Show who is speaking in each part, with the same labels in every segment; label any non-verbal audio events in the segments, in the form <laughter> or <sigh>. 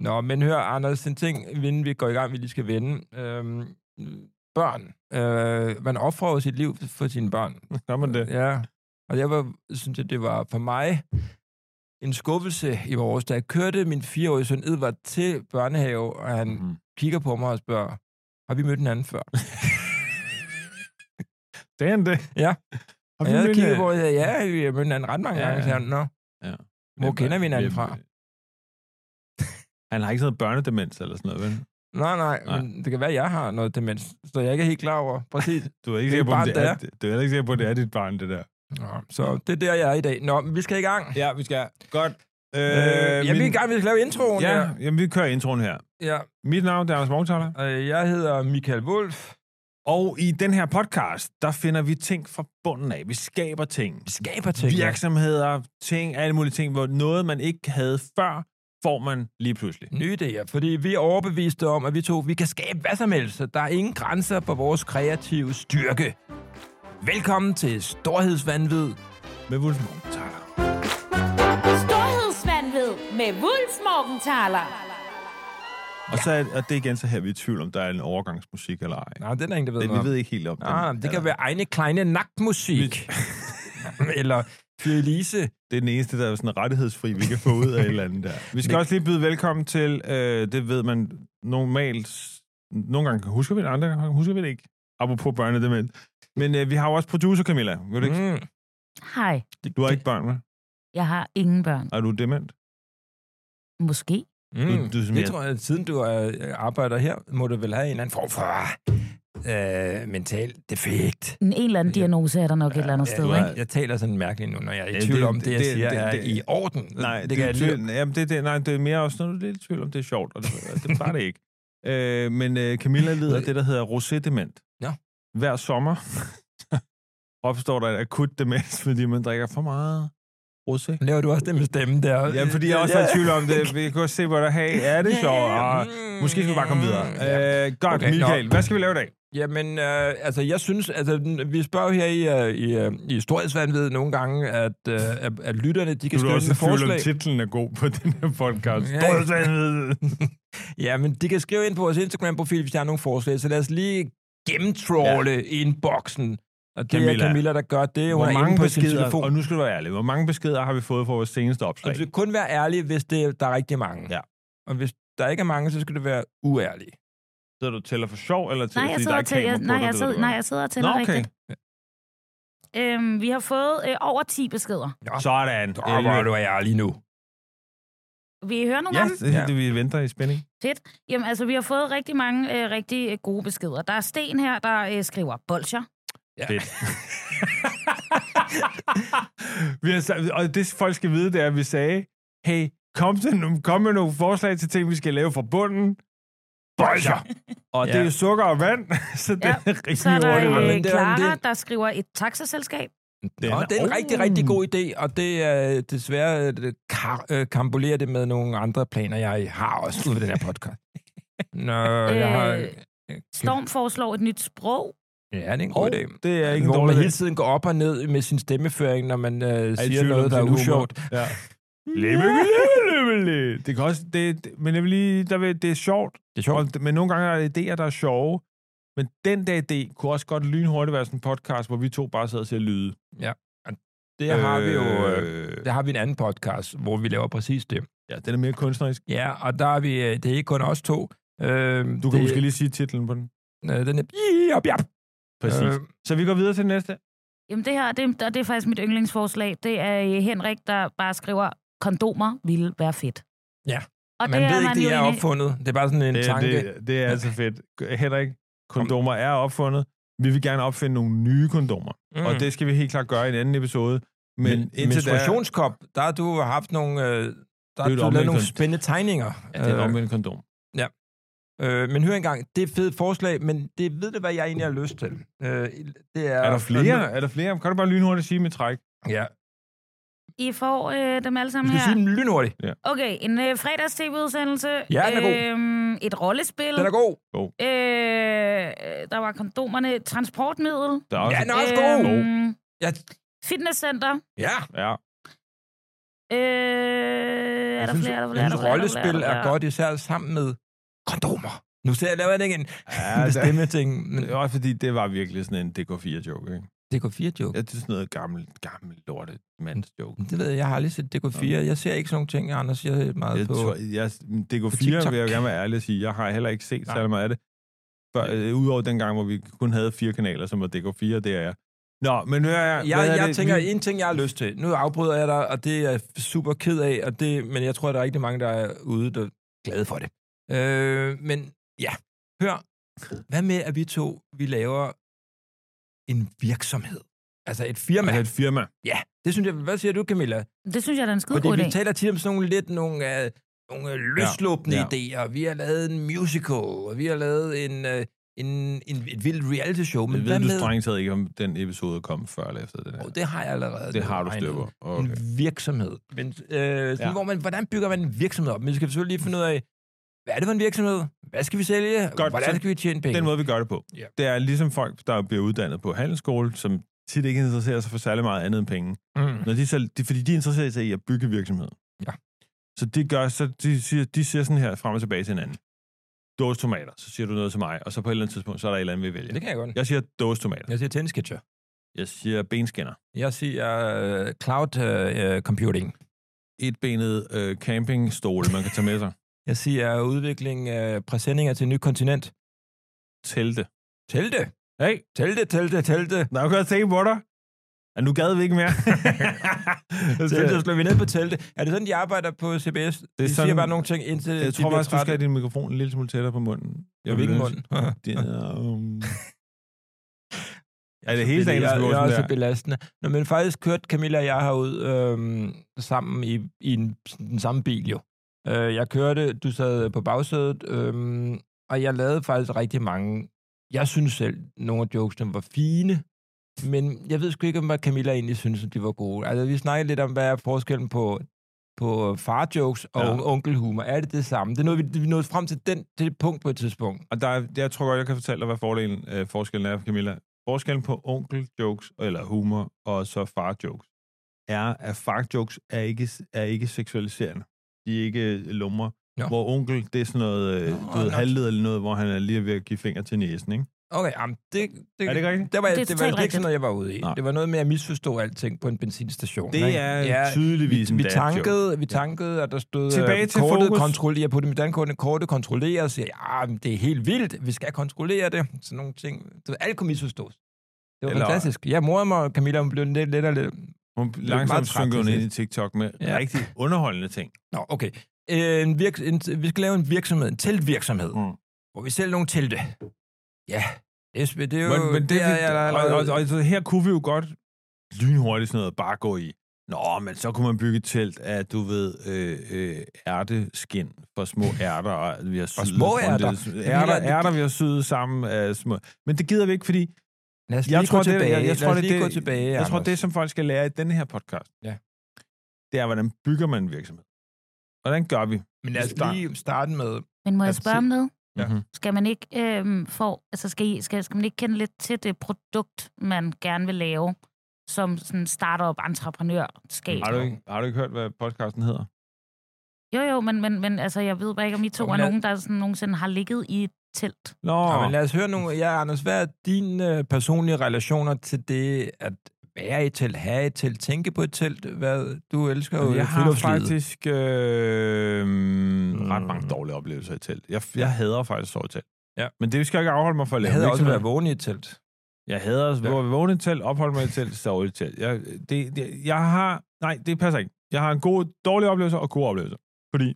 Speaker 1: Nå, men hør, Anders, en ting, inden vi går i gang, vi lige skal vende. Øhm, børn. Øh, man offrer jo sit liv for sine børn.
Speaker 2: Gør man det?
Speaker 1: Ja, og jeg var, synes, at det var for mig en skuffelse i vores, da jeg kørte min fireårige søn Edvard til børnehave, og han
Speaker 2: Mhm.
Speaker 1: kigger på mig og spørger, har vi mødt hinanden
Speaker 2: <laughs>
Speaker 1: før?
Speaker 2: Det er det.
Speaker 1: Ja.
Speaker 2: Har
Speaker 1: Og
Speaker 2: vi
Speaker 1: jeg
Speaker 2: mødt
Speaker 1: kigger på og siger, ja, vi har mødt hinanden ret mange
Speaker 2: Ja,
Speaker 1: ja, gange.
Speaker 2: ja.
Speaker 1: Så han, Nå, hvor kender vi hinanden fra?
Speaker 2: øh, Han har ikke sådan noget børnedemens eller sådan noget, vel?
Speaker 1: nej, nej,
Speaker 2: Nej.
Speaker 1: nej, men det kan være, at jeg har noget demens, så jeg ikke er helt klar over. Præcis.
Speaker 2: Du er ikke
Speaker 1: Det er
Speaker 2: sikker på, om
Speaker 1: barn,
Speaker 2: det
Speaker 1: der
Speaker 2: er,
Speaker 1: er.
Speaker 2: det, du er heller ikke sikker på, at det er dit barn, det der.
Speaker 1: Nå, så det er der, jeg er i dag. Nå, men vi skal i gang.
Speaker 2: Ja, vi skal. Godt. Øh,
Speaker 1: Øh, jeg vil gerne, vi skal lave introen
Speaker 2: Ja,
Speaker 1: her.
Speaker 2: jamen, vi kører introen her.
Speaker 1: Ja.
Speaker 2: Mit navn er Anders Morgenthaler.
Speaker 1: Øh, Jeg hedder Michael Wolf.
Speaker 2: Og i den her podcast, der finder vi ting fra bunden af. Vi skaber ting.
Speaker 1: Skaber
Speaker 2: Virksomheder, ting, alle mulige ting, hvor noget, man ikke havde før, får man lige pludselig.
Speaker 1: Nye idéer, fordi vi er overbeviste om, at vi to vi kan skabe hvad som helst, så der er ingen grænser for vores kreative styrke. Velkommen til Storhedsvandvid.
Speaker 2: Med Wolf Morgenthaler.
Speaker 3: Storhedsvandved med Wulf Morgenthaler.
Speaker 2: Og, så er, og det er igen så her, vi er i tvivl om, der er en overgangsmusik eller ej.
Speaker 1: Nej, den er ingen, der ved
Speaker 2: Det,
Speaker 1: noget
Speaker 2: vi
Speaker 1: om.
Speaker 2: ved ikke helt om den.
Speaker 1: Ah, det
Speaker 2: Eller-
Speaker 1: kan være egne kleine naktmusik. <laughs> Eller
Speaker 2: <laughs>
Speaker 1: Fjelise.
Speaker 2: Det er den eneste, der er sådan rettighedsfri, vi kan få ud af et eller andet der. Vi skal også lige byde velkommen til, øh, det ved man normalt, nogle gange husker vi det, andre gange husker vi det ikke, apropos børnedement. Men øh, vi har jo også producer, Camilla. Ved du, ikke?
Speaker 1: Mm.
Speaker 3: Hej,
Speaker 2: du har ikke børn, vel?
Speaker 3: jeg har ingen børn.
Speaker 2: Er du dement?
Speaker 3: Måske.
Speaker 1: Mm.
Speaker 2: Du- du smider-
Speaker 1: det tror jeg, siden du øh, arbejder her, må du vel have en eller anden form for øh, mental defekt.
Speaker 3: En, en eller anden diagnose er der nok et eller andet
Speaker 1: Ja,
Speaker 3: sted,
Speaker 1: du
Speaker 3: ikke?
Speaker 1: er- Jeg taler sådan mærkeligt nu, når jeg er
Speaker 2: Ja,
Speaker 1: i tvivl
Speaker 2: det-
Speaker 1: om, det, jeg
Speaker 2: det-
Speaker 1: siger,
Speaker 2: det-
Speaker 1: er
Speaker 2: det-
Speaker 1: i orden.
Speaker 2: Nej, det,
Speaker 1: det
Speaker 2: det,
Speaker 1: kan
Speaker 2: er
Speaker 1: jeg
Speaker 2: tvivl, jamen, det, det, nej, det er mere også, når du er lidt i tvivl om, det er sjovt, og det, det plejer det
Speaker 1: <laughs>
Speaker 2: ikke. Øh, men øh, Camilla lider af det, der hedder rosé-dement.
Speaker 1: Ja.
Speaker 2: Hver sommer <laughs> opstår der et akut demens, fordi man drikker for meget rosé.
Speaker 1: Laver du også det med stemmen der?
Speaker 2: Ja, fordi jeg også var i tvivl om det. Vi kunne også se, hvor der hey, er det sjovt. Og måske skal vi bare komme videre.
Speaker 1: Mm. Ja.
Speaker 2: Øh, godt,
Speaker 1: Okay,
Speaker 2: Michael.
Speaker 1: nå.
Speaker 2: Hvad skal vi lave i dag?
Speaker 1: Jamen, øh, altså, jeg synes, altså, n- vi spørger her i, øh, i, øh, i Storhedsvandved nogle gange, at, øh, at, at lytterne, de kan
Speaker 2: Du er
Speaker 1: skrive
Speaker 2: også i
Speaker 1: med
Speaker 2: tvivl om,
Speaker 1: forslag.
Speaker 2: titlen er god på <laughs> den her podcast.
Speaker 1: Ja.
Speaker 2: Storhedsvanvid.
Speaker 1: <laughs> Ja, men de kan skrive ind på vores Instagram-profil, hvis der er nogle forslag, så lad os lige gennemtråle ja. inboxen. Og det Camilla.
Speaker 2: Camilla.
Speaker 1: er Camilla, der gør det. Hun
Speaker 2: Hvor
Speaker 1: er
Speaker 2: mange
Speaker 1: inde på sin
Speaker 2: beskeder,
Speaker 1: telefon.
Speaker 2: og nu skal du være ærlig, hvor mange beskeder har vi fået fra vores seneste opslag?
Speaker 1: Og du skal kun være ærlig, hvis det, der er rigtig mange.
Speaker 2: Ja.
Speaker 1: Og hvis der ikke er mange, så skal du være uærlig.
Speaker 2: Sidder du og tæller for sjov, eller til,
Speaker 4: Nej, jeg
Speaker 2: fordi
Speaker 4: sidder
Speaker 2: der
Speaker 4: og
Speaker 2: er kamera
Speaker 4: tæller,
Speaker 2: på,
Speaker 4: nej,
Speaker 2: dig,
Speaker 4: jeg
Speaker 2: ved
Speaker 4: sidder,
Speaker 2: du
Speaker 4: nej,
Speaker 2: godt?
Speaker 4: jeg sidder og
Speaker 2: Nå,
Speaker 4: tæller
Speaker 2: okay.
Speaker 4: rigtigt. Øhm, vi har fået øh, over 10 beskeder.
Speaker 2: Sådan.
Speaker 1: Åh, hvor er Ah, du ærlig nu.
Speaker 4: Vil I høre nogle
Speaker 2: Ja,
Speaker 4: af dem?
Speaker 2: det er det, vi venter i spænding.
Speaker 4: Jamen, altså, vi har fået rigtig mange øh, rigtig øh, gode beskeder. Der er Sten her, der øh, skriver bolcher.
Speaker 1: Ja. <laughs>
Speaker 2: Fedt. vi har, sa- og det folk skal vide, det er, at vi sagde, hey, kom, til, nogle- kom med nogle forslag til ting, vi skal lave fra bunden. Bolcher! Og ja. det er
Speaker 1: Ja.
Speaker 2: jo sukker og vand, <laughs> så det
Speaker 4: Ja,
Speaker 2: er rigtig
Speaker 4: Så er der
Speaker 1: hurtigt,
Speaker 4: øh,
Speaker 1: men det er jo en
Speaker 4: Clara,
Speaker 1: del.
Speaker 4: der skriver et taxaselskab.
Speaker 1: Den, Nå, det er en
Speaker 2: Oh.
Speaker 1: rigtig, rigtig god idé, og det er øh, desværre øh, det kar, øh, kambolerer det med nogle andre planer, jeg har også ude ved den her
Speaker 2: <laughs>
Speaker 1: podcast. Nå, jeg har...
Speaker 4: Øh, Storm foreslår et nyt sprog.
Speaker 1: Ja, det er en
Speaker 2: Oh,
Speaker 1: god idé.
Speaker 2: det er ikke en
Speaker 1: Hvor man
Speaker 2: dårlig
Speaker 1: hele tiden går op og ned med sin stemmeføring, når man øh,
Speaker 2: Er I
Speaker 1: siger
Speaker 2: tvivl om
Speaker 1: noget, der er
Speaker 2: din humor?
Speaker 1: usjovt.
Speaker 2: Ja. Lebe, lebe, lebe, lebe. Det kan også, det, det- men jeg vil lige, der vil, det er sjovt,
Speaker 1: Det er sjovt.
Speaker 2: og, men nogle gange er der idéer, der er sjove. Men den der idé kunne også godt lynhurtigt være sådan en podcast, hvor vi to bare sidder og ser lyde.
Speaker 1: Det har vi jo... Øh,
Speaker 2: Øh,
Speaker 1: der har vi en anden podcast, hvor vi laver præcis det.
Speaker 2: ja, den er mere kunstnerisk.
Speaker 1: Ja, og der er vi... øh, Det er ikke kun os to. Øh,
Speaker 2: Du kan
Speaker 1: det,
Speaker 2: det... måske lige sige titlen på den.
Speaker 1: Øh, den er... Bip, bip.
Speaker 2: Øh, Så vi går videre til den næste.
Speaker 4: Jamen, det her, det, og det er faktisk mit yndlingsforslag. Det er øh, Henrik, der bare skriver, kondomer ville være fedt.
Speaker 1: Ja, man
Speaker 4: Og det
Speaker 1: ved
Speaker 4: er
Speaker 1: ikke,
Speaker 4: man
Speaker 1: det
Speaker 4: jo
Speaker 1: er
Speaker 4: enig i.
Speaker 1: opfundet. Det er bare sådan en
Speaker 2: Øh, Det,
Speaker 1: tanke.
Speaker 2: det, det er altså fedt. Henrik, kondomer er opfundet. Vi vil gerne opfinde nogle nye kondomer. Mm. Og det skal vi helt klart gøre i en anden episode. Men, men indtil da...
Speaker 1: menstruationskop, der har du haft nogle... Øh, der har
Speaker 2: jo et
Speaker 1: du
Speaker 2: omvendt
Speaker 1: lavet nogle
Speaker 2: køn.
Speaker 1: spændende tegninger.
Speaker 2: Ja, det er et omvendt kondom.
Speaker 1: øh, men hør engang, det er et fedt forslag, men det ved det, hvad jeg egentlig har lyst til. Øh, det er,
Speaker 2: Er der flere? Er der flere? Kan du bare lynhurtigt sige med træk?
Speaker 1: Ja.
Speaker 4: I får øh, dem alle
Speaker 1: Du
Speaker 4: sammen
Speaker 1: skal
Speaker 4: her.
Speaker 1: sige den lynhurtigt.
Speaker 4: Okay, en øh, fredags tv-udsendelse.
Speaker 1: Ja, den er god.
Speaker 4: Øhm, et rollespil.
Speaker 1: Den er god.
Speaker 4: Øh, der var kondomerne. Transportmiddel.
Speaker 2: Der er
Speaker 1: Ja,
Speaker 2: også...
Speaker 1: den er også god.
Speaker 2: god.
Speaker 4: Øhm,
Speaker 1: Ja.
Speaker 4: Fitnesscenter.
Speaker 1: ja.
Speaker 2: Ja.
Speaker 4: Øh, er
Speaker 1: Jeg
Speaker 4: der
Speaker 1: synes-
Speaker 4: flere? Er der
Speaker 1: Jeg
Speaker 4: flere? Er
Speaker 1: synes,
Speaker 4: der flere? Er
Speaker 1: rollespil
Speaker 4: der flere?
Speaker 1: er godt, især sammen med kondomer. Nu ser jeg, laver jeg det igen. Ja,
Speaker 2: Ja,
Speaker 1: det
Speaker 2: <laughs> det,
Speaker 1: stemme ting. Men
Speaker 2: det er Øh, også fordi, det var virkelig sådan en DK4-joke, ikke?
Speaker 1: det går 4 joke.
Speaker 2: Ja, det er sådan noget gammelt, gammelt lortet mandsjoke.
Speaker 1: Det ved jeg, jeg har aldrig set DK4. Jeg ser ikke sådan nogle ting, Anders. Jeg er meget
Speaker 2: Jeg
Speaker 1: på...
Speaker 2: tror, jeg, DK4
Speaker 1: TikTok.
Speaker 2: vil jeg gerne være ærlig at sige, jeg har heller ikke set
Speaker 1: Nej.
Speaker 2: særlig meget af det. Før, øh, udover den gang, hvor vi kun havde fire kanaler, som var DK4, det er jeg. Nå, men hør her.
Speaker 1: Jeg,
Speaker 2: hvad er
Speaker 1: jeg
Speaker 2: det?
Speaker 1: tænker,
Speaker 2: Vi-
Speaker 1: en ting, jeg har lyst til. Nu afbryder jeg dig, og det er jeg super ked af, og det, men jeg tror, der er rigtig mange, der er ude, der er glade for det. Øh, men ja, hør. Hvad med, at vi to, vi laver en virksomhed? Altså et firma.
Speaker 2: Altså et firma.
Speaker 1: Ja, det synes jeg. Hvad siger du, Camilla?
Speaker 4: Det synes jeg, der er en skide
Speaker 1: Fordi
Speaker 4: god
Speaker 1: vi
Speaker 4: idé.
Speaker 1: taler tit om sådan nogle lidt nogle, uh, nogle øh, løsluppende
Speaker 2: Ja,
Speaker 1: ja, ja. idéer. Vi har lavet en musical, og vi har lavet en, øh, en, en, et vildt reality show. Men
Speaker 2: Men
Speaker 1: hvad
Speaker 2: ved du
Speaker 1: med...
Speaker 2: strengt taget ikke, om den episode kom før eller efter den her?
Speaker 1: Oh, det har jeg allerede.
Speaker 2: det har du
Speaker 1: regnet
Speaker 2: styr på.
Speaker 1: okay.
Speaker 2: Okay.
Speaker 1: en virksomhed. Men, øh, sådan,
Speaker 2: Ja.
Speaker 1: ja. hvor man, hvordan bygger man en virksomhed op? Men vi skal selvfølgelig lige finde ud af, hvad er det for en virksomhed? Hvad skal vi sælge?
Speaker 2: Godt,
Speaker 1: Godt, hvordan
Speaker 2: så
Speaker 1: skal vi tjene penge?
Speaker 2: Den måde, vi gør det på,
Speaker 1: Ja.
Speaker 2: det er ligesom folk, der bliver uddannet på handelsskole, som tit ikke interesserer sig for særlig meget andet end penge.
Speaker 1: mm.
Speaker 2: Når de så, de, fordi de interesserer sig i at bygge virksomhed.
Speaker 1: Ja.
Speaker 2: Så det gør, så de siger, de siger sådan her frem og tilbage til hinanden. Dåse tomater, så siger du noget til mig, og så på et eller andet tidspunkt, så er der et eller andet, vi vælger.
Speaker 1: Det kan jeg godt.
Speaker 2: Jeg siger dåse tomater.
Speaker 1: Jeg siger tennisketcher.
Speaker 2: Jeg siger benskinner.
Speaker 1: Jeg siger øh, cloud øh, øh, computing.
Speaker 2: Etbenet øh, campingstol, man kan tage <laughs> med sig.
Speaker 1: Jeg siger udvikling af øh, præsendinger til et nyt kontinent.
Speaker 2: Telte.
Speaker 1: Telte.
Speaker 2: Hey,
Speaker 1: Telte, telte, telte.
Speaker 2: der er jo godt tænke på dig. Ja, nu gad vi ikke <laughs> mere.
Speaker 1: Telte, så slår vi ned på telte. Er det sådan, de arbejder på CBS? Det de sådan, siger
Speaker 2: sådan-
Speaker 1: bare nogle ting, indtil
Speaker 2: jeg
Speaker 1: de
Speaker 2: tror
Speaker 1: bliver
Speaker 2: faktisk, du skal
Speaker 1: trætte.
Speaker 2: have din mikrofon en lille smule tættere på munden. Øh,
Speaker 1: Jeg vil ikke munden.
Speaker 2: Det <laughs> er, um... er det
Speaker 1: Så Altså,
Speaker 2: hele
Speaker 1: det
Speaker 2: dagen, der
Speaker 1: jeg,
Speaker 2: skal gå
Speaker 1: jeg er
Speaker 2: sådan
Speaker 1: også
Speaker 2: der?
Speaker 1: belastende. Nå, men faktisk kørte Camilla og jeg herud øhm, sammen i, i en, den samme bil jo. Øh, jeg kørte, du sad på bagsædet, øhm, og jeg lavede faktisk rigtig mange. Jeg synes selv, nogle af jokesene var fine, men jeg ved sgu ikke, om hvad Camilla egentlig synes, at de var gode. Altså, vi snakkede lidt om, hvad er forskellen på på farjokes og
Speaker 2: Ja.
Speaker 1: ja. onkelhumor. Er det det samme? Det er noget, vi, vi nåede frem til, den, til det punkt på et tidspunkt.
Speaker 2: Og der er, jeg tror godt, jeg kan fortælle dig, hvad fordelen, øh, forskellen er, Camilla. Forskellen på onkel-jokes, eller humor, og så far-jokes, er, at far-jokes er ikke, er ikke seksualiserende. De er ikke øh, lumre.
Speaker 1: Nå.
Speaker 2: Hvor onkel, det er sådan noget, øh,
Speaker 1: Nå,
Speaker 2: du ved,
Speaker 1: nok.
Speaker 2: halvled eller noget, hvor han er lige ved at give finger til næsen, ikke?
Speaker 1: Okay, jamen, det, det,
Speaker 2: Er det ikke rigtigt?
Speaker 1: Det var,
Speaker 4: Det er
Speaker 1: det, det var
Speaker 4: totalt
Speaker 1: ikke
Speaker 4: rigtigt.
Speaker 1: sådan noget, jeg var ude i.
Speaker 2: Nej.
Speaker 1: Nej. Det var noget med at misforstå alting på en benzinstation.
Speaker 2: Det
Speaker 1: ikke?
Speaker 2: er
Speaker 1: Ja,
Speaker 2: tydeligvis en
Speaker 1: vi, vi,
Speaker 2: dad-joke.
Speaker 1: tankede, vi tankede, og der stod
Speaker 2: Tilbage
Speaker 1: øh,
Speaker 2: til
Speaker 1: kortet
Speaker 2: fokus.
Speaker 1: kontrollerer på det med dankortet. Kortet kontrollerer og siger, ja, men det er helt vildt. Vi skal kontrollere det. Sådan nogle ting. Du ved, alt kunne misforstås. Det var
Speaker 2: Eller-
Speaker 1: Eller... fantastisk. Jeg morede mig, og Camilla hun blev lidt, lidt og lidt.
Speaker 2: Hun
Speaker 1: meget
Speaker 2: langsomt
Speaker 1: træt
Speaker 2: synker hun
Speaker 1: til
Speaker 2: ind i TikTok med ja.
Speaker 1: Ja.
Speaker 2: rigtig underholdende ting.
Speaker 1: Nå, okay. Øh, En virks- en, vi skal lave en virksomhed, en teltvirksomhed, mm.
Speaker 2: Mm.
Speaker 1: hvor vi sælger nogle telte. Ja, det, er sp- det er jo...
Speaker 2: Men, men det,
Speaker 1: er, jeg
Speaker 2: og,
Speaker 1: allerede-
Speaker 2: og, og, og, her kunne vi jo godt lynhurtigt sådan noget bare gå i. Nå, men så kunne man bygge et telt af, du ved, øh, øh, ærteskin for små ærter. Og, vi har syet
Speaker 1: små
Speaker 2: rundt
Speaker 1: ærter?
Speaker 2: i- Ærter, ærter, vi har syet sammen af små. Men det gider vi ikke, fordi
Speaker 1: Lad os lige
Speaker 2: jeg tror,
Speaker 1: gå
Speaker 2: det,
Speaker 1: tilbage.
Speaker 2: jeg, jeg tror,
Speaker 1: Lad os
Speaker 2: det,
Speaker 1: lige
Speaker 2: det,
Speaker 1: gå tilbage,
Speaker 2: jeg tror,
Speaker 1: Anders.
Speaker 2: det, som folk skal lære i denne her podcast,
Speaker 1: Ja.
Speaker 2: det er, hvordan bygger man en virksomhed? Hvordan gør vi?
Speaker 1: Men lad os lige starte med...
Speaker 4: Men må jeg
Speaker 1: Altså,
Speaker 4: spørge om noget?
Speaker 1: Ja.
Speaker 2: Mhm.
Speaker 4: Skal man ikke øh, få, altså skal, I, skal, skal man ikke kende lidt til det produkt, man gerne vil lave, som sådan startup entreprenørskab?
Speaker 2: Har du, ikke, har du ikke hørt, hvad podcasten hedder?
Speaker 4: Jo, jo, men, men, men altså, jeg ved bare ikke, om I to
Speaker 1: Jo,
Speaker 4: er
Speaker 1: men lad-
Speaker 4: nogen, der sådan nogensinde har ligget i et telt.
Speaker 2: Nå,
Speaker 1: Oh. men lad os høre nogle... Ja, Anders, hvad er dine øh, personlige relationer til det at være i et telt, have et telt, tænke på et telt? Hvad, du elsker jo
Speaker 2: Jeg har
Speaker 1: friluftslivet.
Speaker 2: faktisk øh, mm. ret mange dårlige oplevelser i telt. Jeg, jeg hader faktisk at sove i telt.
Speaker 1: Ja.
Speaker 2: Men det skal jeg ikke afholde mig fra at lave.
Speaker 1: Jeg havde også
Speaker 2: virksomhed.
Speaker 1: været vågen i et telt.
Speaker 2: Jeg hader at ja. vågne i telt, opholde mig i telt, sove i telt. Jeg, det, det, jeg har... Nej, det passer ikke. Jeg har en god, dårlige oplevelser og gode oplevelser. Fordi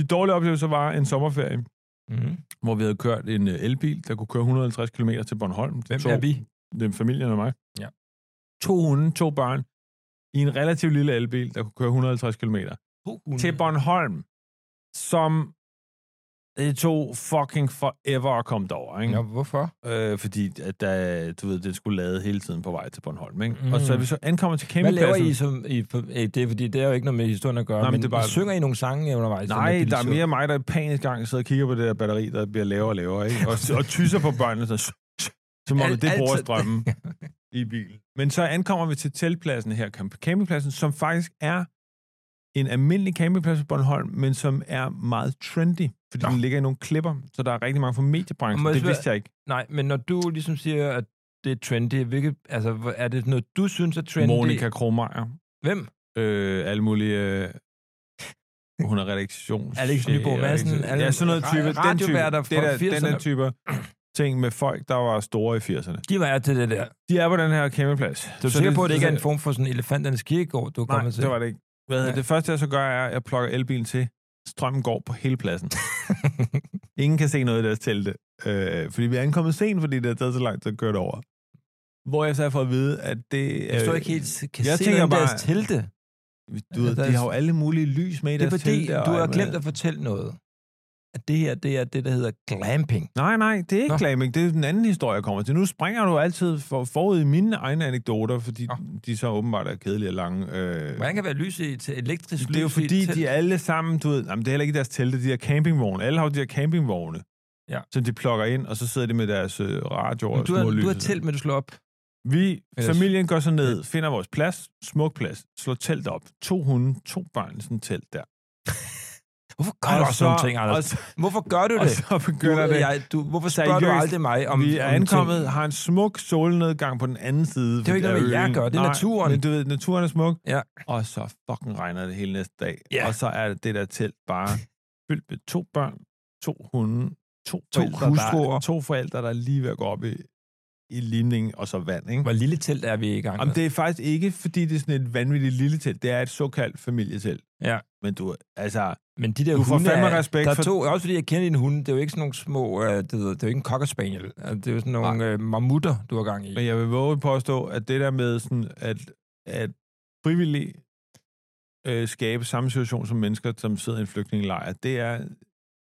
Speaker 2: de dårlige oplevelser var en sommerferie,
Speaker 1: Mm.
Speaker 2: hvor vi havde kørt en øh, elbil, der kunne køre 150 km til Bornholm.
Speaker 1: Hvem
Speaker 2: To-
Speaker 1: er vi?
Speaker 2: det er familien og mig.
Speaker 1: Ja.
Speaker 2: To hunde, to børn, i en relativt lille elbil, der kunne køre 150 km.
Speaker 1: Mm.
Speaker 2: Til Bornholm, som det tog fucking forever at komme derover, ikke?
Speaker 1: Ja, hvorfor?
Speaker 2: Øh, fordi at der, du ved, den skulle lade hele tiden på vej til Bornholm, ikke? Mm.
Speaker 1: Mm.
Speaker 2: Og så er vi så ankommet til
Speaker 1: Hvad
Speaker 2: campingpladsen.
Speaker 1: laver I som... I, på- øh, det er fordi, det er jo ikke noget med historien at gøre,
Speaker 2: Nej, men
Speaker 1: men,
Speaker 2: det er bare-
Speaker 1: synger I nogle sange undervejs?
Speaker 2: Nej, der er mere mig, der i panisk gang sidder og kigger på det der batteri, der bliver lavere og lavere, ikke? Og, og tysser på børnene, sådan, som om
Speaker 1: Alt-
Speaker 2: det bruger
Speaker 1: altid.
Speaker 2: strømmen i bilen. Men så ankommer vi til teltpladsen her, camp- campingpladsen, som faktisk er en almindelig campingplads på Bornholm, men som er meget trendy, fordi
Speaker 1: Nå.
Speaker 2: Nå. den ligger i nogle klipper, så der er rigtig mange fra mediebranchen.
Speaker 1: Må jeg
Speaker 2: Det
Speaker 1: spørge-
Speaker 2: vidste jeg ikke.
Speaker 1: Nej, men når du ligesom siger, at det er trendy, hvilket, altså, hvor- er det noget, du synes er trendy?
Speaker 2: Monika Krohmeier.
Speaker 1: Hvem?
Speaker 2: øh, alle mulige... Øh, hun er redaktions...
Speaker 1: <laughs> Alex Nyborg Madsen, alle-
Speaker 2: Ja, sådan noget type.
Speaker 1: ra-
Speaker 2: Den type,
Speaker 1: radioværter fra
Speaker 2: det der, den der
Speaker 1: 80'erne.
Speaker 2: type ting med folk, der var store i 80'erne.
Speaker 1: De var til det der.
Speaker 2: De er på den her kæmpeplads.
Speaker 1: Du er sikker på, at det ikke er en form for sådan elefanternes kirkegård, du er
Speaker 2: Nej,
Speaker 1: kommet til?
Speaker 2: det var det ikke. Hvad hedder
Speaker 1: Nej.
Speaker 2: det? det første, jeg så gør, er, at jeg plukker elbilen til. Strømmen går på hele
Speaker 1: <laughs>
Speaker 2: pladsen. Ingen kan se noget i deres telte. Øh, fordi vi er ankommet sent, fordi det har taget så langt, så kørt over. Hvor jeg så har fået at vide, at det...
Speaker 1: Jeg står
Speaker 2: øh,
Speaker 1: ikke helt, kan
Speaker 2: jeg
Speaker 1: jeg se
Speaker 2: tænker
Speaker 1: noget bare,
Speaker 2: bare-
Speaker 1: deres telte.
Speaker 2: Du ved,
Speaker 1: Der er-
Speaker 2: de har jo alle mulige lys med i
Speaker 1: Det er
Speaker 2: deres
Speaker 1: fordi,
Speaker 2: telte. og
Speaker 1: du har
Speaker 2: alt muligt.
Speaker 1: glemt at fortælle noget. At det her, det er det, der hedder glamping.
Speaker 2: Nej, nej, det er ikke
Speaker 1: Nå.
Speaker 2: glamming. Det er den anden historie, jeg kommer til. Nu springer du altid for, forud i mine egne anekdoter, fordi
Speaker 1: Nå.
Speaker 2: de så åbenbart er kedelige og lange. Øh,
Speaker 1: Hvordan kan der være lys i til elektrisk
Speaker 2: det er jo
Speaker 1: lys i et
Speaker 2: fordi,
Speaker 1: telt?
Speaker 2: de alle sammen, du ved, jamen, det er heller ikke deres telte, de her campingvogne. Alle har jo de her campingvogne,
Speaker 1: Ja.
Speaker 2: som de plukker ind, og så sidder de med deres øh, radioer
Speaker 1: Men
Speaker 2: og
Speaker 1: du,
Speaker 2: små
Speaker 1: har,
Speaker 2: lys.
Speaker 1: du har telt, men du slår op.
Speaker 2: Vi,
Speaker 1: Ellers-
Speaker 2: familien går så ned, finder vores plads, smuk plads, slår telt op. To hunde, to børn i sådan et telt der.
Speaker 1: Hvorfor gør du også sådan nogle ting,
Speaker 2: og,
Speaker 1: Anders?
Speaker 2: så,
Speaker 1: Hvorfor gør du
Speaker 2: og
Speaker 1: det?
Speaker 2: så
Speaker 1: Du,
Speaker 2: begynder det.
Speaker 1: jeg, du, hvorfor spørger du
Speaker 2: Seriøst,
Speaker 1: aldrig mig om
Speaker 2: Om, vi er
Speaker 1: om
Speaker 2: ankommet,
Speaker 1: ting?
Speaker 2: har en smuk solnedgang på den anden side.
Speaker 1: Det er jo ikke
Speaker 2: af
Speaker 1: noget med jer
Speaker 2: øen.
Speaker 1: at gøre, det er
Speaker 2: Nej,
Speaker 1: naturen.
Speaker 2: Men du ved, naturen er smuk.
Speaker 1: Ja.
Speaker 2: Og så fucking regner det hele næste dag.
Speaker 1: Ja.
Speaker 2: Og så er det der telt bare fyldt med to børn, to hunde, to,
Speaker 1: To
Speaker 2: forældre,
Speaker 1: hustruer.
Speaker 2: Der, to forældre, der er lige ved at gå op i, i limning og så vand. Ikke?
Speaker 1: Hvor lille telt er vi i gang
Speaker 2: Jamen,
Speaker 1: med?
Speaker 2: det er faktisk ikke, fordi det er sådan et vanvittigt lille telt. Det er et såkaldt familietelt.
Speaker 1: Ja.
Speaker 2: Men du, altså,
Speaker 1: Men de der
Speaker 2: Du får
Speaker 1: hunde
Speaker 2: fandme
Speaker 1: er-
Speaker 2: respekt
Speaker 1: der er
Speaker 2: for-
Speaker 1: to, også fordi jeg kender dine hunde, det er jo ikke sådan nogle små, øh, det, hedder- det er jo ikke en cocker spaniel, Altså, det er jo sådan nogle øh, mammutter, du har gang i.
Speaker 2: men jeg vil våge at påstå, at det der med sådan, at, at frivillig øh, skabe samme situation som mennesker, som sidder i en flygtningelejr, det er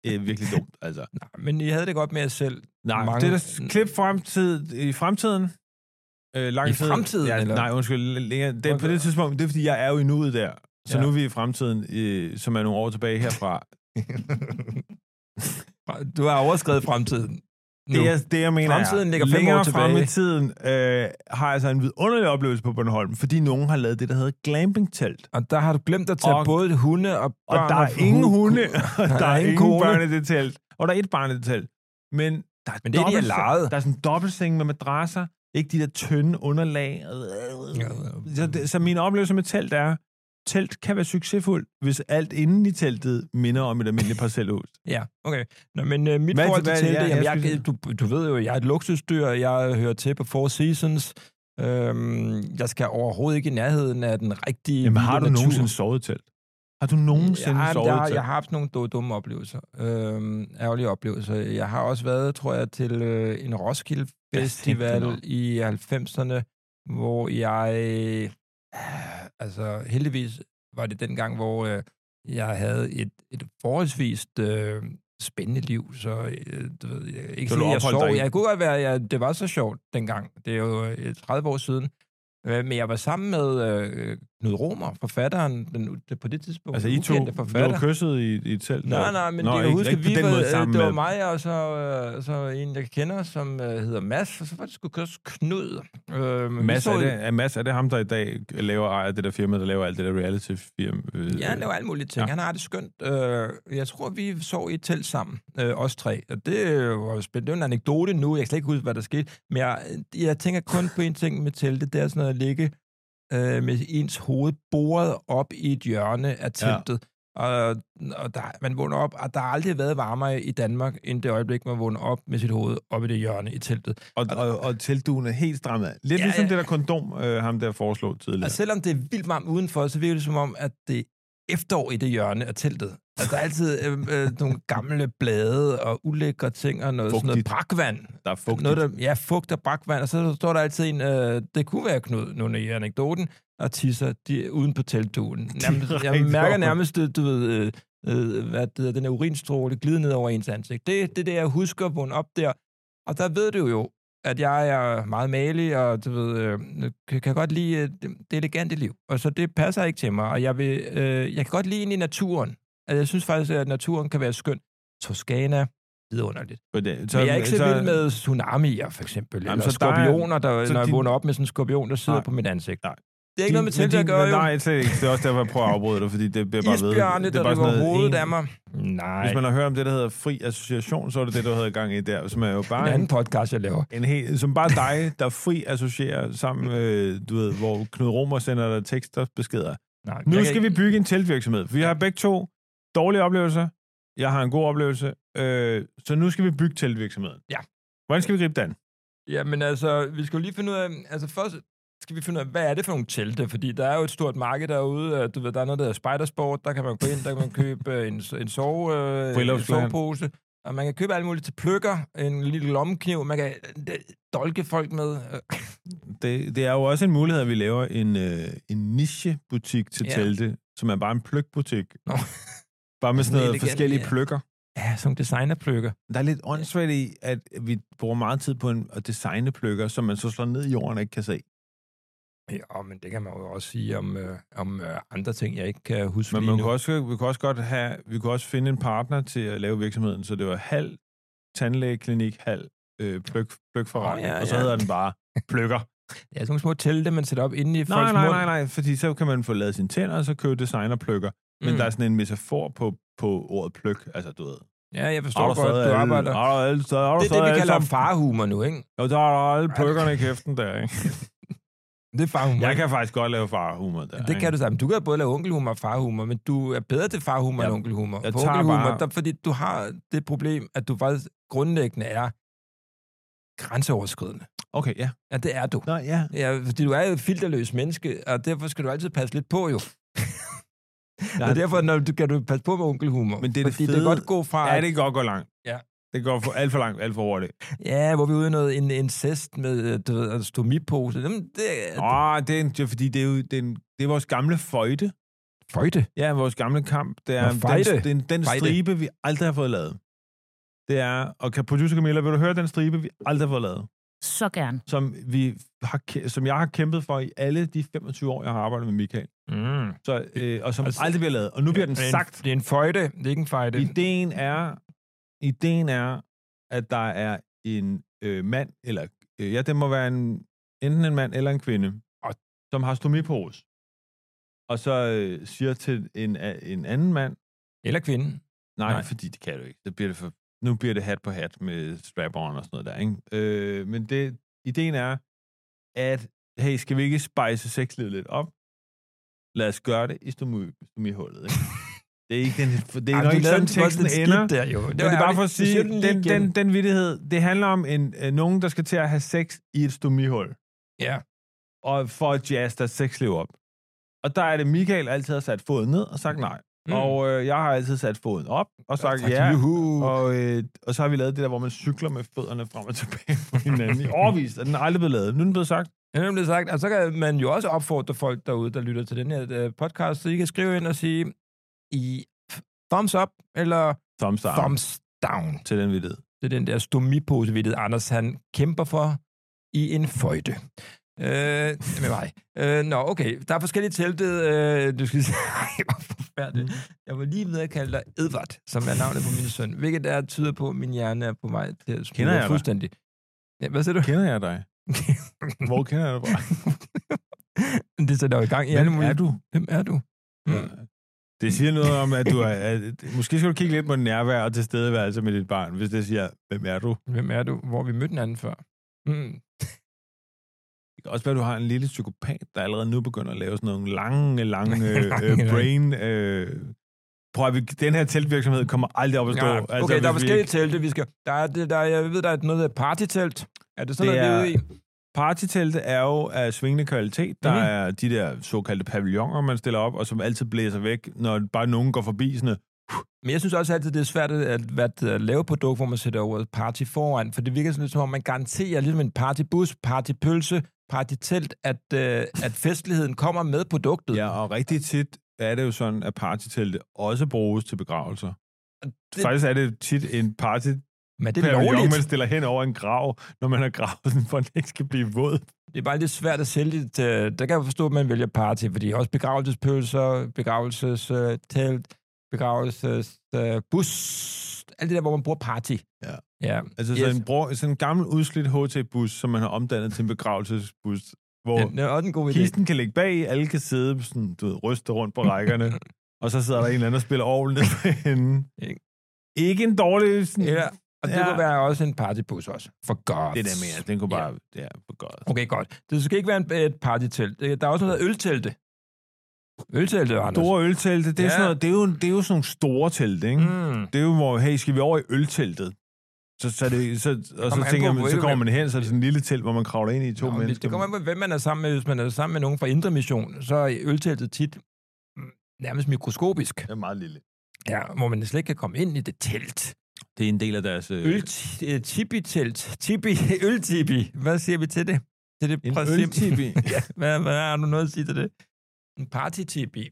Speaker 2: øh, virkelig dumt,
Speaker 1: <laughs>
Speaker 2: altså.
Speaker 1: Nej, men I havde det godt med jer selv.
Speaker 2: Nej,
Speaker 1: Mange-
Speaker 2: Mange... det der klip fremtid, i fremtiden, øh, lang
Speaker 1: I
Speaker 2: tid-
Speaker 1: fremtiden,
Speaker 2: ja,
Speaker 1: eller?
Speaker 2: Nej, undskyld, længere. Det, på det tidspunkt, det er fordi, jeg er jo i nuet der, så
Speaker 1: Ja.
Speaker 2: ja. nu er vi i fremtiden, øh, som er nogle år tilbage herfra.
Speaker 1: <laughs> Du har overskredet fremtiden. Nu.
Speaker 2: Det, jeg, det, jeg mener
Speaker 1: Fremtiden
Speaker 2: er,
Speaker 1: ligger fem
Speaker 2: længere
Speaker 1: år tilbage.
Speaker 2: frem i tiden øh, har jeg så en vidunderlig oplevelse på Bornholm, fordi nogen har lavet det, der hedder glamping-telt.
Speaker 1: Og der har du glemt at tage
Speaker 2: Og-
Speaker 1: både hunde og
Speaker 2: Og
Speaker 1: børn.
Speaker 2: der er ingen
Speaker 1: <laughs>
Speaker 2: hunde, og <laughs> der, er ingen
Speaker 1: kone.
Speaker 2: børn i det telt. Og der er et barn i det telt. Men der er,
Speaker 1: Men det er de
Speaker 2: dobbeltseng- <laughs>
Speaker 1: lejet.
Speaker 2: Der er sådan en dobbeltseng med madrasser. Ikke de der tynde underlag. Så, det, så min oplevelse med telt er, telt kan være succesfuld, hvis alt inden i teltet minder om et almindeligt parcelhus.
Speaker 1: Ja, okay. Nå, men øh, mit
Speaker 2: Hvad-
Speaker 1: forhold til
Speaker 2: hvad-
Speaker 1: telte,
Speaker 2: ja,
Speaker 1: jamen,
Speaker 2: jeg
Speaker 1: jeg,
Speaker 2: skulle-
Speaker 1: du, du ved jo, jeg er et luksusdyr, jeg hører til på Four Seasons. Øhm, jeg skal overhovedet ikke i nærheden af den rigtige
Speaker 2: Jamen har
Speaker 1: vilde
Speaker 2: du
Speaker 1: natur.
Speaker 2: nogensinde sovet i telt? Har du nogensinde
Speaker 1: jeg,
Speaker 2: sovet i
Speaker 1: jeg,
Speaker 2: telt?
Speaker 1: jeg har haft nogle du- dumme oplevelser. Øhm, ærgerlige oplevelser. Jeg har også været, tror jeg, til øh, en Roskilde
Speaker 2: tænkte
Speaker 1: Festival
Speaker 2: nok.
Speaker 1: i 90'erne, hvor jeg... Øh, altså, heldigvis var det dengang, hvor øh, jeg havde et, et forholdsvis øh, spændende liv, så øh, du ved, jeg, ikke
Speaker 2: Så
Speaker 1: sådan,
Speaker 2: du
Speaker 1: jeg
Speaker 2: opholdt
Speaker 1: sov.
Speaker 2: dig i-
Speaker 1: Jeg kunne godt være, jeg, det var så sjovt dengang. Det er jo øh, 30 år siden. Øh, Men jeg var sammen med øh, Knud Romer, forfatteren, den, det, på det tidspunkt.
Speaker 2: Altså, I to
Speaker 1: ukendte
Speaker 2: blev kysset i, i et telt?
Speaker 1: Nej, nej, men Nå, det, jeg
Speaker 2: ikke-
Speaker 1: husker,
Speaker 2: ikke på
Speaker 1: vi
Speaker 2: den
Speaker 1: var,
Speaker 2: måde
Speaker 1: øh,
Speaker 2: sammen
Speaker 1: det var
Speaker 2: med-
Speaker 1: mig og så, øh, så en, jeg kender, som øh, hedder Mads, og så var det sgu også Knud. Øh, men vi
Speaker 2: Mads,
Speaker 1: så,
Speaker 2: er det, er Mads, er det ham, der i dag laver ejer det der firma, der laver alt det der reality firma? øh,
Speaker 1: Ja, han laver alle mulige ting. Ja.
Speaker 2: Ja.
Speaker 1: Han har det skønt. Øh, jeg tror, vi sov i et telt sammen, øh, os tre. Og det øh, var jo spændende. Det er jo en anekdote nu. Jeg kan slet ikke huske, hvad der skete. Men jeg, øh, jeg tænker kun på en ting med teltet. Det er sådan noget at ligge øh, med ens hoved boret op i et hjørne af teltet. Ja. Og, og der, man vågner op, og der har aldrig været varmere i Danmark, end det øjeblik, man vågner op med sit hoved op i det hjørne i teltet.
Speaker 2: Og, og, og teltduen er helt strammet. af. Lidt
Speaker 1: Ja,
Speaker 2: ja, ligesom
Speaker 1: ja. Altså,
Speaker 2: ja. det der kondom, øh, ham der foreslog tidligere.
Speaker 1: Og selvom det er vildt varmt udenfor, så virker det som om, at det er efterår i det hjørne af teltet. Altså, der er altid øh, øh, nogle gamle blade og ulækre ting og noget, sådan noget
Speaker 2: Fugtigt.
Speaker 1: brakvand.
Speaker 2: der er fugtigt.
Speaker 1: Noget, der, ja, fugt og brakvand. Og så står der altid en, øh, det kunne være Knud, nu i anekdoten, og tisser de, uden på teltduen. Nærmest, jeg
Speaker 2: rigtig
Speaker 1: mærker
Speaker 2: over.
Speaker 1: nærmest, øh, du ved, øh, øh, hvad det hedder, den her urinstråle glide ned over ens ansigt. Det er det, er det, jeg husker, vågne op der. Og der ved du jo, at jeg er meget malig, og du ved, øh, kan, kan godt lide øh, det, det elegante liv. Og så det passer ikke til mig, og jeg, vil, øh, jeg kan godt lide ind i naturen. Altså, jeg synes faktisk, at naturen kan være skøn. Toskana, vidunderligt.
Speaker 2: For det-
Speaker 1: Så, men jeg er ikke så, vild med tsunamier, for eksempel. Jamen,
Speaker 2: Jamen,
Speaker 1: eller så
Speaker 2: så der er-
Speaker 1: skorpioner, der,
Speaker 2: så
Speaker 1: når jeg
Speaker 2: din-
Speaker 1: vågner op med sådan en skorpion, der sidder
Speaker 2: Nej.
Speaker 1: på mit ansigt.
Speaker 2: Nej.
Speaker 1: Det er ikke noget med Tinder at gøre, jo.
Speaker 2: Nej, slet ikke. Det er også derfor, jeg prøver at afbryde dig, fordi det bliver bare ved.
Speaker 1: Isbjørne,
Speaker 2: Det
Speaker 1: der
Speaker 2: er bare sådan
Speaker 1: river
Speaker 2: noget
Speaker 1: hovedet
Speaker 2: en-
Speaker 1: af mig. Nej,
Speaker 2: Hvis man har hørt om det, der hedder fri association, så er det det, du havde gang i der, som er jo
Speaker 1: en
Speaker 2: bare en,
Speaker 1: anden podcast, jeg laver.
Speaker 2: en hel, som bare dig, der fri associerer sammen, øh, du ved, hvor Knud Romer sender dig tekster og beskeder.
Speaker 1: Nej,
Speaker 2: Nu
Speaker 1: jeg
Speaker 2: skal vi bygge en teltvirksomhed. Vi har begge to dårlige oplevelser. Jeg har en god oplevelse. Øh, så nu skal vi bygge teltvirksomheden.
Speaker 1: Ja.
Speaker 2: Hvordan skal vi gribe den?
Speaker 1: Ja, men altså, vi skal jo lige finde ud af, altså først skal vi finde ud af, hvad er det for nogle telte? Fordi der er jo et stort marked derude, øh, du ved, der er noget, der hedder Spidersport, der kan man gå ind, der kan man købe øh, en, en, sove, øh, en
Speaker 2: Brillups-
Speaker 1: sovepose, og man kan købe alt muligt til pløkker, en lille lommekniv, man kan øh, dolke folk med. øh.
Speaker 2: Det, det er jo også en mulighed, at vi laver en, øh, en nichebutik til
Speaker 1: Ja.
Speaker 2: ja. telte, som er bare en pløkbutik.
Speaker 1: Nå.
Speaker 2: Bare med sådan
Speaker 1: Sådan
Speaker 2: noget
Speaker 1: elegant,
Speaker 2: forskellige
Speaker 1: ja.
Speaker 2: pløkker.
Speaker 1: Ja, som designerpløkker.
Speaker 2: Der er lidt åndssvagt i, at vi bruger meget tid på en, at designe pløkker, som man så slår ned i jorden og ikke kan se.
Speaker 1: Ja, men det kan man jo også sige om, øh, om øh, andre ting, jeg ikke kan huske
Speaker 2: Men
Speaker 1: lige
Speaker 2: man
Speaker 1: nu.
Speaker 2: kunne også, vi kunne også godt have, vi kunne også finde en partner til at lave virksomheden, så det var halv tandlægeklinik, halv øh, pløk, pløkforretning,
Speaker 1: Åh,
Speaker 2: oh,
Speaker 1: ja,
Speaker 2: ja, og så
Speaker 1: ja.
Speaker 2: hedder den <laughs> bare pløkker.
Speaker 1: Ja, sådan nogle små telte, man sætter op inde i
Speaker 2: nej,
Speaker 1: folks
Speaker 2: nej,
Speaker 1: mund.
Speaker 2: nej, nej, fordi så kan man få lavet sine tænder, og så købe designerpløkker. Mm. Men der er sådan en metafor på, på ordet pløk, altså du ved.
Speaker 1: Ja, jeg forstår godt, du arbejder.
Speaker 2: Har du alle, så, har du
Speaker 1: Det er
Speaker 2: stadig
Speaker 1: det, vi
Speaker 2: alle
Speaker 1: kalder
Speaker 2: sammen-
Speaker 1: farhumor nu, ikke?
Speaker 2: Jo, der er alle pløkkerne i kæften der, <laughs> ikke?
Speaker 1: Det er farhumor.
Speaker 2: Jeg kan faktisk godt lave farhumor der.
Speaker 1: Det kan du sammen. Du kan både lave onkelhumor og farhumor, men du er bedre til farhumor
Speaker 2: Jeg-
Speaker 1: end onkelhumor.
Speaker 2: jeg
Speaker 1: På
Speaker 2: tager
Speaker 1: onkelhumor,
Speaker 2: bare-
Speaker 1: der, fordi du har det problem, at du faktisk grundlæggende er grænseoverskridende.
Speaker 2: Okay, ja.
Speaker 1: Ja, det er du.
Speaker 2: Nå, ja.
Speaker 1: Ja, fordi du er jo et filterløs menneske, og derfor skal du altid passe lidt på, jo.
Speaker 2: Nej.
Speaker 1: og derfor når du, kan du passe på med onkelhumor.
Speaker 2: Men det er det
Speaker 1: fordi det
Speaker 2: fede-
Speaker 1: kan godt gå fra,
Speaker 2: Ja, det kan godt gå langt.
Speaker 1: Ja.
Speaker 2: Det går for, alt for langt, alt for hurtigt.
Speaker 1: ja, hvor vi er ude i noget en, incest med, øh, du ved, altså, stomipose. Jamen, det er
Speaker 2: Åh, det er, en- det er fordi, det er, jo, det, er en, det er vores gamle føjte.
Speaker 1: føjte.
Speaker 2: Ja, vores gamle kamp. Det er
Speaker 1: Nå, fejde.
Speaker 2: den, den, den
Speaker 1: Fejde.
Speaker 2: stribe, vi aldrig har fået lavet. Det er, og kan producer Camilla, vil du høre den stribe, vi aldrig har fået lavet?
Speaker 4: Så gerne.
Speaker 2: Som, vi har, kæ- som jeg har kæmpet for i alle de 25 år, jeg har arbejdet med Michael.
Speaker 1: Mm.
Speaker 2: Så, øh, og som
Speaker 1: Altså-
Speaker 2: altså, aldrig bliver lavet. Og nu bliver den
Speaker 1: Det er en-
Speaker 2: sagt.
Speaker 1: Det er en føjte, det er ikke en fejde.
Speaker 2: Ideen er, ideen er, at der er en øh, mand, eller øh, ja, det må være en, enten en mand eller en kvinde, og, som har stomipose. Og så øh, siger til en, a- en anden mand,
Speaker 1: Eller kvinden.
Speaker 2: nej,
Speaker 1: Nej.
Speaker 2: nej, fordi det kan du ikke. Det bliver det for, nu bliver det hat på hat med strap-on og sådan noget der. Ikke? Øh, men det, ideen er, at hey, skal vi ikke spice sexlivet lidt op? Lad os gøre det i stomi, stomihullet.
Speaker 1: <laughs>
Speaker 2: Ikke? Det er ikke den, det er
Speaker 1: Ej,
Speaker 2: nok
Speaker 1: du lavede
Speaker 2: ikke sådan,
Speaker 1: den først
Speaker 2: teksten
Speaker 1: lidt skidt
Speaker 2: ender.
Speaker 1: Der, jo.
Speaker 2: Det er det bare for at sige,
Speaker 1: den,
Speaker 2: den,
Speaker 1: lige
Speaker 2: den,
Speaker 1: igen.
Speaker 2: den, den vittighed, det handler om en, øh, nogen, der skal til at have sex i et stomihul.
Speaker 1: Ja.
Speaker 2: Og for at jazz der sexliv op. Og der er det, Michael altid har sat foden ned og sagt nej. Mm.
Speaker 1: Mm.
Speaker 2: Og øh, jeg har altid sat foden op og sagt
Speaker 1: Tak,
Speaker 2: ja.
Speaker 1: Juhu.
Speaker 2: Og, øh, og så har vi lavet det der, hvor man cykler med fødderne frem og tilbage på hinanden i overvis, og den er aldrig blevet lavet. Nu er den blevet sagt.
Speaker 1: Det er nemlig sagt, og så kan man jo også opfordre folk derude, der lytter til den her øh, podcast, så I kan skrive ind og sige i thumbs up eller
Speaker 2: Thumbs down Thumbs.
Speaker 1: thumbs down.
Speaker 2: til den vittighed.
Speaker 1: Det er den der stomipose, ved Anders han kæmper for i en føjte. Øh, med mig. Øh, nå, okay. Der er forskellige telte. Øh, du skal <laughs> sige, Ej, hvor forfærdeligt. Jeg var lige ved at kalde dig Edvard, som er navnet på min søn, hvilket der tyder på, at min hjerne er på vej til at
Speaker 2: Kender jeg
Speaker 1: smuldre
Speaker 2: dig?
Speaker 1: fuldstændig. Ja, hvad siger du?
Speaker 2: Kender jeg dig? Hvor kender jeg dig fra?
Speaker 1: <laughs> Det sætter jo i gang i alle
Speaker 2: Hvem
Speaker 1: mulige...
Speaker 2: er du?
Speaker 1: Hvem er du? Mm.
Speaker 2: Øh, Det siger noget om, at du er... At, måske skal du kigge lidt på nærvær og tilstedeværelse med dit barn, hvis det siger, hvem er du?
Speaker 1: Hvem er du? Hvor har vi mødte hinanden før? Mm.
Speaker 2: Det kan også være, at du har en lille psykopat, der allerede nu begynder at lave sådan nogle lange,
Speaker 1: <laughs>
Speaker 2: lange øh, øh,
Speaker 1: lange.
Speaker 2: brain... Øh, prøv at vi, den her teltvirksomhed kommer aldrig op at stå.
Speaker 1: Ja, okay, altså, der er
Speaker 2: hvis vi
Speaker 1: forskellige
Speaker 2: ikke-
Speaker 1: telte, vi skal... Der er, det, der, jeg ved, der er noget, der hedder partytelt. Er det sådan
Speaker 2: Det
Speaker 1: noget, vi er
Speaker 2: er-
Speaker 1: ude i?
Speaker 2: Partytelte er jo af svingende kvalitet. Der
Speaker 1: Mhm.
Speaker 2: mm. er de der såkaldte pavilloner, man stiller op, og som altid blæser væk, når bare nogen går forbi. Sådan, noget.
Speaker 1: Men jeg synes også altid, det er svært at, at, at lave et produkt, hvor man sætter ordet party foran, for det virker sådan lidt som om, man garanterer ligesom en partybus, partypølse, partytelt, at, øh, at festligheden kommer med produktet.
Speaker 2: ja, og rigtig tit er det jo sådan, at partytelte også bruges til begravelser.
Speaker 1: det-
Speaker 2: Det... Faktisk er det tit en party,
Speaker 1: Men det er
Speaker 2: pavillon,
Speaker 1: lovligt.
Speaker 2: man stiller hen over en grav, når man har gravet den, for at den ikke skal blive våd.
Speaker 1: Det er bare lidt svært at sælge det. til- Der kan jeg forstå, at man vælger party, fordi også begravelsespølser, begravelsestelt, begravelsesbus, alt det der, hvor man bruger party.
Speaker 2: Ja.
Speaker 1: ja.
Speaker 2: Altså yes.
Speaker 1: Yes.
Speaker 2: sådan, en bror, sådan en gammel udslidt HT-bus, som man har omdannet til en begravelsesbus, hvor
Speaker 1: Det er også en god idé.
Speaker 2: kisten kan ligge bag, alle kan sidde sådan, du ved, ryste rundt på rækkerne, og så sidder der en eller anden og spiller orgel nede på hende.
Speaker 1: Ikke.
Speaker 2: Ikke en dårlig... Sådan,
Speaker 1: Eller, og det
Speaker 2: Ja.
Speaker 1: ja. kunne være også en partybus også. For godt.
Speaker 2: Det der mere, den kunne bare... Ja, ja for godt.
Speaker 1: Okay, godt. Det skal ikke være en, et partytelt. Øh, Der er også noget øltelte. Øltelte, Anders.
Speaker 2: Store øltelte, det er,
Speaker 1: Ja.
Speaker 2: ja. sådan noget, det, er jo, det er jo sådan nogle store telte, ikke? Mm.
Speaker 1: Mm.
Speaker 2: Det er jo, hvor, hey, skal vi over i ølteltet? Så, så, er det, så, og
Speaker 1: Kom
Speaker 2: så
Speaker 1: an
Speaker 2: tænker
Speaker 1: på,
Speaker 2: man, så
Speaker 1: hvor-
Speaker 2: kommer man hen, så er det sådan en lille telt, hvor man kravler ind i to
Speaker 1: Nå, men
Speaker 2: mennesker.
Speaker 1: Det kommer an på, hvem man er sammen med. Hvis man er sammen med nogen fra Indre Mission, så er ølteltet tit mm, nærmest mikroskopisk.
Speaker 2: det er meget lille.
Speaker 1: Ja, hvor man slet ikke kan komme ind i det telt.
Speaker 2: Det er en del af deres... Øh,
Speaker 1: Øl, tibi-telt. <laughs> Tibi, øltibi. Hvad siger vi til det? Til det
Speaker 2: en
Speaker 1: princip?
Speaker 2: øltibi.
Speaker 1: ja, <laughs> hvad, hvad har du noget at sige til det? En partytibi.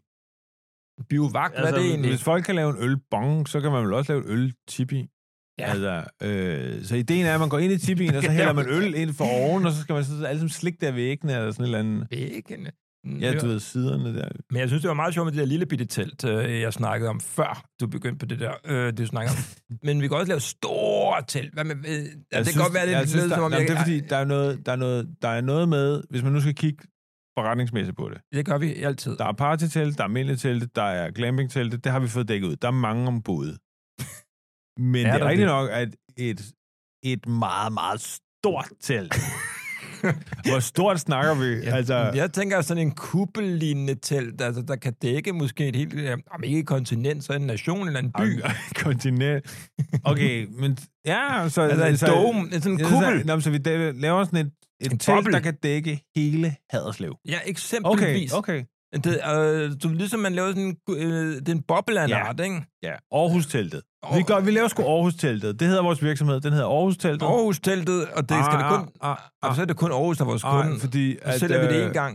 Speaker 1: Biovak, altså, hvad er det egentlig?
Speaker 2: Hvis folk kan lave en ølbong, så kan man vel også lave en øltibi. Ja.
Speaker 1: Ja.
Speaker 2: Altså, øh, så ideen er, at man går ind i tibien,
Speaker 1: <laughs>
Speaker 2: og så hælder man øl ind for oven, og så skal man så alle som slik der væggene, eller sådan et eller andet.
Speaker 1: Væggene.
Speaker 2: Ja, du ved, siderne der.
Speaker 1: Men jeg synes, det var meget sjovt med det der lille bitte telt, øh, jeg snakkede om, før du begyndte på det der, øh, du
Speaker 2: <laughs>
Speaker 1: snakkede om. Men vi kan også lave store telt. Hvad med, øh, ja, det kan godt være, det
Speaker 2: Altså, jeg synes,
Speaker 1: lyder
Speaker 2: der,
Speaker 1: som om,
Speaker 2: jamen,
Speaker 1: jeg,
Speaker 2: det er fordi, der er, noget, der, er noget, der er noget med, hvis man nu skal kigge forretningsmæssigt på det.
Speaker 1: det gør vi altid.
Speaker 2: Der er partytelt, der er almindelige telte, der er glampingtelte, det har vi fået dækket ud. Der er
Speaker 1: <laughs>
Speaker 2: mange ombud. Men
Speaker 1: Er
Speaker 2: er det er
Speaker 1: der
Speaker 2: rigtigt
Speaker 1: det?
Speaker 2: nok, at et, et meget, meget stort telt.
Speaker 1: <laughs>
Speaker 2: Hvor stort snakker vi?
Speaker 1: Ja,
Speaker 2: altså, ja.
Speaker 1: Jeg tænker sådan en kuppellignende telt, altså, der kan dække måske et helt, øh, om ikke et kontinent, så en nation eller en by.
Speaker 2: kontinent. Okay, men ja, så...
Speaker 1: Altså en
Speaker 2: så,
Speaker 1: dome, sådan en
Speaker 2: Ja,
Speaker 1: kuppel.
Speaker 2: Så, nå, men så vi da- laver sådan et, et
Speaker 1: En
Speaker 2: telt, boble.
Speaker 1: boble.
Speaker 2: der kan dække hele Haderslev.
Speaker 1: Ja,
Speaker 2: Okay,
Speaker 1: eksempelvis.
Speaker 2: okay.
Speaker 1: Det, øh, du, ligesom man laver sådan en, øh, det er en boble af en
Speaker 2: Ja.
Speaker 1: art, ikke?
Speaker 2: Ja, Aarhus-teltet. Oh.
Speaker 1: Åh.
Speaker 2: Vi, gør, vi laver sgu Aarhus-teltet. Det hedder vores virksomhed. Den hedder Aarhus-teltet.
Speaker 1: Aarhus-teltet, og det skal det kun...
Speaker 2: Ah,
Speaker 1: Og så er det kun Aarhus, der er vores
Speaker 2: ah,
Speaker 1: kunde.
Speaker 2: fordi...
Speaker 1: Så sælger vi det
Speaker 2: øh,
Speaker 1: en gang.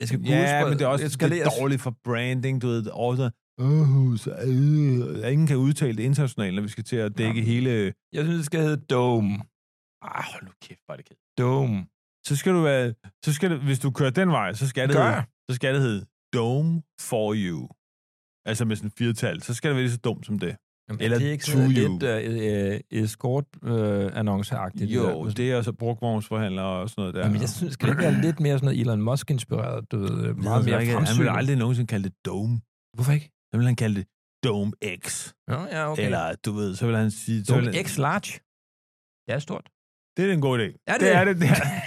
Speaker 1: Jeg skal
Speaker 2: Ja, men det er også det er
Speaker 1: eskaleres.
Speaker 2: dårligt for branding, du ved. Aarhus, er- Aarhus, øh, ingen kan udtale det internationalt, når vi skal til at dække ja. hele...
Speaker 1: Jeg synes, det skal hedde Dome.
Speaker 2: Ah, hold nu kæft, hvor er det kæft.
Speaker 1: Dome.
Speaker 2: Så skal du være... Så skal det, hvis du kører den vej, så skal det,
Speaker 1: Gør
Speaker 2: hedde,
Speaker 1: jeg.
Speaker 2: så skal det hedde Dome for You. Altså med sådan et firetal. Så skal det være lige så dumt som det.
Speaker 1: Jamen,
Speaker 2: Eller
Speaker 1: er det ikke
Speaker 2: to
Speaker 1: sådan
Speaker 2: you.
Speaker 1: lidt uh, uh, escort-annonceagtigt?
Speaker 2: Jo, det er altså brugtvognsforhandlere og sådan noget der.
Speaker 1: Jamen, Øh, jeg synes, det ikke være lidt mere sådan noget Elon Musk-inspireret, du ved, øh,
Speaker 2: Ved jeg
Speaker 1: meget mere
Speaker 2: altså ikke, Han
Speaker 1: fremsynet.
Speaker 2: ville aldrig nogensinde kalde det Dome.
Speaker 1: Hvorfor ikke?
Speaker 2: Så ville han kalde det Dome X.
Speaker 1: Nå, ja, okay.
Speaker 2: Okay. Eller, du ved, så vil han sige... så
Speaker 1: Dome
Speaker 2: ville han-
Speaker 1: X Large. Det er stort.
Speaker 2: Det er en god idé.
Speaker 1: Er det
Speaker 2: det
Speaker 1: det?
Speaker 2: er det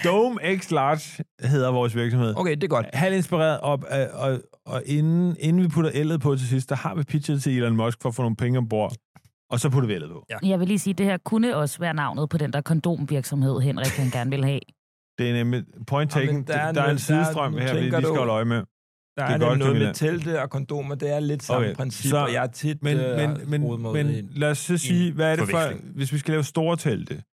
Speaker 2: der. Dome X Large hedder vores virksomhed. Okay.
Speaker 1: Okay, det er godt.
Speaker 2: Halv inspireret op, af, og, og inden, inden vi putter ældet på til sidst, der har vi pitchet til Elon Musk for at få nogle penge ombord, og så putter vi ældet på.
Speaker 3: Jeg vil lige sige, at det her kunne også være navnet på den der kondomvirksomhed, Henrik han gerne vil have.
Speaker 2: Det er nemlig point
Speaker 1: Jamen,
Speaker 2: taken.
Speaker 1: der
Speaker 2: der,
Speaker 1: er
Speaker 2: er der er en
Speaker 1: noget- der er-
Speaker 2: sidestrøm
Speaker 1: nu
Speaker 2: her, vi lige
Speaker 1: tænker
Speaker 2: skal
Speaker 1: du-
Speaker 2: holde øje med.
Speaker 1: Der
Speaker 2: det er
Speaker 1: er, er
Speaker 2: godt,
Speaker 1: noget
Speaker 2: Camilla.
Speaker 1: med telte og kondomer, det er lidt samme
Speaker 2: Okay,
Speaker 1: princip,
Speaker 2: så-
Speaker 1: og jeg er tit
Speaker 2: Men,
Speaker 1: øh,
Speaker 2: men,
Speaker 1: rodet
Speaker 2: men,
Speaker 1: mod
Speaker 2: men
Speaker 1: en-
Speaker 2: lad os så sige, hvad er det for,
Speaker 1: forveksling.
Speaker 2: hvis vi skal lave store telte?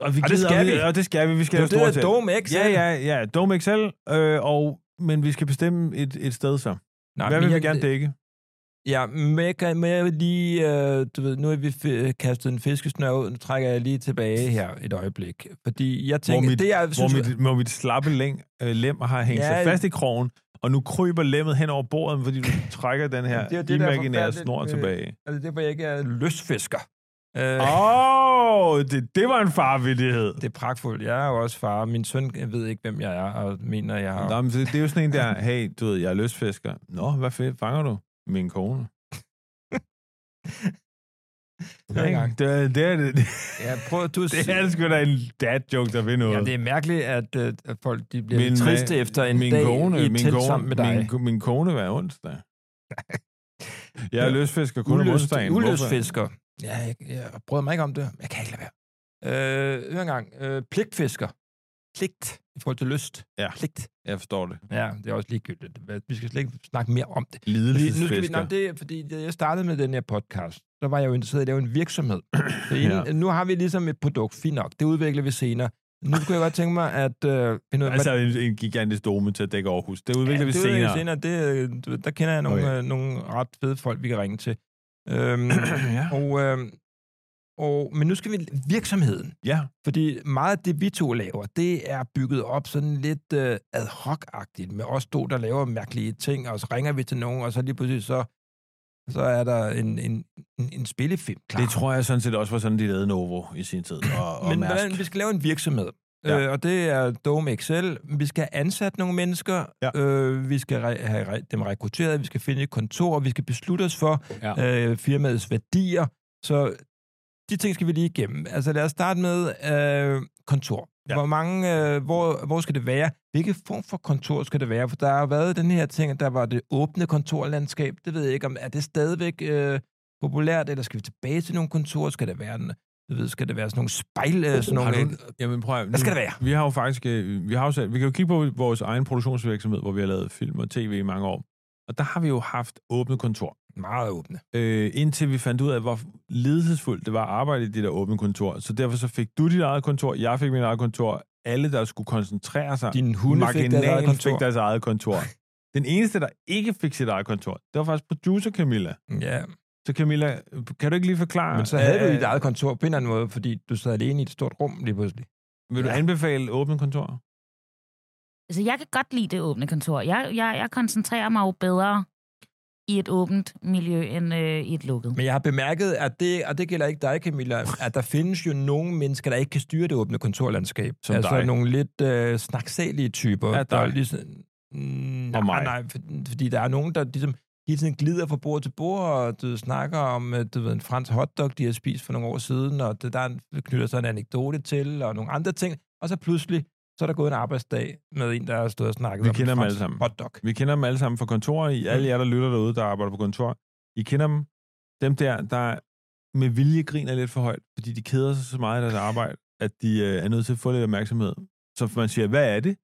Speaker 2: Og, vi
Speaker 1: Og det
Speaker 2: gider-
Speaker 1: skal vi.
Speaker 2: Og det skal vi. Vi skal
Speaker 1: Det er
Speaker 2: lave
Speaker 1: jo det
Speaker 2: store
Speaker 1: der
Speaker 2: telte.
Speaker 1: Dome X.
Speaker 2: Ja, ja, ja. Dome XL. Øh, og, men vi skal bestemme et, et sted så.
Speaker 1: Nej,
Speaker 2: Hvad
Speaker 1: men
Speaker 2: vil vi
Speaker 1: jeg-
Speaker 2: gerne dække?
Speaker 1: Ja, men jeg, kan, men jeg vil lige, øh, du ved, nu har vi fi- kastet en fiskesnør ud, nu trækker jeg lige tilbage her et øjeblik. Fordi jeg tænker,
Speaker 2: mit-
Speaker 1: det jeg
Speaker 2: hvor
Speaker 1: synes...
Speaker 2: mit, hvor mit slappe læng, øh, lem har hængt ja,
Speaker 1: Ja,
Speaker 2: sig fast i krogen, og nu kryber lemmet hen over bordet,
Speaker 1: <laughs>
Speaker 2: fordi du trækker den her
Speaker 1: Det er
Speaker 2: det
Speaker 1: jo det, der er
Speaker 2: imaginære
Speaker 1: forfærdeligt,
Speaker 2: snor
Speaker 1: øh.
Speaker 2: tilbage.
Speaker 1: altså, det er, hvor jeg ikke er løsfisker. Øh,
Speaker 2: Ah. Åh, oh, det, det var en farvildighed.
Speaker 1: Det er pragtfuldt. Jeg er jo også far. Min søn ved ikke, hvem jeg er, og mener, jeg har...
Speaker 2: Nå, men det, det er jo sådan en der, hey, du ved, jeg er løsfisker. Nå, hvad fedt, fanger du? Min kone.
Speaker 1: <laughs> Hver
Speaker 2: Ikke?
Speaker 1: gang.
Speaker 2: Det, er- det, er, det,
Speaker 1: Ja,
Speaker 2: <laughs>
Speaker 1: prøv, du,
Speaker 2: det er sgu da en dad joke, der ved noget.
Speaker 1: ja, det er mærkeligt, at, øh, at folk de bliver
Speaker 2: Min
Speaker 1: min, triste
Speaker 2: ma-
Speaker 1: efter en dag i et telt sammen med dig.
Speaker 2: Min, ko- min kone hver
Speaker 1: <laughs>
Speaker 2: onsdag. Jeg er
Speaker 1: Ja.
Speaker 2: løsfisker kun om
Speaker 1: Uløst,
Speaker 2: onsdagen.
Speaker 1: uløsfisker. Ja, jeg, jeg bryder mig ikke om det. Jeg kan ikke lade være. Øh, hør engang. Øh, pligtfisker. Pligt i forhold til lyst.
Speaker 2: Ja.
Speaker 1: Pligt.
Speaker 2: Hvorfor? Jeg forstår det.
Speaker 1: Ja, det er også ligegyldigt. Hvad- Vi skal slet ikke snakke mere om det. Fordi, nu skal vi,
Speaker 2: Lidelsesfisker.
Speaker 1: nå, det er, fordi da jeg startede med den her podcast, så var jeg jo interesseret i at lave en
Speaker 2: <clears throat>
Speaker 1: virksomhed. Så
Speaker 2: Ja.
Speaker 1: inden, ja. Nu har vi ligesom et produkt. Fint nok. Det udvikler vi senere. Nu kunne jeg godt tænke mig, at... Øh, finde ud af,
Speaker 2: Altså en, en gigantisk dome til at dække Aarhus. Det udvikler ja, vi
Speaker 1: det
Speaker 2: senere.
Speaker 1: senere. Det, øh, du ved, der kender jeg nogle,
Speaker 2: Okay.
Speaker 1: okay. øh, nogle ret fede folk, vi kan ringe til. Øhm,
Speaker 2: <clears throat> ja.
Speaker 1: og, øh, og, men nu skal vi virksomheden.
Speaker 2: ja.
Speaker 1: Fordi meget af det, vi to laver, det er bygget op sådan lidt øh, ad hoc-agtigt med os to, der laver mærkelige ting, og så ringer vi til nogen, og så lige pludselig så, så er der en, en, en, en spillefilm klar.
Speaker 2: Det tror jeg sådan set også var sådan, de lavede Novo i sin tid. Og, og
Speaker 1: Men
Speaker 2: Mærsk.
Speaker 1: hvordan, vi skal lave en virksomhed.
Speaker 2: Ja.
Speaker 1: ja. øh, og det er Dome XL. Vi skal have ansat nogle mennesker,
Speaker 2: Ja.
Speaker 1: øh, vi skal re- have re- dem rekrutteret, vi skal finde et kontor, vi skal beslutte os for
Speaker 5: Ja.
Speaker 1: ja. øh, firmaets værdier. Så de ting skal vi lige igennem. Altså lad os starte med øh, kontor.
Speaker 2: Ja.
Speaker 1: Ja. Hvor mange, øh, hvor, hvor skal det være? Hvilke form for kontor skal det være? For der har været den her ting, at der var det åbne kontorlandskab. Det ved jeg ikke, om er det stadigvæk øh, populært, eller skal vi tilbage til nogle kontorer? Skal det være, en, jeg ved, skal det være sådan nogle spejl? Øh, sådan
Speaker 2: Har
Speaker 1: nogle,
Speaker 2: du, jamen prøv at, nu,
Speaker 1: Hvad skal det være?
Speaker 2: Vi har jo faktisk, øh, vi har jo sat, vi kan jo kigge på vores egen produktionsvirksomhed, hvor vi har lavet film og tv i mange år. Og der har vi jo haft åbne kontor.
Speaker 1: meget åbne.
Speaker 2: Øh, indtil vi fandt ud af, hvor ledelsesfuldt det var at arbejde i det der åbne kontor. Så derfor så fik du dit eget kontor, jeg fik mit eget kontor. Alle, der skulle koncentrere sig,
Speaker 1: Din hunde fik deres eget
Speaker 2: marginalen
Speaker 1: kontor.
Speaker 2: fik deres eget kontor. Den eneste, der ikke fik sit eget kontor, det var faktisk producer Camilla.
Speaker 1: Ja,
Speaker 2: Så Camilla, kan du ikke lige forklare...
Speaker 1: men så havde du
Speaker 2: øh,
Speaker 1: dit eget kontor på en eller anden måde, fordi du sad alene i et stort rum lige pludselig.
Speaker 2: Vil du
Speaker 1: Ja.
Speaker 2: anbefale åbne kontor?
Speaker 4: Altså, jeg kan godt lide det åbne kontor. Jeg, jeg, jeg koncentrerer mig jo bedre i et åbent miljø end øh, i et lukket.
Speaker 1: Men jeg har bemærket, at det, og det gælder ikke dig, Camilla, at der findes jo nogle mennesker, der ikke kan styre det åbne kontorlandskab.
Speaker 2: Som
Speaker 1: altså
Speaker 2: dig.
Speaker 1: nogle lidt øh, snaksalige typer.
Speaker 2: Ja,
Speaker 1: der er
Speaker 2: dig.
Speaker 1: ligesom, mm,
Speaker 2: Og mig.
Speaker 1: nej, nej, for, fordi der er nogen, der ligesom hele tiden glider fra bord til bord, og du ved, snakker om øh, du ved, en fransk hotdog, de har spist for nogle år siden, og det, der er en- knytter sig en anekdote til, og nogle andre ting. Og så pludselig, så er der gået en arbejdsdag med en, der har stået og snakket
Speaker 2: Vi
Speaker 1: om
Speaker 2: kender
Speaker 1: en
Speaker 2: dem
Speaker 1: fransk
Speaker 2: alle sammen.
Speaker 1: hotdog.
Speaker 2: Vi kender dem alle sammen fra kontoret. I
Speaker 1: Mm.
Speaker 2: alle jer, der lytter derude, der arbejder på kontor. I kender dem. Dem der, der med vilje griner lidt for højt, fordi de keder sig så meget i deres arbejde, at de øh, er nødt til at få lidt opmærksomhed. Så man siger, hvad er det?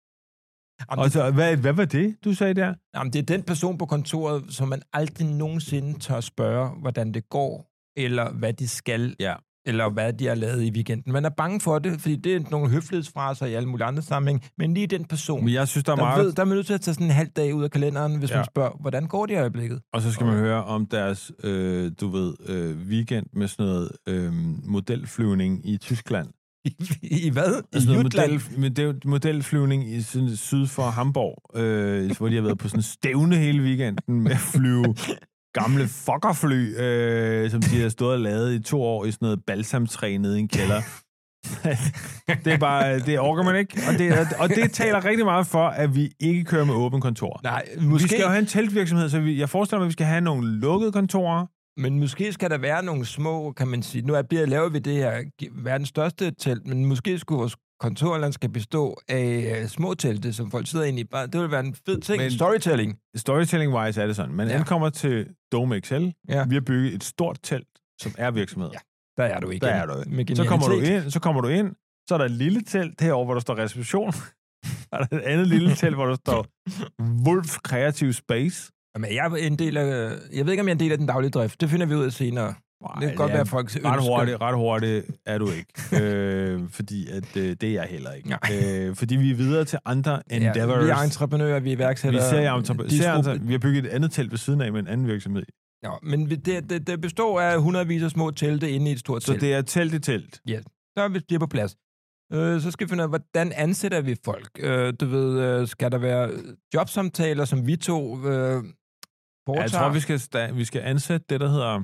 Speaker 1: Jamen,
Speaker 2: Og
Speaker 1: det,
Speaker 2: så, hvad, hvad var det, du sagde der?
Speaker 1: jamen, det er den person på kontoret, som man aldrig nogensinde tør spørge, hvordan det går, eller hvad de skal,
Speaker 2: Ja.
Speaker 1: eller hvad de har lavet i weekenden. Man er bange for det, fordi det er nogle høflighedsfraser i alle mulige andre sammenhæng, men lige den person,
Speaker 2: Men jeg synes, der er
Speaker 1: der,
Speaker 2: meget...
Speaker 1: ved, der er man nødt til at tage sådan en halv dag ud af kalenderen, hvis
Speaker 2: Ja.
Speaker 1: ja. man spørger, hvordan går det i øjeblikket?
Speaker 2: Og så skal man
Speaker 1: Okay.
Speaker 2: høre om deres, øh, du ved, øh, weekend med sådan noget øh, modelflyvning i Tyskland.
Speaker 1: I, i hvad? I
Speaker 2: Altså noget
Speaker 1: Jutland?
Speaker 2: model, model, modelflyvning i sådan, syd for Hamburg, øh, hvor de har været på sådan en stævne hele weekenden med at flyve gamle fuckerfly, øh, som de har stået og lavet i to år i sådan noget balsamtræ nede i en kælder. <laughs> det er bare, det orker man ikke. Og det, og det taler rigtig meget for, at vi ikke kører med åbent kontor.
Speaker 1: Nej,
Speaker 2: Måske... Vi
Speaker 1: måske,
Speaker 2: skal jo have en teltvirksomhed, så vi, jeg forestiller mig, at vi skal have nogle lukkede kontorer.
Speaker 1: men måske skal der være nogle små, kan man sige. Nu er, bliver lavet ved det her gi- verdens største telt, men måske skulle vores kontorland skal bestå af øh, små telte, som folk sidder inde i. Bare- Det ville være en fed ting.
Speaker 2: Men-
Speaker 1: Men, Storytelling.
Speaker 2: Storytelling-wise er det sådan. Man ja.
Speaker 1: Ja.
Speaker 2: ankommer til Dome XL.
Speaker 1: Ja.
Speaker 2: Vi har bygget et stort telt, som er virksomhed.
Speaker 1: Ja. Der er du ikke.
Speaker 2: Der er du
Speaker 1: Med
Speaker 2: Så kommer, du
Speaker 1: genialitet.
Speaker 2: ind, så kommer du ind, så er der et lille telt herover, hvor der står reception. <laughs> og der er et andet lille telt, hvor der står Wolf Creative Space.
Speaker 1: Jamen, jeg, er en del af, jeg ved ikke, om jeg er en del af den daglige drift. Det finder vi ud af senere.
Speaker 2: Ej,
Speaker 1: det kan godt være, at folk ønsker.
Speaker 2: ret hurtigt, ret hurtigt er du
Speaker 1: <laughs>
Speaker 2: ikke. øh, fordi at, øh, det er jeg heller ikke. Øh, fordi vi er videre til andre endeavors.
Speaker 1: Ja, vi er entreprenører, vi er
Speaker 2: vi
Speaker 1: iværksættere.
Speaker 2: ser, jeg entrepre-
Speaker 1: De er
Speaker 2: ser altså-
Speaker 1: skru-
Speaker 2: entre- vi har bygget et andet telt ved siden af med en anden virksomhed.
Speaker 1: Nå, men vi- det, det, det består af hundredvis af små telte inde i et stort
Speaker 2: Så
Speaker 1: telt.
Speaker 2: det er telt i telt.
Speaker 1: så er vi bliver på plads. Øh, så skal vi finde ud af, hvordan ansætter vi folk? Øh, du ved, øh, skal der være jobsamtaler, som vi to øh, foretager?
Speaker 2: Ja, jeg tror, vi skal, sta- vi skal ansætte det, der hedder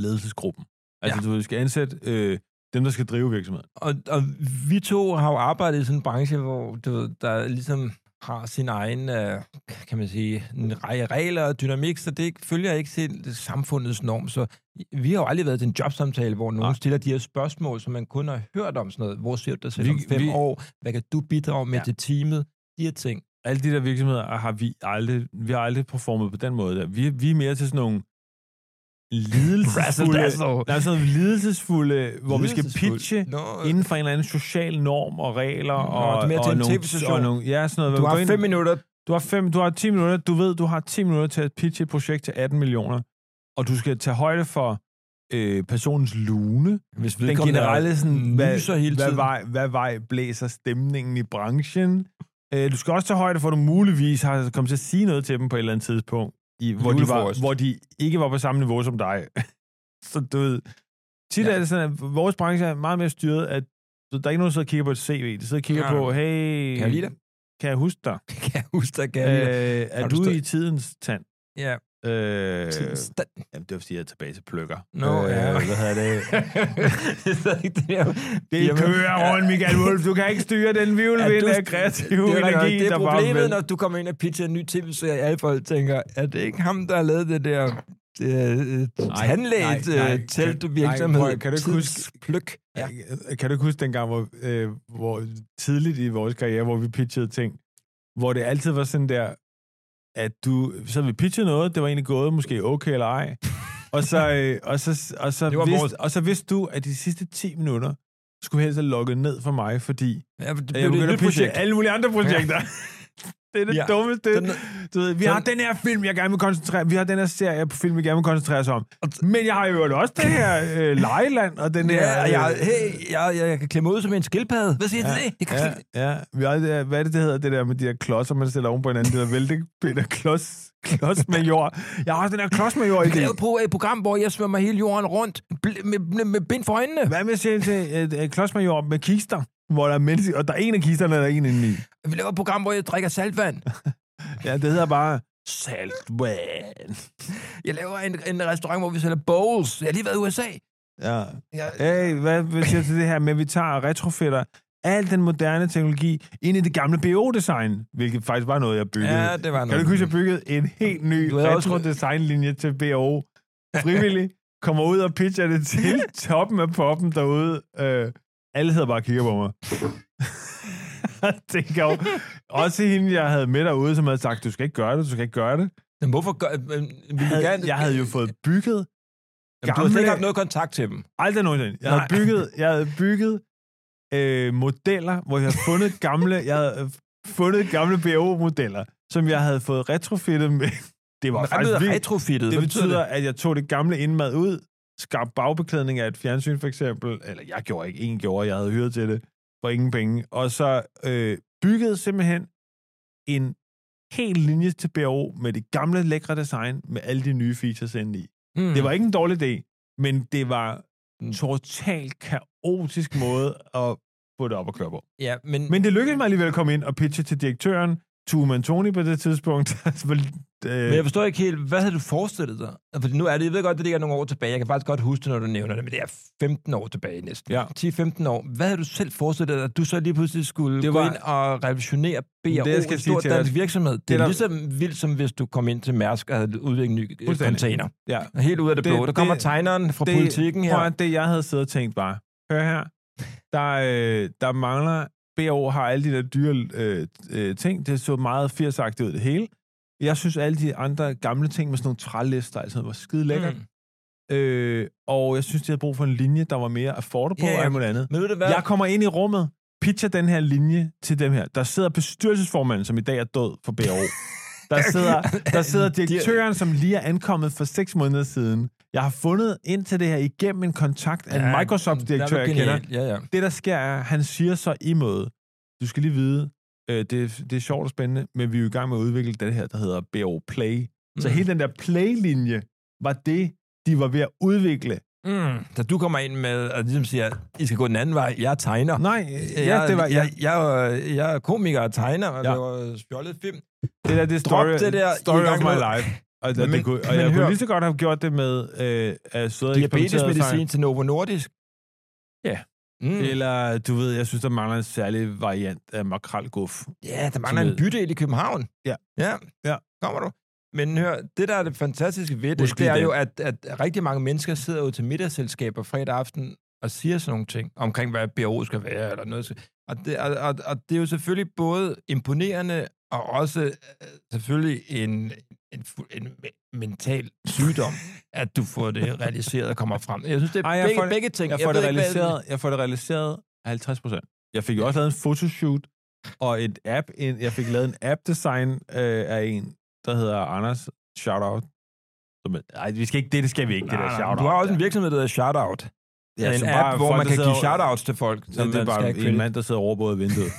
Speaker 2: ledelsesgruppen. Altså, ja.
Speaker 1: Ja.
Speaker 2: du, ved, vi skal ansætte øh, dem, der skal drive virksomheden.
Speaker 1: og, og vi to har jo arbejdet i sådan en branche, hvor du ved, der ligesom har sin egen, øh, kan man sige, en række regler og dynamik, så det ikke- følger ikke til samfundets norm. Så vi har jo aldrig været til en jobsamtale, hvor nogen
Speaker 2: Nej.
Speaker 1: stiller de her spørgsmål, som man kun har hørt om sådan noget. Hvor ser du dig selv
Speaker 2: Vi-
Speaker 1: om fem
Speaker 2: vi-
Speaker 1: år? Hvad kan du bidrage med
Speaker 2: Ja.
Speaker 1: ja. til teamet? De her
Speaker 2: <laughs>
Speaker 1: ting.
Speaker 2: Alle de der virksomheder har vi aldrig, vi har aldrig performet på den måde. Der. Vi, vi er mere til sådan nogle lidelsesfulde, nej, sådan nogle lidelsesfulde hvor vi skal pitche
Speaker 1: Nå,
Speaker 2: inden for en eller anden social norm og regler.
Speaker 1: Nå,
Speaker 2: Og,
Speaker 1: det er mere
Speaker 2: og
Speaker 1: til en
Speaker 2: nogle,
Speaker 1: TV-station.
Speaker 2: og nogle, ja, sådan noget.
Speaker 1: du
Speaker 2: hvor vi
Speaker 1: har
Speaker 2: går øh, ind-
Speaker 1: fem minutter.
Speaker 2: Du har, fem, du har 10 minutter. Du ved, du har 10 minutter til at pitche et projekt til 18 millioner. Og du skal tage højde for øh, personens lune.
Speaker 1: Hvis
Speaker 2: Den generelle sådan,
Speaker 1: nyser
Speaker 2: hvad,
Speaker 1: hele
Speaker 2: hvad,
Speaker 1: tiden.
Speaker 2: vej, hvad vej blæser stemningen i branchen. Øh, du skal også tage højde for, at du muligvis har kommet til at sige noget til dem på et eller andet tidspunkt, i, hvor, de var,
Speaker 1: Julefrokost.
Speaker 2: hvor de ikke var på samme niveau som dig. <laughs> Så du ved, tit
Speaker 1: Ja.
Speaker 2: er det sådan, at vores branche er meget mere styret, at du ved, der er ikke nogen, der sidder og kigger på et CV. De sidder og kigger
Speaker 1: Nej,
Speaker 2: på, hey,
Speaker 1: <laughs> Kan jeg lide det?
Speaker 2: kan jeg huske dig?
Speaker 1: Kan jeg huske dig? Kan jeg lide dig?
Speaker 2: Øh, er
Speaker 1: Har
Speaker 2: du
Speaker 1: du stået- <laughs>
Speaker 2: i tidens tand?
Speaker 1: Ja,
Speaker 2: Øh,
Speaker 1: Tilstand.
Speaker 2: jamen, det var, fordi jeg er tilbage til pløkker.
Speaker 1: Nå, ja.
Speaker 2: Hvad hedder det?
Speaker 1: <laughs> det er <laughs>
Speaker 2: <laughs>
Speaker 1: stadig det der.
Speaker 2: Det
Speaker 1: Jamen,
Speaker 2: kører rundt, Michael Wolf. Du kan ikke styre den
Speaker 1: Ja,
Speaker 2: vivlvind
Speaker 1: du-
Speaker 2: af kreativ
Speaker 1: <laughs> det er rigtigt nok.
Speaker 2: energi,
Speaker 1: Det er
Speaker 2: der bare
Speaker 1: problemet,
Speaker 2: vælter.
Speaker 1: når du kommer ind og pitcher en ny tv-serie, at alle folk tænker, er det ikke ham, der har lavet det der øh, tandlæget
Speaker 2: nej, nej.
Speaker 1: øh,
Speaker 2: Nej,
Speaker 1: teltvirksomhed?
Speaker 2: prøv, kan du ikke huske-
Speaker 1: Pløk. Ja.
Speaker 2: Ja. Kan du ikke huske dengang, hvor, øh, hvor tidligt i vores karriere, hvor vi pitchede ting, hvor det altid var sådan der, at du, så vi pitchede noget, det var egentlig gået måske okay eller ej, og <laughs> så, øh, og så, og så,
Speaker 1: Det var vores-
Speaker 2: vidste, og så vidste du, at de sidste 10 minutter skulle helst have lukket ned for mig, fordi
Speaker 1: Ja, det
Speaker 2: jeg
Speaker 1: blev det et
Speaker 2: begyndte
Speaker 1: nyt
Speaker 2: at pitche
Speaker 1: projekt.
Speaker 2: alle mulige andre projekter. <laughs> det er det
Speaker 1: Ja.
Speaker 2: ja. dummeste.
Speaker 1: Den-
Speaker 2: Du ved, vi har
Speaker 1: Sådan-
Speaker 2: den her film, jeg gerne vil koncentrere Vi har den her serie på film, vi gerne vil koncentrere os om. Men jeg har jo også det her øh, lejeland, og den her...
Speaker 1: Ja, og jeg,
Speaker 2: øh,
Speaker 1: hey, jeg, jeg, jeg kan klemme ud som en skildpadde. Hvad siger du til det? Jeg kan
Speaker 2: Ja, ja. Vi har, det der- hvad er det, det hedder, det der med de der klodser, man stiller oven på hinanden? Det der væltepinder klods, klodsmajor. Jeg har også den der klodsmajor-idé.
Speaker 1: lave på et program, hvor jeg svømmer hele jorden rundt bl- med, med, med bind for øjnene.
Speaker 2: Hvad med sådan til et, et klodsmajor med kister? Hvor der er mennesker, og der er en af kisterne, og der er en inde i.
Speaker 1: Vi laver et program, hvor jeg drikker saltvand.
Speaker 2: Ja, det hedder bare saltvand.
Speaker 1: Jeg laver en, en restaurant, hvor vi sælger bowls. Jeg har lige været i USA.
Speaker 2: Ja.
Speaker 1: Jeg,
Speaker 2: Hey, hvad hvad siger du til det her med, at vi tager og retrofitter al den moderne teknologi ind i det gamle BO-design, hvilket faktisk var noget, jeg byggede.
Speaker 1: ja, det var noget.
Speaker 2: Kan du ikke huske, at jeg byggede en helt ny
Speaker 1: Du havde også-
Speaker 2: retro-designlinje til BO? Frivillig. Kommer ud og pitcher det
Speaker 1: <laughs>
Speaker 2: til toppen af poppen derude. Øh, alle hedder bare og kigger på mig. <laughs> det kan jo... Også hende, jeg havde med derude, som havde sagt, du skal ikke gøre det, du skal ikke gøre det.
Speaker 1: Men hvorfor gør... men Vi vil
Speaker 2: Havde,
Speaker 1: gerne...
Speaker 2: jeg havde jo fået bygget...
Speaker 1: Jamen, du har slet
Speaker 2: gamle-
Speaker 1: ikke haft noget kontakt til dem.
Speaker 2: Aldrig nogensinde. Jeg havde
Speaker 1: Nej.
Speaker 2: bygget, jeg havde bygget øh, modeller, hvor jeg havde fundet gamle, jeg havde øh, fundet gamle BO-modeller, som jeg havde fået retrofittet med. Det var
Speaker 1: Hvad
Speaker 2: faktisk
Speaker 1: betyder
Speaker 2: vildt.
Speaker 1: retrofittet?
Speaker 2: Det
Speaker 1: Hvad
Speaker 2: betyder, at jeg tog det gamle indmad ud, skabte bagbeklædning af et fjernsyn for eksempel, eller jeg gjorde ikke, en gjorde, jeg havde hyret til det, for ingen penge, og så øh, byggede simpelthen en hel linje til BRO med det gamle lækre design, med alle de nye features inde i.
Speaker 1: Mm.
Speaker 2: Det var ikke en dårlig idé, men det var
Speaker 1: Mm.
Speaker 2: en totalt kaotisk måde at få det op at køre på.
Speaker 1: Ja, men...
Speaker 2: Men det lykkedes mig alligevel at komme ind og pitche til direktøren, Tue Tony på det tidspunkt. <laughs>
Speaker 1: Men
Speaker 2: øh,
Speaker 1: jeg forstår ikke helt, hvad havde du forestillet dig? Fordi nu er det, jeg ved godt, det ligger nogle år tilbage. Jeg kan faktisk godt huske det, når du nævner det, men det er 15 år tilbage næsten.
Speaker 2: Ja.
Speaker 1: 10-15 år. Hvad havde du selv forestillet dig, at du så lige pludselig skulle
Speaker 2: Det
Speaker 1: det var... gå
Speaker 2: var-
Speaker 1: ind og revolutionere BRO,
Speaker 2: jeg skal
Speaker 1: en
Speaker 2: sige
Speaker 1: stor
Speaker 2: til dig-
Speaker 1: dansk virksomhed? Det,
Speaker 2: der-
Speaker 1: er ligesom vildt, som hvis du kom ind til Mærsk og havde udviklet en ny øh,
Speaker 2: Fuldstændig.
Speaker 1: container.
Speaker 2: ja.
Speaker 1: Helt ud af det,
Speaker 2: Det-
Speaker 1: blå. Der kommer
Speaker 2: det-
Speaker 1: tegneren fra
Speaker 2: det-
Speaker 1: politikken her.
Speaker 2: Prøv at det, jeg havde siddet og tænkt var, hør her, der, øh, der mangler, BO har alle de der dyre øh, øh, ting, det så meget 80 ud det hele. Jeg synes, alle de andre gamle ting med sådan nogle trælister, altså var skide lækkert.
Speaker 1: Mm.
Speaker 2: Mm. Øh, og jeg synes, de havde brug for en linje, der var mere affordable
Speaker 1: Ja,
Speaker 2: yeah,
Speaker 1: ja.
Speaker 2: og alt muligt andet.
Speaker 1: Men ved du hvad?
Speaker 2: Jeg kommer ind i rummet, pitcher den her linje til dem her. Der sidder bestyrelsesformanden, som i dag er død for
Speaker 1: <laughs>
Speaker 2: BO. Der sidder, der sidder direktøren, som lige er ankommet for seks måneder siden. Jeg har fundet ind til det her igennem en kontakt af en Microsoft-direktør, jeg kender.
Speaker 1: Ja, ja.
Speaker 2: Det, der sker, er, at han siger så i møde, du skal lige vide, øh, det, det er sjovt og spændende, men vi er jo i gang med at udvikle det her, der hedder BO Play. Så
Speaker 1: Mm.
Speaker 2: hele den der play-linje var det, de var ved at udvikle.
Speaker 1: Mm. Da du kommer ind med, og ligesom siger, I skal gå den anden vej, jeg tegner.
Speaker 2: Nej, ja, det var... Ja,
Speaker 1: jeg, jeg, er jo- jeg er komiker og tegner, og
Speaker 2: Ja.
Speaker 1: ja. det var spjoldet film.
Speaker 2: det der, det er
Speaker 1: Drop
Speaker 2: story,
Speaker 1: det der, I er i
Speaker 2: story of
Speaker 1: gang
Speaker 2: my
Speaker 1: med-
Speaker 2: life. Og, og,
Speaker 1: Men-
Speaker 2: det kunne, og
Speaker 1: men
Speaker 2: jeg kunne
Speaker 1: hør-
Speaker 2: lige så godt have gjort det med øh, at sidde og eksperimentere sig.
Speaker 1: Diabetesmedicin til Novo Nordisk.
Speaker 2: Ja.
Speaker 1: Mm.
Speaker 2: Eller, du ved, jeg synes, der mangler en særlig variant af makrelguff.
Speaker 1: Ja, der mangler en bydel i København.
Speaker 2: Ja.
Speaker 1: Ja,
Speaker 2: Ja.
Speaker 1: kommer du. Men hør, det der er det fantastiske ved det,
Speaker 2: Husk
Speaker 1: det
Speaker 2: lige
Speaker 1: er
Speaker 2: det.
Speaker 1: jo, at, at rigtig mange mennesker sidder jo til middagsselskaber fredag aften og siger sådan nogle ting omkring, hvad BRO skal være, eller noget. skal- Og det, og, og, og det er jo selvfølgelig både imponerende, og også øh, selvfølgelig en, en, fu- en me- mental sygdom, at du får
Speaker 2: <laughs>
Speaker 1: det realiseret og kommer frem. Jeg synes, det er
Speaker 2: Ej,
Speaker 1: Ej,
Speaker 2: jeg
Speaker 1: begge,
Speaker 2: får det-
Speaker 1: begge ting.
Speaker 2: Jeg får, det
Speaker 1: ved ikke, hvad-
Speaker 2: realiseret, jeg får det realiseret 50 procent. Jeg fik jo også lavet en photoshoot, og et app, en, jeg fik lavet en app-design øh, af en, der hedder Anders Shoutout. Som er- Ej, vi skal ikke det, det skal vi ikke, det der
Speaker 1: Nej, nej,
Speaker 2: shoutout.
Speaker 1: Ah, du har også en
Speaker 2: der.
Speaker 1: virksomhed, der hedder Shoutout. Ja, en
Speaker 2: som
Speaker 1: app,
Speaker 2: bare
Speaker 1: hvor
Speaker 2: folk,
Speaker 1: man
Speaker 2: der
Speaker 1: kan
Speaker 2: sidder
Speaker 1: give
Speaker 2: over-
Speaker 1: shoutouts til folk, som
Speaker 2: Det, det er bare en mand, der sidder over både vinduet.
Speaker 1: <laughs>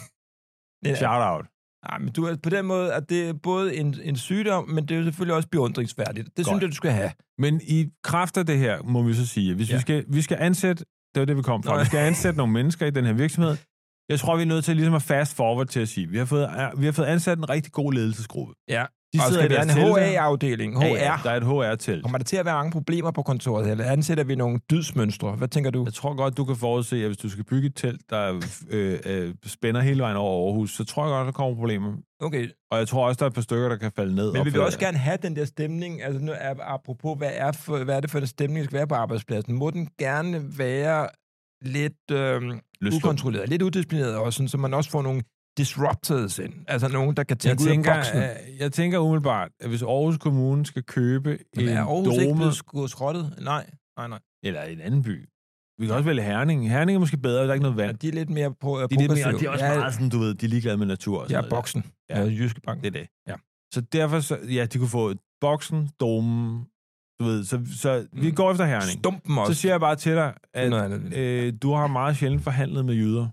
Speaker 1: Ja,
Speaker 2: Shoutout.
Speaker 1: nej, men du, er- på den måde, at det er både en, en sygdom, men det er jo selvfølgelig også beundringsværdigt. Det Godt. synes
Speaker 2: Godt.
Speaker 1: jeg, du skal have.
Speaker 2: Men i kraft af det her, må vi så sige, at hvis ja.
Speaker 1: Ja.
Speaker 2: vi, skal, vi skal ansætte, det var det, vi kom fra,
Speaker 1: Nå, ja.
Speaker 2: vi skal ansætte nogle mennesker i den her virksomhed. Jeg tror, vi er nødt til ligesom at fast forward til at sige, vi har fået, vi har fået ansat en rigtig god ledelsesgruppe.
Speaker 1: Ja.
Speaker 2: De
Speaker 1: og skal vi have en
Speaker 2: telte.
Speaker 1: HA-afdeling? HR?
Speaker 2: Ja, ja, der er et HR-telt.
Speaker 1: Kommer der til at være mange problemer på kontoret, eller ansætter vi nogle dydsmønstre? Hvad tænker du?
Speaker 2: Jeg tror godt, du kan forudse, at hvis du skal bygge et telt, der øh, øh, spænder hele vejen over Aarhus, så tror jeg godt, der kommer problemer.
Speaker 1: Okay,
Speaker 2: Og jeg tror også, der er et par stykker, der kan falde ned.
Speaker 1: men
Speaker 2: og
Speaker 1: vi vil
Speaker 2: falde-
Speaker 1: også gerne have den der stemning, altså nu, ap- apropos, hvad er, for, hvad er det for en stemning, der skal være på arbejdspladsen? Må den gerne være lidt øh,
Speaker 2: Løsluppen.
Speaker 1: ukontrolleret, lidt udisciplineret også, sådan, så man også får nogle disruptors ind, altså nogen, der kan
Speaker 2: Jeg
Speaker 1: tænke ud af
Speaker 2: tænker,
Speaker 1: boksen.
Speaker 2: øh, jeg tænker umiddelbart, at hvis Aarhus Kommune skal købe en
Speaker 1: Jamen, er Aarhus ikke
Speaker 2: dome,
Speaker 1: blevet sk- skrottet? Nej, nej, nej.
Speaker 2: eller en anden by, vi kan også vælge Herning. Herning er måske bedre, der er ikke noget
Speaker 1: Ja,
Speaker 2: vand.
Speaker 1: de er lidt mere på øh,
Speaker 2: De er, lidt mere, og de er også meget sådan, du ved, de er ligeglade med natur. Og
Speaker 1: Ja,
Speaker 2: sådan
Speaker 1: ja
Speaker 2: noget.
Speaker 1: boksen.
Speaker 2: Ja.
Speaker 1: Ja. Jyske Bank.
Speaker 2: Det er det.
Speaker 1: Ja.
Speaker 2: Så derfor, så, ja, de kunne få boksen, domen, du ved, så, så vi
Speaker 1: Mm.
Speaker 2: går efter Herning.
Speaker 1: Stumpen også.
Speaker 2: Så siger jeg bare til dig,
Speaker 1: Det er
Speaker 2: at
Speaker 1: noget andet.
Speaker 2: øh, du har meget sjældent forhandlet med jyder.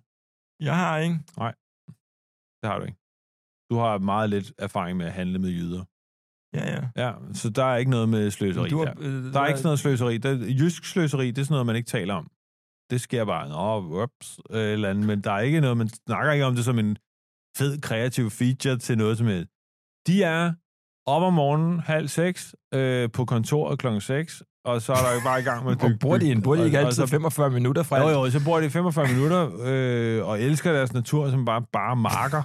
Speaker 1: Jeg har ikke.
Speaker 2: Det har du ikke. Du har meget lidt erfaring med at handle med jyder.
Speaker 1: Ja, ja.
Speaker 2: Ja, så der er ikke noget med sløseri
Speaker 1: Du
Speaker 2: der.
Speaker 1: har, øh,
Speaker 2: Der er ikke sådan noget sløseri. Der, jysk sløseri, det er sådan noget, man ikke taler om. Det sker bare, nå, ups, øh, eller andet, men der er ikke noget, man snakker ikke om det som en fed, kreativ feature til noget som helst. De er op om morgenen halv seks øh, på kontoret klokken 6, og så er der jo bare i gang med at
Speaker 1: Og
Speaker 2: dykke-
Speaker 1: bruger de, en- bruger de
Speaker 2: og-
Speaker 1: ikke
Speaker 2: og
Speaker 1: altid
Speaker 2: så-
Speaker 1: 45 minutter fra
Speaker 2: jo, jo, så bruger de 45 minutter øh, og elsker deres natur, som bare, bare
Speaker 1: <laughs>
Speaker 2: marker.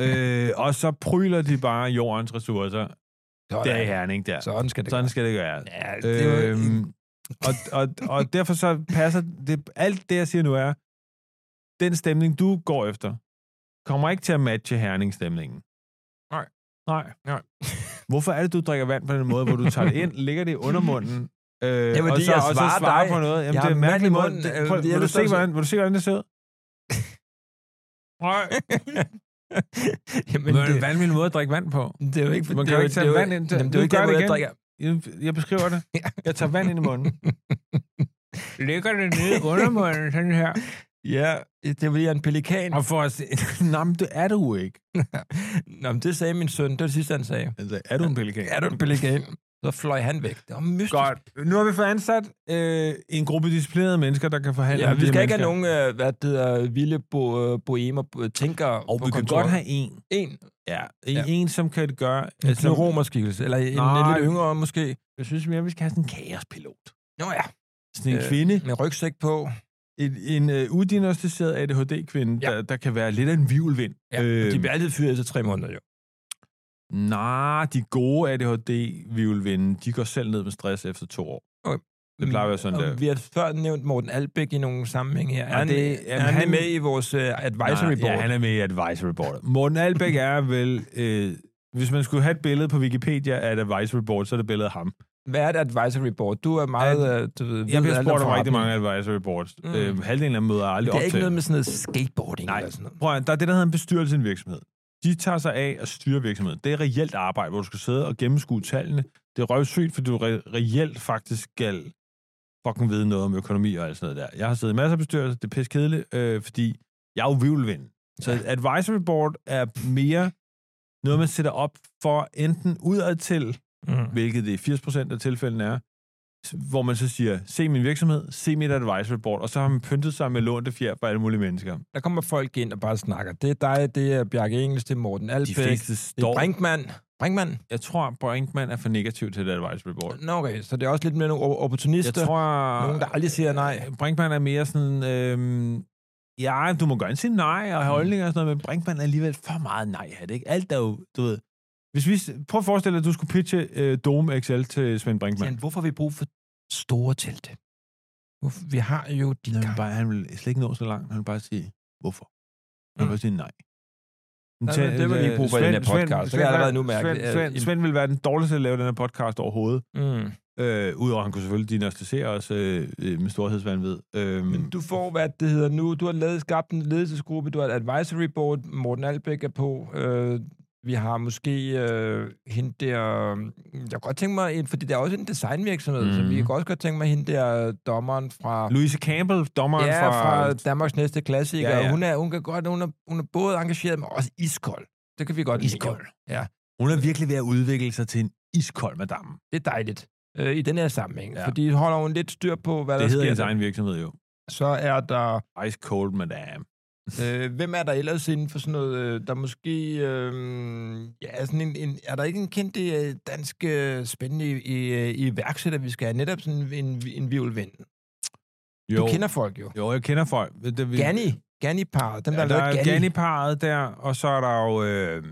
Speaker 2: øh, og så pryler de bare jordens ressourcer. Det er i Herning der.
Speaker 1: Sådan skal det
Speaker 2: Sådan skal det gøres.
Speaker 1: Ja, det er jo-
Speaker 2: Øhm, og, og, og derfor så passer det, alt det, jeg siger nu er, den stemning, du går efter, kommer ikke til at matche herningsstemningen.
Speaker 1: Nej.
Speaker 2: Nej.
Speaker 1: Nej.
Speaker 2: Hvorfor er det, du drikker vand på den måde, hvor du tager det <laughs> ind, ligger det under munden, øh,
Speaker 1: fordi
Speaker 2: og, så,
Speaker 1: jeg
Speaker 2: og så
Speaker 1: svarer
Speaker 2: svarer
Speaker 1: dig.
Speaker 2: på noget?
Speaker 1: Jeg
Speaker 2: Jamen, det er
Speaker 1: har
Speaker 2: en
Speaker 1: mand i
Speaker 2: mærkelig måde.
Speaker 1: munden.
Speaker 2: Det-
Speaker 1: Øh,
Speaker 2: Prøv,
Speaker 1: det er
Speaker 2: vil, du
Speaker 1: lidt
Speaker 2: se,
Speaker 1: sådan-
Speaker 2: hvordan, vil du se, hvordan det sidder? Nej.
Speaker 1: <laughs> Jamen,
Speaker 2: Men det er en
Speaker 1: det,
Speaker 2: vanvittig måde at drikke vand på.
Speaker 1: det er jo ikke...
Speaker 2: Man
Speaker 1: det
Speaker 2: kan
Speaker 1: er
Speaker 2: jo
Speaker 1: jo
Speaker 2: ikke tage
Speaker 1: det er jo-
Speaker 2: vand ind til-
Speaker 1: Jamen, det
Speaker 2: Nu
Speaker 1: er jo ikke
Speaker 2: gør
Speaker 1: der,
Speaker 2: det
Speaker 1: hvor jeg
Speaker 2: igen.
Speaker 1: drikker.
Speaker 2: Jeg, jeg beskriver
Speaker 1: <laughs>
Speaker 2: det. Jeg tager vand ind i munden. Lægger det ned under munden, sådan her.
Speaker 1: Ja, det er fordi, jeg er en pelikan.
Speaker 2: Og for at se... <laughs> Nå, men det er du ikke.
Speaker 1: Nå, men det sagde min søn. Det var det sidste, han sagde.
Speaker 2: Altså, er du en pelikan?
Speaker 1: Er du en pelikan? Så fløj han væk. Det var mystisk.
Speaker 2: Godt. Nu har vi fået ansat øh, en gruppe disciplinerede mennesker, der kan forhandle
Speaker 1: Ja,
Speaker 2: med
Speaker 1: vi
Speaker 2: de
Speaker 1: skal ikke
Speaker 2: mennesker.
Speaker 1: have nogen, øh, hvad det hedder, vilde bo, øh, boemer, bo- tænkere
Speaker 2: Og
Speaker 1: på
Speaker 2: vi kan
Speaker 1: kontoret.
Speaker 2: godt have en.
Speaker 1: en.
Speaker 2: Ja.
Speaker 1: Ja.
Speaker 2: En, ja. som kan gøre...
Speaker 1: En romerskikkelse, eller en, en
Speaker 2: Nej.
Speaker 1: lidt yngre måske.
Speaker 2: jeg synes mere, vi skal have sådan en kaospilot.
Speaker 1: Nå ja,
Speaker 2: Sådan en
Speaker 1: Øh,
Speaker 2: kvinde.
Speaker 1: med rygsæk på.
Speaker 2: En, en øh, udiagnostiseret ADHD-kvinde,
Speaker 1: Ja.
Speaker 2: der, der kan være lidt af en vivelvind.
Speaker 1: Ja,
Speaker 2: Øhm.
Speaker 1: de bliver altid fyret efter tre måneder, jo.
Speaker 2: Nej, de gode ADHD-vivelvinde, de går selv ned med stress efter to år.
Speaker 1: Okay.
Speaker 2: Det plejer at være sådan,
Speaker 1: Mm. Og
Speaker 2: der.
Speaker 1: Vi har før nævnt Morten Albæk i nogle sammenhæng her. Er,
Speaker 2: Og
Speaker 1: han,
Speaker 2: det-
Speaker 1: det,
Speaker 2: jamen,
Speaker 1: er han,
Speaker 2: han-
Speaker 1: han med i vores uh, advisory
Speaker 2: Nej,
Speaker 1: board?
Speaker 2: Ja, han er med i Advisory Board. Morten Albæk er vel... Øh, hvis man skulle have et billede på Wikipedia af et Advisory Board, så er det billedet af ham.
Speaker 1: Hvad er et advisory board? Du er meget...
Speaker 2: At-
Speaker 1: øh, du ved, ved
Speaker 2: Jeg bliver
Speaker 1: alt
Speaker 2: spurgt om
Speaker 1: forretning.
Speaker 2: rigtig mange Advisory Boards. Mm.
Speaker 1: Mm.
Speaker 2: Øh, halvdelen af dem møder jeg aldrig
Speaker 1: Det er
Speaker 2: op
Speaker 1: ikke
Speaker 2: til.
Speaker 1: noget med sådan noget skateboarding
Speaker 2: Nej.
Speaker 1: eller sådan noget.
Speaker 2: Prøv at, der er det, der hedder en bestyrelse i en virksomhed. De tager sig af at styre virksomheden. Det er reelt arbejde, hvor du skal sidde og gennemskue tallene. Det er røvsygt, fordi du re- reelt faktisk skal fucking vide noget om økonomi og alt sådan noget der. Jeg har siddet i masser af bestyrelser, det er pisse kedeligt, øh, fordi jeg er jo vivlvind. Så et advisory board er mere noget, man sætter op for enten udadtil,
Speaker 1: Mm.
Speaker 2: hvilket det i 80% af tilfældene er, s- hvor man så siger, se min virksomhed, se mit advisory board, og så har man pyntet sig med lånte fjer på alle mulige mennesker.
Speaker 1: Der kommer folk ind og bare snakker. Det er dig, det er Bjarke Engels, det er Morten
Speaker 2: De
Speaker 1: Albæk. det
Speaker 2: fleste
Speaker 1: er
Speaker 2: står
Speaker 1: Brinkmann. Brinkmann?
Speaker 2: jeg tror, Brinkmann er for negativ til det advisory board.
Speaker 1: Nå, okay. Så det er også lidt mere nogle op-
Speaker 2: Jeg
Speaker 1: opportunister.
Speaker 2: tror...
Speaker 1: Nogen, der aldrig siger nej.
Speaker 2: Brinkmann er mere sådan... Øhm, ja, du må gerne sige nej og have
Speaker 1: Mm.
Speaker 2: holdninger og sådan noget, men Brinkmann er alligevel for meget nej er det ikke? Alt er jo, du ved... Hvis vi, prøv at forestille dig, at du skulle pitche øh, Dome XL til Svend Brinkmann.
Speaker 1: Men hvorfor har vi brug for store telte? Hvorfor- Vi har jo de
Speaker 2: Han vil,
Speaker 1: gamle.
Speaker 2: bare, han vil slet ikke nå så langt. Han vil bare sige, hvorfor? Han vil
Speaker 1: Mm.
Speaker 2: bare sige nej.
Speaker 1: men det vil vi ikke bruge på den her podcast. Det kan jeg allerede nu mærke.
Speaker 2: Svend,
Speaker 1: Det er
Speaker 2: Svend,
Speaker 1: en-
Speaker 2: Svend vil være den dårligste til at lave den her podcast overhovedet.
Speaker 1: Mm.
Speaker 2: Øh, Udover at han kunne selvfølgelig diagnostisere os øh, øh, med storhedsvandvid. Øh,
Speaker 1: Men du får, hvad det hedder nu. Du har lavet, skabt en ledelsesgruppe, du har et advisory board, Morten Albæk er på. Øh, vi har måske øh, hende der... øh, Jeg kunne godt tænke mig, en- fordi det er også en designvirksomhed, mm. så
Speaker 2: Mhm.
Speaker 1: vi kan også godt tænke mig hende der øh, dommeren fra...
Speaker 2: Louise Campbell, dommeren
Speaker 1: Ja,
Speaker 2: fra...
Speaker 1: fra Danmarks næste klassiker.
Speaker 2: Ja,
Speaker 1: Ja,
Speaker 2: ja.
Speaker 1: ja. Hun, er, hun, kan godt, hun, er, hun er både engageret, men også iskold. Det kan vi godt lide.
Speaker 2: Iskold.
Speaker 1: Ja.
Speaker 2: Hun er virkelig ved at udvikle sig til en iskold madame.
Speaker 1: Det er dejligt øh, i den her sammenhæng.
Speaker 2: Ja.
Speaker 1: Ja. Fordi holder hun lidt styr på, hvad
Speaker 2: Det
Speaker 1: der
Speaker 2: hedder
Speaker 1: sker.
Speaker 2: <laughs> hendes egen virksomhed jo.
Speaker 1: Så er der...
Speaker 2: Ice Cold Madame.
Speaker 1: øh, hvem er der ellers inden for sådan noget, øh, der måske... Øh, ja, sådan en, en, er der ikke en kendt øh, dansk øh, spændende i, i, øh, iværksætter, vi skal have? Netop sådan en, en, en violvind.
Speaker 2: Jo.
Speaker 1: Du kender folk jo.
Speaker 2: jo, jeg kender folk. Det, vi...
Speaker 1: Ganni. Ganni-paret. Dem, der,
Speaker 2: Ja,
Speaker 1: ja,
Speaker 2: der
Speaker 1: har
Speaker 2: er
Speaker 1: lavet Ganni.
Speaker 2: Ganni-paret der, og så er der jo, øh,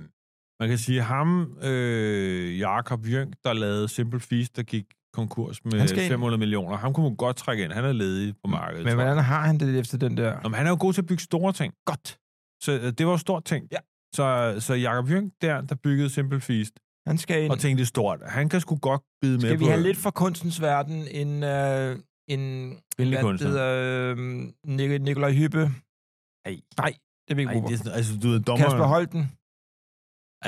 Speaker 2: man kan sige, ham, øh, Jakob Jønk, der lavede Simple Feast, der gik konkurs
Speaker 1: Han skal
Speaker 2: med
Speaker 1: ind.
Speaker 2: 500 millioner. Ham kunne man godt trække ind. Han er ledig på
Speaker 1: Men
Speaker 2: markedet. tror jeg.
Speaker 1: hvordan har han det efter den der?
Speaker 2: Nå, men han er jo god til at bygge store ting. Godt. Så øh, det var jo stort ting.
Speaker 1: Ja.
Speaker 2: Så, så Jakob Jønk der, der byggede Simple Feast,
Speaker 1: Han skal ind.
Speaker 2: og tænkte stort. Han kan sgu godt bide med
Speaker 1: Skal vi
Speaker 2: på øh,
Speaker 1: have lidt fra kunstens verden en... Øh, en
Speaker 2: kvindelig
Speaker 1: hvad
Speaker 2: kunstner.
Speaker 1: hedder, øh, Nik- Nikolaj Hyppe? Nej. Nej, det er vi ikke
Speaker 2: Ej,
Speaker 1: Ej,
Speaker 2: det er sådan, altså, du ved,
Speaker 1: Kasper
Speaker 2: dommer,
Speaker 1: Holten.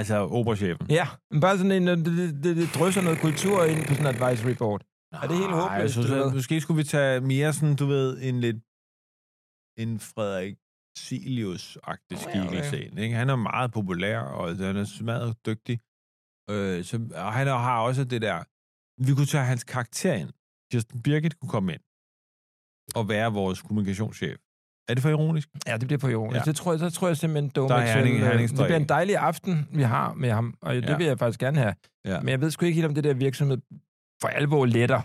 Speaker 2: altså operchefen.
Speaker 1: Ja, men bare sådan en, øh, det, det, det, det drysser noget kultur ind på sådan en advisory board. Er det helt
Speaker 2: Nej,
Speaker 1: håbløst,
Speaker 2: jeg synes,
Speaker 1: eller
Speaker 2: at
Speaker 1: hvad?
Speaker 2: måske skulle vi tage mere sådan, du ved, en lidt en Frederik Silius-agtig
Speaker 1: Nå, ja, okay.
Speaker 2: skikkelse. ind, Ikke? Han er meget populær, og han er smadret dygtig. Øh, så, og han har også det der... Vi kunne tage hans karakter ind. Kirsten Birgit kunne komme ind og være vores kommunikationschef. Er det for ironisk?
Speaker 1: Ja, det bliver på jorden. Ja.
Speaker 2: Ja.
Speaker 1: Det tror jeg, så tror jeg simpelthen,
Speaker 2: Der er
Speaker 1: Domex
Speaker 2: Herning-
Speaker 1: vil, øh,
Speaker 2: Herning
Speaker 1: det bliver en
Speaker 2: strøg.
Speaker 1: dejlig aften, vi har med ham, og det
Speaker 2: Ja.
Speaker 1: vil jeg faktisk gerne have.
Speaker 2: Ja.
Speaker 1: Men jeg ved sgu ikke helt, om det der virksomhed for alvor letter,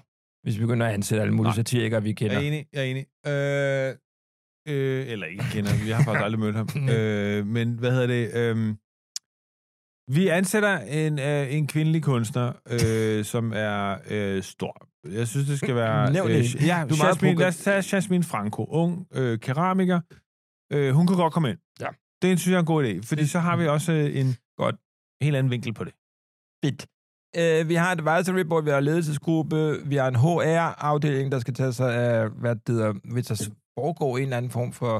Speaker 1: hvis vi begynder at ansætte alle mulige
Speaker 2: Nej.
Speaker 1: satirikere, vi kender.
Speaker 2: Jeg er enig, jeg er enig. Øh, øh, eller ikke kender, vi har faktisk aldrig
Speaker 1: <laughs>
Speaker 2: mødt ham.
Speaker 1: Nej.
Speaker 2: Øh, men hvad hedder det? Øh, vi ansætter en, øh, en kvindelig kunstner,
Speaker 1: <laughs>
Speaker 2: øh, som er øh, stor. Jeg synes, det skal være...
Speaker 1: Nævn
Speaker 2: øh,
Speaker 1: det.
Speaker 2: ja,
Speaker 1: Du
Speaker 2: du
Speaker 1: er meget
Speaker 2: Jasmine,
Speaker 1: provoka-
Speaker 2: lad os tage Jasmine Franco, ung øh, keramiker. Øh, hun kan godt komme ind.
Speaker 1: Ja.
Speaker 2: Det synes jeg er en god idé, fordi så har vi også øh, en
Speaker 1: Godt.
Speaker 2: helt anden vinkel på det.
Speaker 1: Fedt. Øh, vi har et advisory board, vi har en ledelsesgruppe, vi har en HR-afdeling, der skal tage sig af, hvad det hedder, hvis der foregår en eller anden form for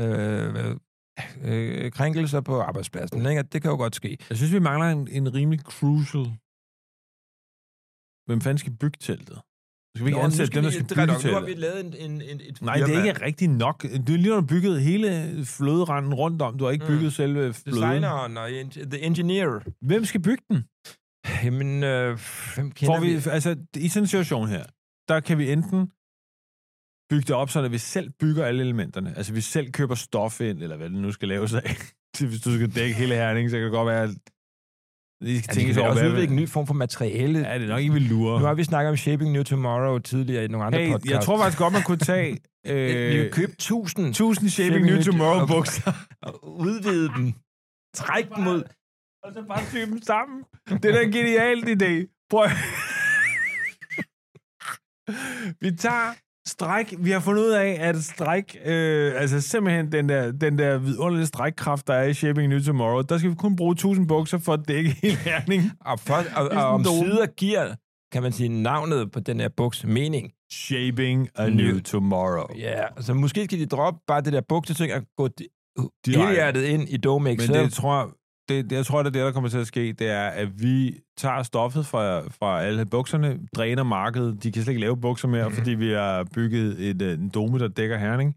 Speaker 1: øh, hvad- øh, krænkelser på arbejdspladsen. Ikke? Og Det kan jo godt ske.
Speaker 2: Jeg synes, vi mangler en, en rimelig crucial... Hvem fanden skal bygge teltet? Skal vi ikke
Speaker 1: Nå, nu
Speaker 2: ansætte
Speaker 1: skal
Speaker 2: dem, der
Speaker 1: vi-
Speaker 2: skal
Speaker 1: det er
Speaker 2: bygge
Speaker 1: rigtigt nok. Nu har vi
Speaker 2: teltet?
Speaker 1: lavet en, en, en, et
Speaker 2: Nej, det er ikke rigtigt nok. Du har lige har bygget hele fløderanden rundt om. Du har ikke
Speaker 1: Mm.
Speaker 2: bygget selve fløden.
Speaker 1: Designeren og en, the engineer.
Speaker 2: Hvem skal bygge den?
Speaker 1: Jamen, øh, hvem kender
Speaker 2: Får vi, altså, I sådan en situation her, der kan vi enten bygge det op, så vi selv bygger alle elementerne. Altså, vi selv køber stof ind, eller hvad det nu skal laves af. <laughs> Hvis du skal dække hele herningen, så kan det godt være, at I skal
Speaker 1: Ja,
Speaker 2: tænke
Speaker 1: vi
Speaker 2: sig
Speaker 1: kan
Speaker 2: over,
Speaker 1: også
Speaker 2: hvad-
Speaker 1: udvikle en ny form for materiale.
Speaker 2: Ja, det er nok ikke, vi lurer.
Speaker 1: Nu har vi snakket om Shaping New Tomorrow tidligere i nogle andre
Speaker 2: Hey,
Speaker 1: podcasts.
Speaker 2: jeg tror faktisk godt, man kunne <laughs> tage
Speaker 1: Øh, vi vil
Speaker 2: øh,
Speaker 1: købe 1000
Speaker 2: 1000 Shaping
Speaker 1: Shaping
Speaker 2: New
Speaker 1: New
Speaker 2: Tomorrow
Speaker 1: Tomorrow.
Speaker 2: <laughs> bukser.
Speaker 1: og udvide den. Træk den mod...
Speaker 2: Og så bare sy dem sammen. Det er da en genial idé. Prøv at- <laughs> Vi tager stræk. Vi har fundet ud af, at stræk, øh, altså simpelthen den der, den der vidunderlige strækkraft, der er i Shaping New Tomorrow, der skal vi kun bruge 1000 bukser for at dække hele herning.
Speaker 1: Og, for, og,
Speaker 2: sådan
Speaker 1: og om
Speaker 2: dum.
Speaker 1: sider giver, kan man sige, navnet på den her buks mening.
Speaker 2: Shaping a New Tomorrow.
Speaker 1: Ja, så måske skal de droppe bare det der bukseting og gå
Speaker 2: Direkte.
Speaker 1: hjertet ind i Domex.
Speaker 2: Men
Speaker 1: selv.
Speaker 2: det tror jeg, det, det, jeg tror, det er det, der kommer til at ske, det er, at vi tager stoffet fra, fra alle bukserne, dræner markedet. De kan slet ikke lave bukser mere, mm. fordi vi har bygget et, øh, en dome, der dækker herning.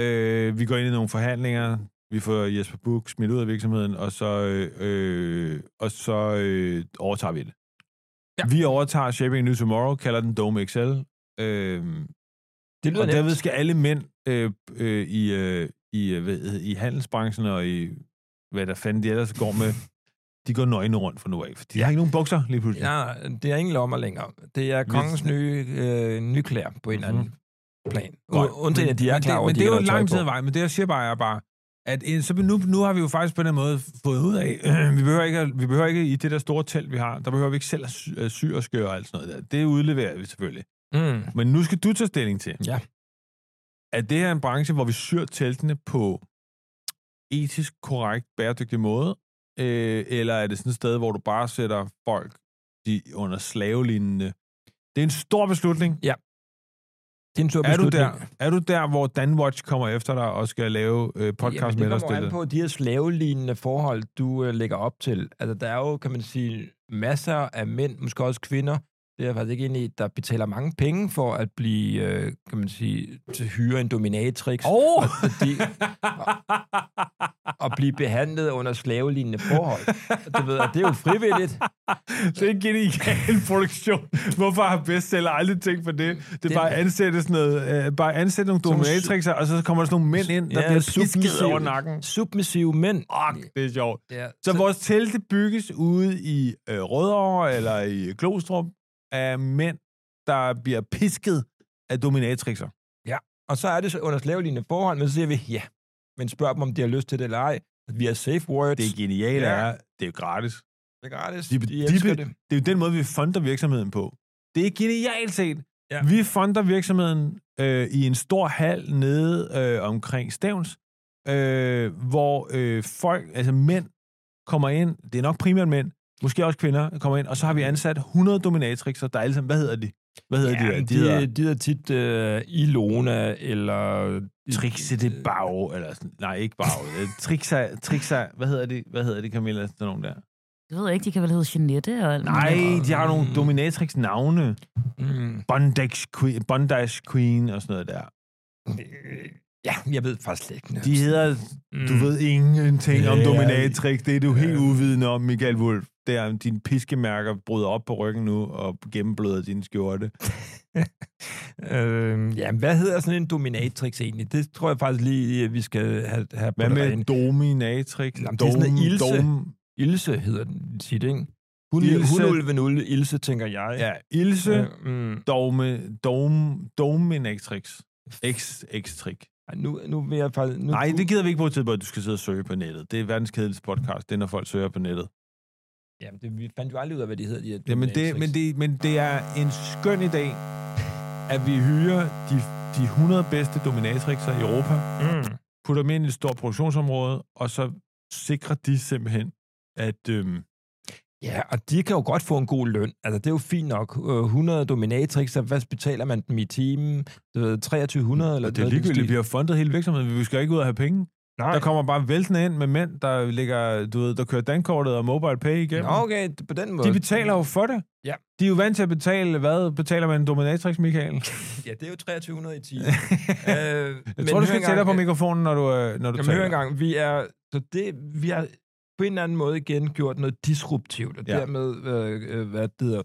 Speaker 2: Øh, vi går ind i nogle forhandlinger. Vi får Jesper Buch smidt ud af virksomheden, og så, øh, øh, og så øh, overtager vi det.
Speaker 1: Ja.
Speaker 2: Ja. Vi overtager Shaping a New Tomorrow, kalder den Dome XL. Øh,
Speaker 1: det lyder
Speaker 2: og derved
Speaker 1: nemt.
Speaker 2: skal alle mænd øh, øh, i, øh, i, øh, hvad, hedder- i handelsbranchen og i, hvad der fanden de ellers går med, de går nøgne rundt fra nu af. For de ja. har ikke nogen bukser lige pludselig. Ja.
Speaker 1: Ja, det er ingen lommer længere. Det er kongens nye, øh, nye klæder på en eller anden plan. U- Undtagen, at de er klar over,
Speaker 2: Mhm. Men
Speaker 1: at
Speaker 2: det er
Speaker 1: de
Speaker 2: jo
Speaker 1: ikke har
Speaker 2: lang
Speaker 1: tøj
Speaker 2: tid
Speaker 1: på.
Speaker 2: vej, men det jeg siger bare er bare, at en- så nu, nu har vi jo faktisk på den måde fået ud af, <clears throat> vi, behøver ikke, at- vi behøver ikke i det der store telt, vi har, der behøver vi ikke selv at sy, at sy og skøre og alt sådan noget der. Det udleverer vi selvfølgelig.
Speaker 1: Mm.
Speaker 2: Men nu skal du tage stilling til.
Speaker 1: Ja.
Speaker 2: Er det her en branche, hvor vi syr teltene på etisk korrekt, bæredygtig måde? Øh, eller er det sådan et sted, hvor du bare sætter folk de under slavelignende? Det er en stor beslutning.
Speaker 1: Det er en stor
Speaker 2: Er du,
Speaker 1: beslutning.
Speaker 2: der, er du der, hvor Danwatch kommer efter dig og skal lave øh, podcast
Speaker 1: Jamen,
Speaker 2: med dig?
Speaker 1: det kommer an
Speaker 2: stillet?
Speaker 1: på de her slavelignende forhold, du øh, lægger op til. Altså, der er jo, kan man sige, masser af mænd, måske også kvinder, det er jeg faktisk ikke enig i, der betaler mange penge for at blive, øh, kan man sige, til hyre en dominatrix.
Speaker 2: Åh!
Speaker 1: Og,
Speaker 2: <laughs>
Speaker 1: fordi, og, og blive behandlet under slavelignende forhold. Du ved, og det er jo frivilligt.
Speaker 2: Det er en genial <laughs> produktion. Hvorfor har bestseller aldrig tænkt på det? Det er
Speaker 1: Det-
Speaker 2: bare at ansætte sådan noget, øh, bare ansætte nogle
Speaker 1: nogle
Speaker 2: dominatrixer, og så kommer der sådan nogle mænd ind, der ja, bliver pisket over nakken.
Speaker 1: Submissive mænd.
Speaker 2: Fuck, det er sjovt.
Speaker 1: Ja.
Speaker 2: Så vores telte bygges ude i øh, Rødovre eller i Klostrup af mænd, der bliver pisket af dominatrixer.
Speaker 1: Og så er det så under slavelignende forhold, men så siger vi, ja, men spørg dem, om de har lyst til det eller ej. Vi har safe words.
Speaker 2: Det geniale
Speaker 1: Ja.
Speaker 2: ja. er, det er jo gratis.
Speaker 1: Det er gratis.
Speaker 2: De-
Speaker 1: De,
Speaker 2: de-
Speaker 1: de elsker det.
Speaker 2: Det er jo den måde, vi funder virksomheden på. Det er genialt set.
Speaker 1: Ja.
Speaker 2: Ja. Vi funder virksomheden øh, i en stor hal nede øh, omkring Stævns, øh, hvor øh, folk, altså mænd, kommer ind. Det er nok primært mænd, måske også kvinder, kommer ind. Og så har vi ansat 100 dominatrixer, der er alle sammen, hvad hedder de? Hvad hedder de? der?
Speaker 1: de,
Speaker 2: De hedder
Speaker 1: de hedder tit øh, Ilona, eller... øh,
Speaker 2: Trixe det bag, eller sådan. Nej, ikke <laughs> bag. Trixa, Trixa, hvad hedder de? Hvad hedder de, Camilla? Sådan nogle der.
Speaker 3: Det ved jeg ikke, de kan vel hedde Jeanette? Og alt muligt.
Speaker 2: Nej, de har nogle
Speaker 1: Mm.
Speaker 2: dominatrix-navne.
Speaker 1: Mm,
Speaker 2: Bondage Queen, Bondage Queen og sådan noget der.
Speaker 1: øh, ja, jeg ved faktisk slet ikke.
Speaker 2: De hedder, du
Speaker 1: Mm,
Speaker 2: ved ingenting om
Speaker 1: Ja,
Speaker 2: dominatrix. Det er du helt
Speaker 1: ja.
Speaker 2: uvidende om, Michael Wolf. Det er, dine piskemærker bryder op på ryggen nu og gennembløder din skjorte.
Speaker 1: Øh, ja, hvad hedder sådan en dominatrix egentlig? Det tror jeg faktisk lige, at vi skal have, have
Speaker 2: Hvad
Speaker 1: på det
Speaker 2: med
Speaker 1: rene.
Speaker 2: dominatrix?
Speaker 1: Jamen, det er sådan noget Ilse.
Speaker 2: dom.
Speaker 1: Ilse hedder den tit, ikke? Hun,
Speaker 2: Ilse.
Speaker 1: hun ulven ulve, Ilse, tænker jeg.
Speaker 2: Ja, Ilse, ja.
Speaker 1: Øh, mm.
Speaker 2: dome, dom, dominatrix. X, x -trick.
Speaker 1: Ej, Nu, nu vil jeg faktisk... Nu,
Speaker 2: Nej, det gider vi ikke bruge tid på, at du skal sidde og søge på nettet. Det er verdens kedeligste podcast, det er, når folk søger på nettet.
Speaker 1: Jamen, det, vi fandt jo aldrig ud af, hvad de hedder, de her
Speaker 2: Jamen det, men, det, men det er en skøn idé, at vi hyrer de, de 100 bedste dominatrixer i Europa,
Speaker 1: Mm.
Speaker 2: putter dem ind i et stort produktionsområde, og så sikrer de simpelthen, at... Øhm,
Speaker 1: Ja, og de kan jo godt få en god løn. Altså, det er jo fint nok. Øh, 100 dominatrixer, hvad betaler man dem i timen? Du ved, 2300 eller
Speaker 2: det er
Speaker 1: noget i den
Speaker 2: ligegyldigt, vi
Speaker 1: stil.
Speaker 2: har fundet hele virksomheden, vi skal ikke ud og have penge.
Speaker 1: Nej.
Speaker 2: Der kommer bare væltende ind med mænd, der ligger, du ved, der kører dankortet og mobile pay igennem.
Speaker 1: Nå, okay, det- på den måde.
Speaker 2: De betaler jo for det.
Speaker 1: Ja.
Speaker 2: De er jo vant til at betale, hvad betaler man en dominatrix, Michael?
Speaker 1: Ja, det er jo 2300 i
Speaker 2: <laughs>
Speaker 1: timen. øh,
Speaker 2: Jeg
Speaker 1: men
Speaker 2: tror, du
Speaker 1: hør
Speaker 2: skal
Speaker 1: engang,
Speaker 2: tættere på mikrofonen, når du, øh, når du
Speaker 1: Jamen, hør engang, vi er... Så det, vi har på en eller anden måde igen gjort noget disruptivt, og
Speaker 2: Ja.
Speaker 1: ja. dermed, øh, øh, hvad det hedder,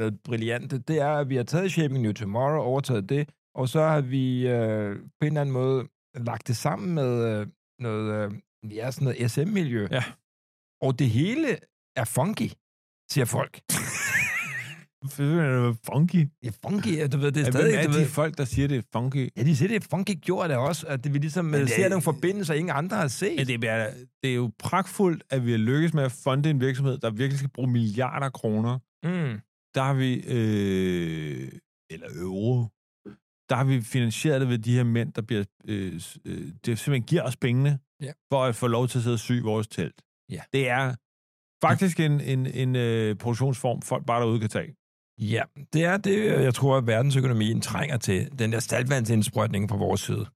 Speaker 1: noget brillante, det er, at vi har taget Shaping New Tomorrow, overtaget det, og så har vi øh, på en eller anden måde lagt det sammen med øh, noget, øh, ja, sådan noget SM-miljø.
Speaker 2: Ja.
Speaker 1: Og det hele er funky, siger folk.
Speaker 2: Det er funky.
Speaker 1: Ja, funky, ja, du ved, det er
Speaker 2: Ja,
Speaker 1: stadig...
Speaker 2: Hvem
Speaker 1: du
Speaker 2: er
Speaker 1: ved,
Speaker 2: de folk, der siger, det er funky?
Speaker 1: ja, de siger, det er funky gjort af os, at det, vi ligesom
Speaker 2: det
Speaker 1: det,
Speaker 2: er-
Speaker 1: ser nogle forbindelser, ingen andre har set.
Speaker 2: Ja, det, er, det er jo pragtfuldt, at vi har lykkes med at funde en virksomhed, der virkelig skal bruge milliarder af kroner.
Speaker 1: mm.
Speaker 2: Der har vi, øh, eller euro, der har vi finansieret det ved de her mænd, der bliver, øh, s- øh, det simpelthen giver os pengene,
Speaker 1: Ja.
Speaker 2: for at få lov til at sidde og sy vores telt.
Speaker 1: Ja.
Speaker 2: Det er faktisk en, en, en øh, produktionsform, folk bare derude kan tage.
Speaker 1: Ja, det er det, jeg tror, at verdensøkonomien trænger til. Den der saltvandsindsprøjtning fra vores side.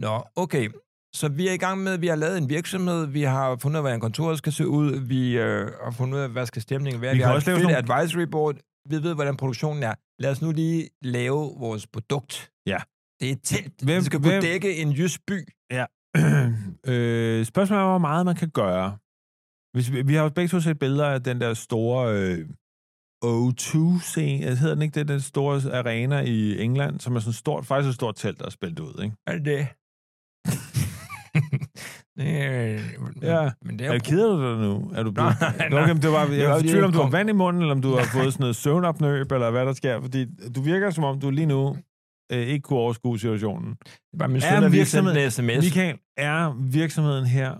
Speaker 1: Nå, okay. Så vi er i gang med, at vi har lavet en virksomhed, vi har fundet ud af, hvordan kontoret skal se ud, vi øh, har fundet ud af, hvad skal stemningen være,
Speaker 2: Vi
Speaker 1: vi, vi
Speaker 2: kan
Speaker 1: har
Speaker 2: også
Speaker 1: også
Speaker 2: lave
Speaker 1: et fedt advisory board, vi ved, hvordan produktionen er. Lad os nu lige lave vores produkt.
Speaker 2: Ja.
Speaker 1: Det er et telt.
Speaker 2: Hvem-
Speaker 1: Hvem, det skal kunne
Speaker 2: hvem-
Speaker 1: dække en jysk by.
Speaker 2: <clears throat> øh, spørgsmålet er, hvor meget man kan gøre. Hvis vi, vi har jo begge to set billeder af den der store øh, O2-scene, altså hedder den ikke det, den store arena i England, som er sådan stort, faktisk et stort telt, der er spillet ud, ikke?
Speaker 1: Er det
Speaker 2: <laughs>
Speaker 1: det? det er,
Speaker 2: Ja.
Speaker 1: Men det er
Speaker 2: Er
Speaker 1: jo
Speaker 2: du keder du dig nu? Er du blevet...
Speaker 1: <laughs> Nej, nej.
Speaker 2: Nå, okay, men det var, jeg
Speaker 1: Det var
Speaker 2: var i
Speaker 1: lige
Speaker 2: tvivl, om du har
Speaker 1: kom-
Speaker 2: vand i munden, eller om du har fået sådan noget søvnopnøb, eller hvad der sker, fordi du virker som om, du lige nu øh, ikke kunne overskue situationen.
Speaker 1: Det var min
Speaker 2: Er
Speaker 1: søn, der lige
Speaker 2: virksomhed-
Speaker 1: sendte en sms.
Speaker 2: Michael, er virksomheden her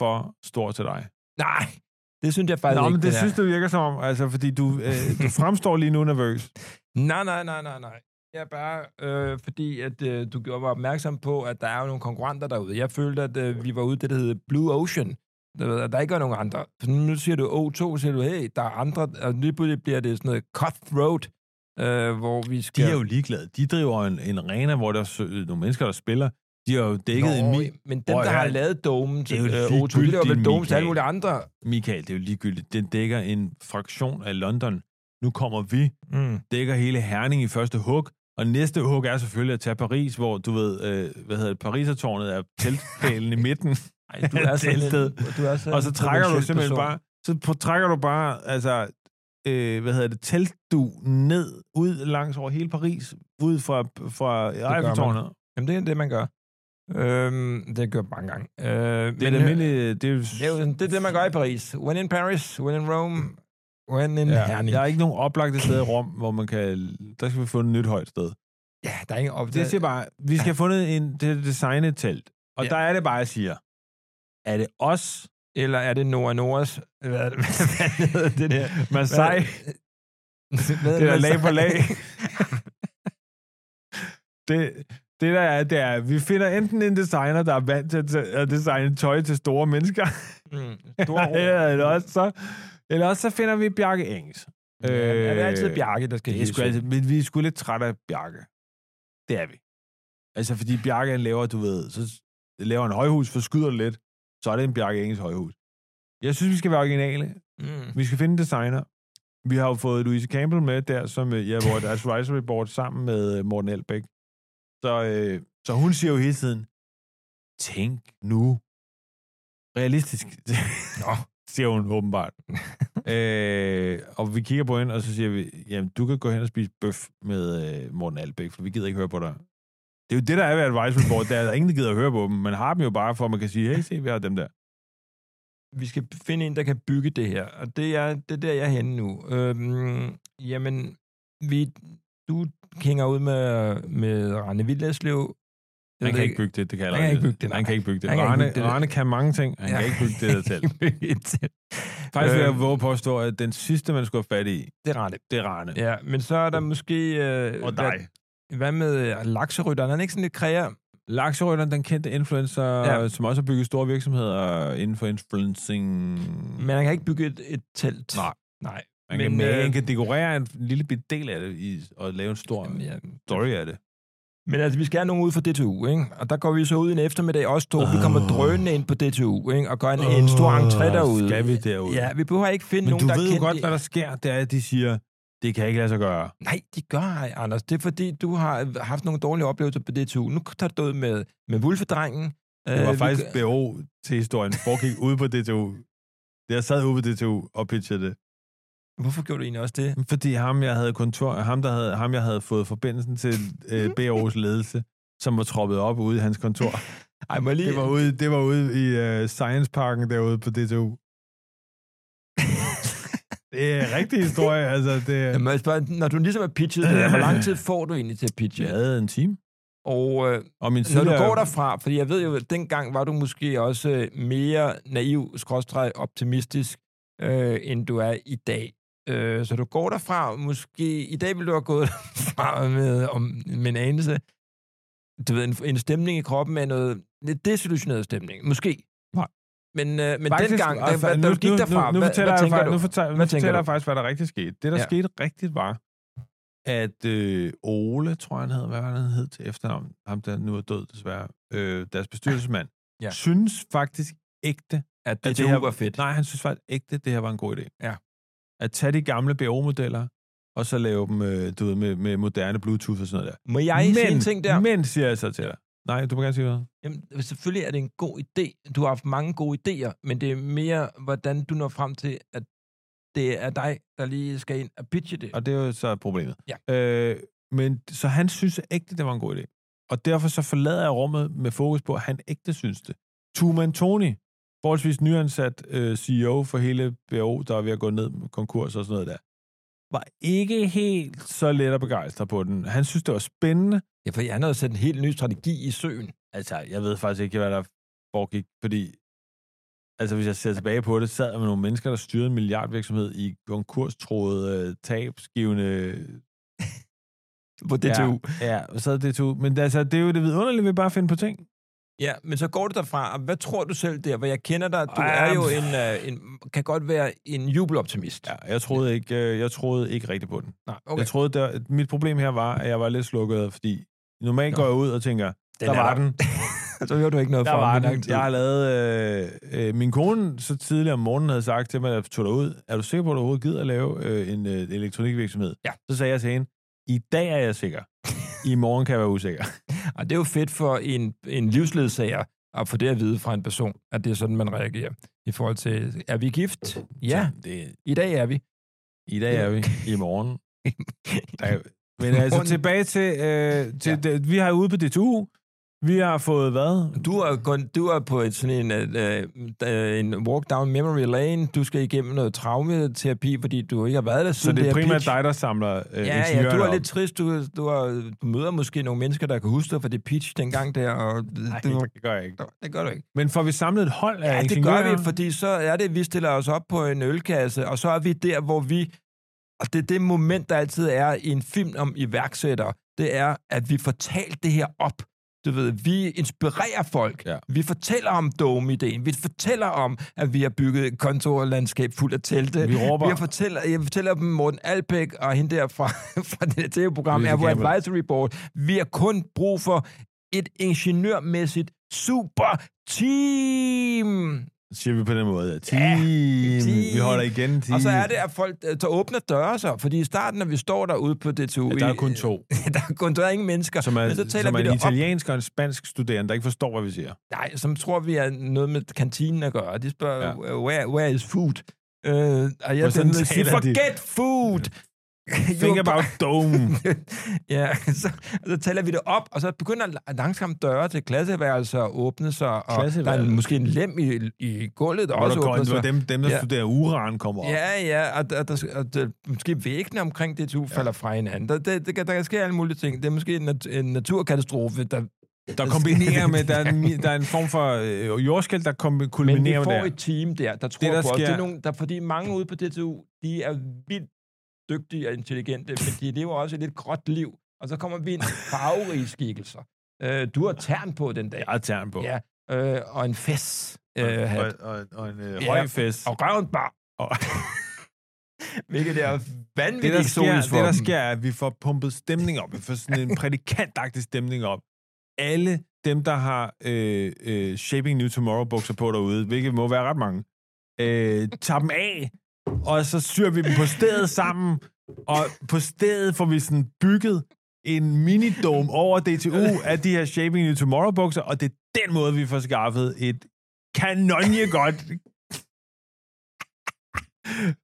Speaker 2: for stor til dig?
Speaker 1: Nej, det synes jeg faktisk
Speaker 2: Nå,
Speaker 1: ikke.
Speaker 2: men det
Speaker 1: der.
Speaker 2: synes du virker som om, altså, fordi du, øh, du fremstår lige nu nervøs.
Speaker 1: Nej, nej, nej, nej, nej. Jeg er bare, øh, fordi at, øh, du gjorde mig opmærksom på, at der er jo nogle konkurrenter derude. Jeg følte, at øh, vi var ude i det, der hedder Blue Ocean. Der, ved, at der ikke var nogen andre. Så nu siger du O2, siger du, hey, der er andre. Og lige pludselig bliver det sådan noget cutthroat, øh, hvor vi
Speaker 2: De
Speaker 1: skal...
Speaker 2: er jo ligeglade. De driver en, en arena, hvor der er sø- øh, nogle mennesker, der spiller. De har jo dækket Nå, en...
Speaker 1: Nå,
Speaker 2: Mi-
Speaker 1: men dem,
Speaker 2: Prøv
Speaker 1: der
Speaker 2: at
Speaker 1: har
Speaker 2: høre.
Speaker 1: lavet domen til
Speaker 2: Det er
Speaker 1: øh,
Speaker 2: jo
Speaker 1: O2, de laver
Speaker 2: ligegyldigt,
Speaker 1: vel domen til alle
Speaker 2: Michael.
Speaker 1: mulige andre.
Speaker 2: Michael, det er jo ligegyldigt. Den dækker en fraktion af London. nu kommer vi,
Speaker 1: Mm.
Speaker 2: dækker hele Herning i første hug, og næste hug er selvfølgelig at tage Paris, hvor du ved, øh, hvad hedder det, Parisertårnet er teltpælen i midten,
Speaker 1: Ej,
Speaker 2: <laughs>
Speaker 1: du er sådan en,
Speaker 2: Deltet.
Speaker 1: du er sådan
Speaker 2: og så
Speaker 1: en
Speaker 2: trækker du
Speaker 1: potentiel
Speaker 2: simpelthen
Speaker 1: person.
Speaker 2: bare, så på, trækker du bare, altså, øh, hvad hedder det, teltdu ned, ud langs over hele Paris, ud fra, fra Eiffeltårnet.
Speaker 1: Jamen, det er det, man gør. Øhm, det har jeg gjort mange gange. Øh,
Speaker 2: Det er et almindeligt, det er,
Speaker 1: det, er jo, sådan- det er det, man gør i Paris. When in Paris, when in Rome, when in ja,
Speaker 2: Ja,
Speaker 1: Herning.
Speaker 2: der er ikke nogen oplagte sted i Rom, hvor man kan... Der skal vi finde et nyt højt sted.
Speaker 1: ja, der er ingen op.
Speaker 2: Det jeg siger bare, vi skal have fundet en, det er designet et telt. Og
Speaker 1: Ja.
Speaker 2: ja. der er det bare, jeg
Speaker 1: <laughs>
Speaker 2: siger, er det os?
Speaker 1: Eller er det Nora Noras? Hvad, er det- <laughs> hvad hedder det
Speaker 2: <laughs>
Speaker 1: der?
Speaker 2: Marseille?
Speaker 1: Hvad,
Speaker 2: Det er
Speaker 1: Marseille?
Speaker 2: lag på lag. det, det der er, det er, vi finder enten en designer, der er vant til at t- at designe tøj til store mennesker,
Speaker 1: <laughs> Mm, store
Speaker 2: <laughs>
Speaker 1: ord.
Speaker 2: eller, eller, også, så, eller også så finder vi Bjarke Engels. Øh,
Speaker 1: Ja, er det altid Bjarke, der skal
Speaker 2: Det er sgu altid, men vi er sgu lidt trætte af Bjarke. Det er vi. Altså, fordi Bjarke han laver, du ved, så s- laver en højhus, forskyder det lidt, så er det en Bjarke Engels højhus. Jeg synes, vi skal være originale.
Speaker 1: Mm.
Speaker 2: Vi skal finde en designer. Vi har jo fået Louise Campbell med der, som øh, ja, vores advisory board sammen med øh, Morten Elbæk. Så, øh, så hun siger jo hele tiden, tænk nu realistisk,
Speaker 1: Nå,
Speaker 2: <laughs> siger hun åbenbart.
Speaker 1: Mm.
Speaker 2: øh, og vi kigger på hende, og så siger vi, jamen du kan gå hen og spise bøf med øh, Morten Albæk, for vi gider ikke høre på dig. Det er jo det, der er ved advisory board, der er der ingen, der gider at høre på dem. Man har dem jo bare for, at man kan sige, hey, se, vi har dem der.
Speaker 1: vi skal finde en, der kan bygge det her. Og det er, det er der, jeg er henne nu. Øhm, jamen, vi, du hænger ud med, med Rane Vildeslev.
Speaker 2: Han kan ikke bygge det, det kan
Speaker 1: Han kan ikke bygge det, nej.
Speaker 2: Han kan ikke bygge det.
Speaker 1: Han kan ikke
Speaker 2: Arne,
Speaker 1: bygge det.
Speaker 2: Arne kan mange ting, han
Speaker 1: Ja.
Speaker 2: ja. kan ikke bygge det der selv.
Speaker 1: <laughs> bygge et telt.
Speaker 2: Faktisk vil
Speaker 1: Øh.
Speaker 2: jeg våge påstå, at den sidste, man skulle have fat i,
Speaker 1: Det er Rane.
Speaker 2: det er Arne. Ja.
Speaker 1: Ja, men så er der måske... Øh,
Speaker 2: Og dig.
Speaker 1: Hvad, hvad med øh, lakserytteren? Er han ikke sådan lidt kræer?
Speaker 2: Lakserødderen, den kendte influencer,
Speaker 1: Ja.
Speaker 2: ja. som også har bygget store virksomheder inden for influencing.
Speaker 1: Men han kan ikke bygge et, et telt.
Speaker 2: Nej.
Speaker 1: Nej.
Speaker 2: Man kan,
Speaker 1: Men,
Speaker 2: men, male,
Speaker 1: øh,
Speaker 2: han kan dekorere en lille bit del af det i, og lave en stor
Speaker 1: Jamen, ja.
Speaker 2: story af det.
Speaker 1: Men altså, vi skal have nogen ud fra DTU, ikke? Og der går vi så ud en eftermiddag, os to. Vi kommer
Speaker 2: Åh.
Speaker 1: drønende ind på DTU, ikke? Og gør en, en stor entré derude.
Speaker 2: Skal vi derude?
Speaker 1: Ja, vi behøver ikke finde
Speaker 2: men
Speaker 1: nogen,
Speaker 2: du
Speaker 1: der
Speaker 2: ved jo
Speaker 1: kendt
Speaker 2: godt, hvad der sker, det er, at de siger, det kan ikke lade sig gøre.
Speaker 1: Nej, de gør ej, Anders. Det er fordi, du har haft nogle dårlige oplevelser på DTU. Nu tager du ud med, med Wulfedrengen.
Speaker 2: Det var
Speaker 1: vi
Speaker 2: faktisk
Speaker 1: gør-
Speaker 2: BO til historien, foregik ude på DTU. Jeg sad ude på DTU og pitchede det.
Speaker 1: Hvorfor gjorde du egentlig også det?
Speaker 2: Fordi ham, jeg havde kontor, ham, der havde, ham, jeg havde fået forbindelsen til <laughs> øh, BO's ledelse, som var troppet op ude i hans kontor.
Speaker 1: Ej, må jeg lige...
Speaker 2: Det var ude, det var ude i øh, Science Parken derude på <laughs> DTU. Det er en rigtig historie, altså. Det,
Speaker 1: Jamen, jeg spørger, når du ligesom er pitchet, det der, hvor lang tid får du egentlig til at pitche?
Speaker 2: jeg havde en time.
Speaker 1: Og øh,
Speaker 2: Og min
Speaker 1: når du
Speaker 2: tidligere-
Speaker 1: går derfra, fordi jeg ved jo, at dengang var du måske også øh, mere naiv, skråstreg optimistisk, øh, end du er i dag. Øh, så du går derfra, måske i dag ville du have gået <laughs> derfra med, om, med en anelse, du ved, en, en stemning i kroppen af noget lidt desillusioneret stemning, måske.
Speaker 2: Nej.
Speaker 1: Men, øh, men
Speaker 2: Faktisk,
Speaker 1: dengang, da,
Speaker 2: altså,
Speaker 1: da, da
Speaker 2: nu-
Speaker 1: du gik
Speaker 2: nu-
Speaker 1: derfra,
Speaker 2: nu, nu,
Speaker 1: hvad,
Speaker 2: fortæller
Speaker 1: hvad
Speaker 2: jeg
Speaker 1: tænker
Speaker 2: faktisk-
Speaker 1: du?
Speaker 2: Nu fortæller, nu
Speaker 1: Hvad tænker
Speaker 2: fortæller
Speaker 1: du?
Speaker 2: jeg faktisk, hvad der rigtig skete. Det, der
Speaker 1: Ja.
Speaker 2: ja. skete rigtigt, var, at øh, Ole, tror jeg, han hed, hvad var det, han hed til efternavn, ham der nu er død desværre, øh, deres bestyrelsesmand,
Speaker 1: Ja.
Speaker 2: ja. synes faktisk ægte,
Speaker 1: at
Speaker 2: at
Speaker 1: det, det her var fedt.
Speaker 2: Nej, han synes faktisk ægte, det her var en god idé.
Speaker 1: Ja.
Speaker 2: At tage de gamle BO-modeller, og så lave dem øh, du ved, med, med moderne Bluetooth og sådan noget der.
Speaker 1: Må jeg men, sige en ting der?
Speaker 2: men, siger jeg så til dig. Nej, du må gerne sige noget.
Speaker 1: Jamen, øh, selvfølgelig er det en god idé. Du har haft mange gode idéer, men det er mere, hvordan du når frem til, at det er dig, der lige skal ind og pitche det.
Speaker 2: Og det er jo så problemet.
Speaker 1: Ja.
Speaker 2: Øh, men så han synes ægte, det var en god idé. Og derfor så forlader jeg rummet med fokus på, at han ægte synes det. Tuman Tony, forholdsvis nyansat øh, CEO for hele BO, der er ved at gå ned med konkurs og sådan noget der, var ikke helt så let at begejstre på den. Han synes, det var spændende.
Speaker 1: Ja, for han har jo sat en helt ny strategi i søen.
Speaker 2: Altså, jeg ved faktisk ikke, hvad der foregik, fordi altså, hvis jeg ser tilbage på det, sad jeg med nogle mennesker, der styrede en milliardvirksomhed i konkurstroede, øh, tabsgivende
Speaker 1: På DTU.
Speaker 2: Ja, ja så er det DTU. Men altså, det er jo det vidunderlige ved bare at finde på ting.
Speaker 1: Ja. ja, men så går du derfra, og hvad tror du selv der? Hvor jeg kender dig, du
Speaker 2: Ej,
Speaker 1: er jo
Speaker 2: men-
Speaker 1: en, øh, en, kan godt være en jubeloptimist.
Speaker 2: Ja, jeg troede ikke, øh, jeg troede ikke rigtigt på den. Okay.
Speaker 1: Nej, okay.
Speaker 2: Jeg troede, der, mit problem her var, at jeg var lidt slukket, fordi normalt
Speaker 1: Nå.
Speaker 2: går jeg ud og tænker,
Speaker 1: den
Speaker 2: der
Speaker 1: er
Speaker 2: var
Speaker 1: der.
Speaker 2: den.
Speaker 1: <laughs> så hører du ikke noget
Speaker 2: Der
Speaker 1: fra
Speaker 2: var
Speaker 1: ham i lang
Speaker 2: den.
Speaker 1: tid.
Speaker 2: Jeg har lavet... Øh, øh, min kone så tidligere om morgenen havde sagt til mig, at jeg tog dig ud. Er du sikker på, at du overhovedet gider at lave øh, en øh, elektronikvirksomhed?
Speaker 1: Ja.
Speaker 2: Så sagde jeg til hende, i dag er jeg sikker. I morgen kan jeg være usikker.
Speaker 1: Og det er jo fedt for en, en livsledsager at få det at vide fra en person, at det er sådan, man reagerer i forhold til, er vi gift? Ja,
Speaker 2: Så Det,
Speaker 1: i dag er vi.
Speaker 2: I dag er vi. I
Speaker 1: <laughs>
Speaker 2: morgen. Der, men
Speaker 1: I
Speaker 2: altså
Speaker 1: morgen.
Speaker 2: tilbage til... Øh, til ja. det, vi har ude på DTU. Vi har fået hvad?
Speaker 1: Du er, kun, du er på et, sådan en, øh, øh, en walk down memory lane. Du skal igennem noget traumeterapi, fordi du ikke har været der
Speaker 2: Så
Speaker 1: siden
Speaker 2: det er
Speaker 1: her
Speaker 2: primært
Speaker 1: pitch.
Speaker 2: dig, der samler øh,
Speaker 1: Ja, ja,
Speaker 2: ingeniørerne
Speaker 1: du er
Speaker 2: op.
Speaker 1: lidt trist. Du, du, er, du møder måske nogle mennesker, der kan huske dig for det pitch dengang der. Og det,
Speaker 2: Nej,
Speaker 1: det,
Speaker 2: det gør jeg ikke.
Speaker 1: det gør du ikke.
Speaker 2: Men får vi samlet et hold af
Speaker 1: Ja, det gør
Speaker 2: ingeniører?
Speaker 1: vi, fordi så er det, at vi stiller os op på en ølkasse, og så er vi der, hvor vi... Og det er det moment, der altid er i en film om iværksættere. Det er, at vi får talt det her op. Du ved, vi inspirerer folk.
Speaker 2: Ja.
Speaker 1: Vi fortæller om Dome-ideen. Vi fortæller om, at vi har bygget et kontorlandskab fuldt af telte.
Speaker 2: Vi råber-
Speaker 1: Jeg fortæller, jeg fortæller dem, Morten Albæk og hende der fra, <laughs> fra det her tv-program,
Speaker 2: Lisa
Speaker 1: er vores
Speaker 2: Campbell.
Speaker 1: advisory board. Vi har kun brug for et ingeniørmæssigt super team.
Speaker 2: siger vi på den måde. Team.
Speaker 1: Ja,
Speaker 2: Ja,
Speaker 1: team.
Speaker 2: Vi holder igen team.
Speaker 1: Og så er det, at folk øh, så åbner døre så, fordi i starten, når vi står derude på DTU,
Speaker 2: Ja, der er kun to,
Speaker 1: <laughs> der er kun der er ingen mennesker,
Speaker 2: som er,
Speaker 1: men så taler
Speaker 2: som er
Speaker 1: vi det
Speaker 2: en
Speaker 1: op.
Speaker 2: italiensk og en spansk studerende, der ikke forstår, hvad vi siger.
Speaker 1: Nej, som tror, vi er noget med kantinen at gøre. De spørger,
Speaker 2: Ja.
Speaker 1: ja. where, where is food? Øh, og jeg
Speaker 2: Og sådan
Speaker 1: sådan sige,
Speaker 2: taler de.
Speaker 1: forget food! You
Speaker 2: Think
Speaker 1: <laughs> are-
Speaker 2: about dome.
Speaker 1: <laughs> ja, så, så taler vi det op, og så begynder la- langsomt døre til klasseværelser at åbne sig, og der er
Speaker 2: Klasseværelser?
Speaker 1: en, måske en lem i, i gulvet, der
Speaker 2: Hvor
Speaker 1: også
Speaker 2: der går,
Speaker 1: åbner
Speaker 2: en- hvor
Speaker 1: sig.
Speaker 2: dem, dem, der
Speaker 1: Ja.
Speaker 2: studerer uran, kommer op.
Speaker 1: Ja, ja, og, der, og, der, og der, måske væggene omkring det ja. falder fra hinanden. Der, der, der, der, der sker alle mulige ting. Det er måske en, nat- en naturkatastrofe, der,
Speaker 2: Der kombinerer med, der er en, der er en form for øh, jordskæld, der kombi-
Speaker 1: men vi
Speaker 2: kulminerer med
Speaker 1: får
Speaker 2: det.
Speaker 1: et team der, der tror
Speaker 2: der
Speaker 1: på os. Det
Speaker 2: sker-
Speaker 1: er nogen, der, fordi mange ude på DTU, de er vildt dygtige og intelligente, men de lever også et lidt gråt liv, og så kommer vi ind i farverige skikkelser. Øh, du har tern på den dag,
Speaker 2: Jeg har tern på.
Speaker 1: Ja, øh, og en fes. Øh,
Speaker 2: og,
Speaker 1: hat.
Speaker 2: og, og en øh,
Speaker 1: Ja.
Speaker 2: høj fest.
Speaker 1: og røven bare.
Speaker 2: Og- <laughs>
Speaker 1: Hvilket er
Speaker 2: det,
Speaker 1: vanvittigt
Speaker 2: der sker,
Speaker 1: eksotisk
Speaker 2: det,
Speaker 1: for
Speaker 2: der
Speaker 1: dem.
Speaker 2: sker, er, at vi får pumpet stemning op. Vi får sådan en prædikantagtig stemning op. Alle dem, der har øh, øh, Shaping New Tomorrow-bukser på derude, hvilket må være ret mange, øh, tager dem af, og så syr vi dem på stedet sammen, og på stedet får vi sådan bygget en minidom over DTU af de her Shaping New Tomorrow-bukser, og det er den måde, vi får skaffet et kanonje godt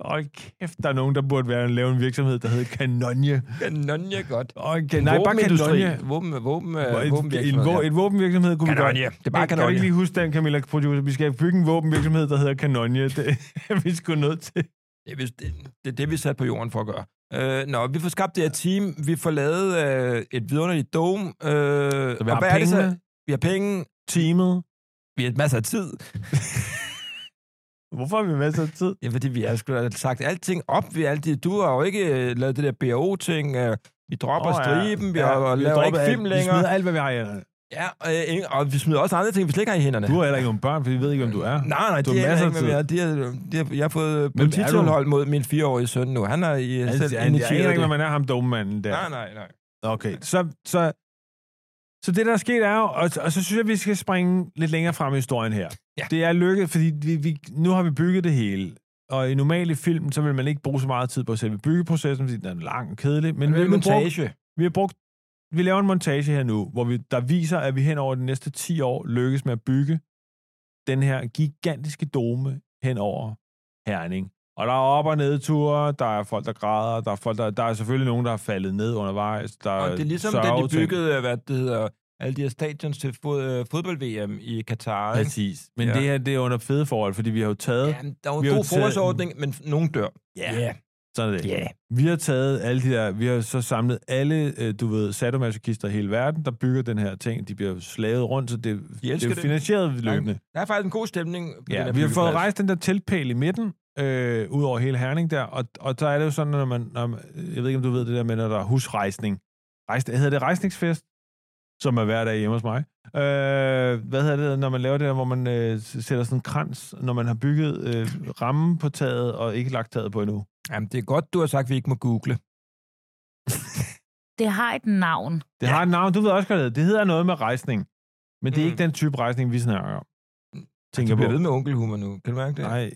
Speaker 2: Åh, kæft, der er nogen, der burde være, lave en virksomhed, der hedder Kanonje.
Speaker 1: Kanonje godt.
Speaker 2: Åh, kan, nej, bare
Speaker 1: Våbenindustri.
Speaker 2: Kanonje.
Speaker 1: Våben, våben, øh,
Speaker 2: Et, en,
Speaker 1: våbenvirksomhed,
Speaker 2: vå-
Speaker 1: ja.
Speaker 2: en våbenvirksomhed kunne vi
Speaker 1: Kanonje.
Speaker 2: godt.
Speaker 1: Det er bare
Speaker 2: Kan- Kan du
Speaker 1: kanonje.
Speaker 2: ikke lige huske den, Camilla, producer? Vi skal bygge en våbenvirksomhed, der hedder Kanonje. Det er vi sgu nødt til.
Speaker 1: Det er, vist- det, det er det, vi er sat på jorden for at gøre. Øh, nå, vi får skabt det her team. Vi får lavet øh, et vidunderligt dome. Øh,
Speaker 2: Så vi
Speaker 1: og
Speaker 2: har
Speaker 1: hvad er det så?
Speaker 2: pengene,
Speaker 1: Vi har penge.
Speaker 2: teamet.
Speaker 1: Vi har masser af tid.
Speaker 2: Hvorfor har vi masser af tid?
Speaker 1: Ja, fordi vi har sgu da sagt alting op. Vi er altid, du har jo ikke øh, lavet det der BO-ting. Øh, vi dropper
Speaker 2: Åh,
Speaker 1: oh,
Speaker 2: ja.
Speaker 1: striben. Vi,
Speaker 2: Ja,
Speaker 1: har,
Speaker 2: vi
Speaker 1: laver
Speaker 2: dropper
Speaker 1: ikke
Speaker 2: alt.
Speaker 1: film
Speaker 2: Vi
Speaker 1: længere.
Speaker 2: smider alt, hvad vi har i hænderne.
Speaker 1: Ja, øh, ingen- og vi smider også andre ting, vi slet ikke har i hænderne.
Speaker 2: Du har heller ikke nogen børn, for vi ved ikke, hvem du er.
Speaker 1: Nej, nej,
Speaker 2: Du
Speaker 1: de
Speaker 2: har
Speaker 1: er
Speaker 2: masser
Speaker 1: ikke med
Speaker 2: af
Speaker 1: mere. De er, de er, jeg har fået
Speaker 2: Hvem er du?
Speaker 1: polititilhold mod min fireårige søn nu. Han har i,
Speaker 2: Altså,
Speaker 1: selv
Speaker 2: jeg aner
Speaker 1: initieret
Speaker 2: ikke,
Speaker 1: det.
Speaker 2: hvad man er, ham dummanden der.
Speaker 1: Nej, nej, nej.
Speaker 2: Okay, så, så, så det, der er sket, er jo, og, og så synes jeg, vi skal springe lidt længere frem i historien her.
Speaker 1: Ja.
Speaker 2: Det er lykket, fordi vi, vi, nu har vi bygget det hele. Og i normale film, så vil man ikke bruge så meget tid på selve byggeprocessen, fordi den er lang og kedelig. Men,
Speaker 1: Men det
Speaker 2: vi,
Speaker 1: er
Speaker 2: har brugt,
Speaker 1: montage.
Speaker 2: vi har brugt vi laver en montage her nu, hvor vi, der viser, at vi hen over de næste 10 år lykkes med at bygge den her gigantiske dome hen over Herning. Og der er op- og nedture, der er folk, der græder, der er, folk, der, der er selvfølgelig nogen, der er faldet ned undervejs. Der
Speaker 1: Og
Speaker 2: er
Speaker 1: det er ligesom, da de
Speaker 2: sørgeting.
Speaker 1: byggede, øh, hvad det hedder, alle de her stadions til fod, øh, fodbold-VM i Katar. ikke?
Speaker 2: Præcis. Men
Speaker 1: Ja.
Speaker 2: ja. det her, det er under fede forhold, fordi vi har jo taget...
Speaker 1: Ja, men der er jo
Speaker 2: Vi
Speaker 1: en
Speaker 2: har
Speaker 1: god
Speaker 2: jo taget-
Speaker 1: forårsordning, men f- nogen dør.
Speaker 2: Sådan er det.
Speaker 1: Ja.
Speaker 2: Vi har taget alle de der... Vi har så samlet alle, øh, du ved, sadomasochister i hele verden, der bygger den her ting. De bliver slavet rundt, så det,
Speaker 1: De
Speaker 2: det
Speaker 1: elsker
Speaker 2: er
Speaker 1: det.
Speaker 2: finansieret løbende.
Speaker 1: Der er faktisk en god stemning. på den
Speaker 2: Ja,
Speaker 1: her
Speaker 2: vi har fået
Speaker 1: byggeplads.
Speaker 2: rejst den der teltpæl i midten, øh, ud over hele Herning der, og, og så er det jo sådan, når man, når man... Jeg ved ikke, om du ved det der med, når der er husrejsning. Rejs, hedder det rejsningsfest? Som er hver dag hjemme hos mig. Øh, hvad hedder det, når man laver det der, hvor man øh, s- sætter sådan en krans, når man har bygget øh, rammen på taget, og ikke lagt taget på endnu?
Speaker 1: Jamen, det er godt, du har sagt, at vi ikke må google.
Speaker 4: Det har et navn.
Speaker 2: Det ja. har et navn, du ved også godt, hvad det hedder. Det hedder noget med rejsning. Men det er
Speaker 1: Mm.
Speaker 2: ikke den type rejsning, vi snakker om.
Speaker 1: Du
Speaker 2: Tænker
Speaker 1: bliver
Speaker 2: på.
Speaker 1: ved med onkelhumor nu. Kan du mærke det?
Speaker 2: Nej,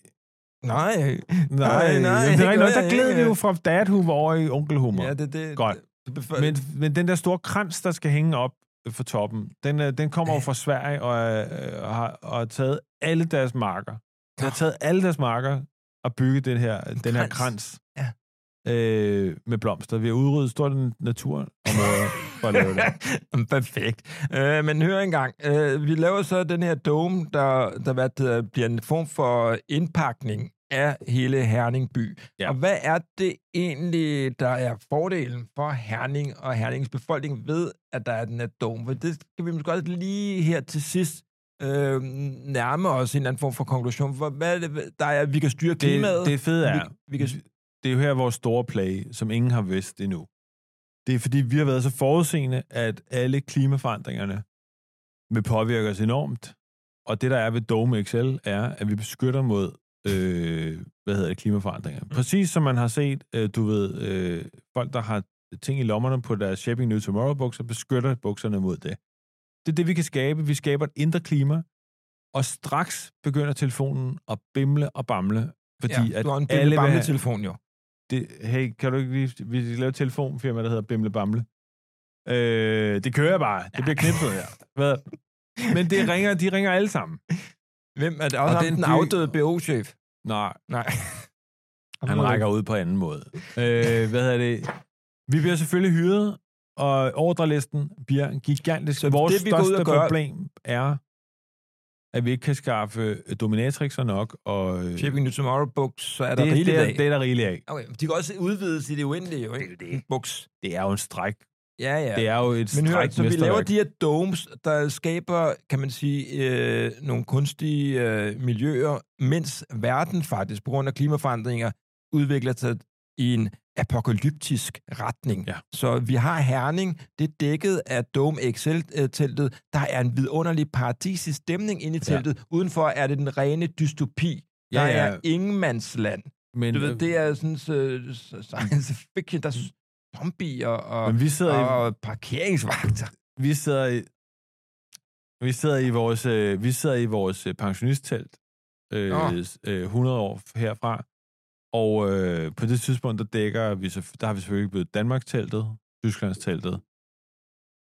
Speaker 1: Nej.
Speaker 2: nej,
Speaker 1: nej,
Speaker 2: nej. Det
Speaker 1: det
Speaker 2: er
Speaker 1: gør
Speaker 2: rigtigt, nok.
Speaker 1: jeg
Speaker 2: der gled
Speaker 1: ikke.
Speaker 2: vi jo fra dadhumor over i onkelhumor.
Speaker 1: Ja, det, det,
Speaker 2: Godt.
Speaker 1: Det, det, men,
Speaker 2: Men, men den der store krans, der skal hænge op for toppen, den, øh, den kommer jo fra Sverige og, øh, og, har, og har taget alle deres marker. De har taget alle deres marker og bygget den her, den her krans
Speaker 1: krans. Ja.
Speaker 2: øh, med blomster. Vi har udryddet stort naturområde for at
Speaker 1: <laughs>
Speaker 2: lave det.
Speaker 1: <laughs> Jamen, Perfekt. Øh, men hør engang. Øh, vi laver så den her dome, der, der hvad det hedder, bliver en form for indpakning af hele Herning by.
Speaker 2: Ja.
Speaker 1: Ja. Og hvad er det egentlig, der er fordelen for Herning og Hernings befolkning ved, at der er den her dome? For det skal vi måske også lige her til sidst øh, nærme os en eller anden form for konklusion. For hvad er det, der er, vi kan styre klimaet?
Speaker 2: Det, det fede er,
Speaker 1: Vi- vi kan-
Speaker 2: det er jo her vores store play, som ingen har vidst endnu. Det er fordi, vi har været så forudseende, at alle klimaforandringerne vil påvirke os enormt. Og det, der er ved Dome XL, er, at vi beskytter mod øh, hvad hedder det, klimaforandringer.
Speaker 1: Mm.
Speaker 2: Præcis som man har set, øh, du ved, øh, folk, der har ting i lommerne på deres Shaping New Tomorrow-bukser, beskytter bukserne mod det. Det er det, vi kan skabe. Vi skaber et indre klima, og straks begynder telefonen at bimle og bamle, fordi ja,
Speaker 1: ja,
Speaker 2: at
Speaker 1: du har en
Speaker 2: alle vil have-
Speaker 1: telefon jo.
Speaker 2: det, hey, kan du ikke lige, vi skal lave et telefonfirma, der hedder Bimle Bamle. Øh, det kører bare. Det bliver knippet her. Hvad? Men det ringer, de ringer alle sammen.
Speaker 1: Hvem er det?
Speaker 2: Og
Speaker 1: Også og den,
Speaker 2: den
Speaker 1: den
Speaker 2: by-
Speaker 1: afdøde BO-chef. <laughs>
Speaker 2: Nej,
Speaker 1: Nej.
Speaker 2: han rækker ud på anden måde. Øh, hvad hedder det? Vi bliver selvfølgelig hyret, og ordrelisten bliver gigantisk.
Speaker 1: Så
Speaker 2: Så Vores
Speaker 1: det, vi går ud og
Speaker 2: største
Speaker 1: gør-
Speaker 2: problem er, at vi ikke kan skaffe øh, dominatrixer nok, og øh, det,
Speaker 1: Shipping to Tomorrow Books, så er der
Speaker 2: det,
Speaker 1: rigeligt
Speaker 2: det, er,
Speaker 1: af.
Speaker 2: det er der rigeligt af.
Speaker 1: Okay, de kan også udvides i det uendelige, jo, ikke?
Speaker 2: Det er jo det.
Speaker 1: Books.
Speaker 2: Det er jo en stræk.
Speaker 1: Ja, ja.
Speaker 2: Det er jo et
Speaker 1: Men hør,
Speaker 2: stræk
Speaker 1: så vi laver
Speaker 2: mesterværk.
Speaker 1: de her domes, der skaber, kan man sige, øh, nogle kunstige øh, miljøer, mens verden faktisk, på grund af klimaforandringer, udvikler sig i en apokalyptisk retning.
Speaker 2: Ja.
Speaker 1: Så vi har Herning, det er dækket af Dome XL-teltet. Der er en vidunderlig paradisisk stemning inde i
Speaker 2: Ja.
Speaker 1: teltet. Ja. Udenfor er det den rene dystopi. Der
Speaker 2: Ja, ja.
Speaker 1: er ingenmandsland.
Speaker 2: Men, øh,
Speaker 1: Du ved, det er sådan uh, science fiction, der er zombier og,
Speaker 2: men vi sidder i,
Speaker 1: og parkeringsvagter.
Speaker 2: vi sidder i, vi sidder i vores, øh, vi sidder i vores øh, pensionisttelt øh,
Speaker 1: Nå.
Speaker 2: s- øh, 100 år herfra. Og øh, på det tidspunkt, der dækker vi, så, der har vi selvfølgelig blevet Danmark-teltet, Tysklands-teltet,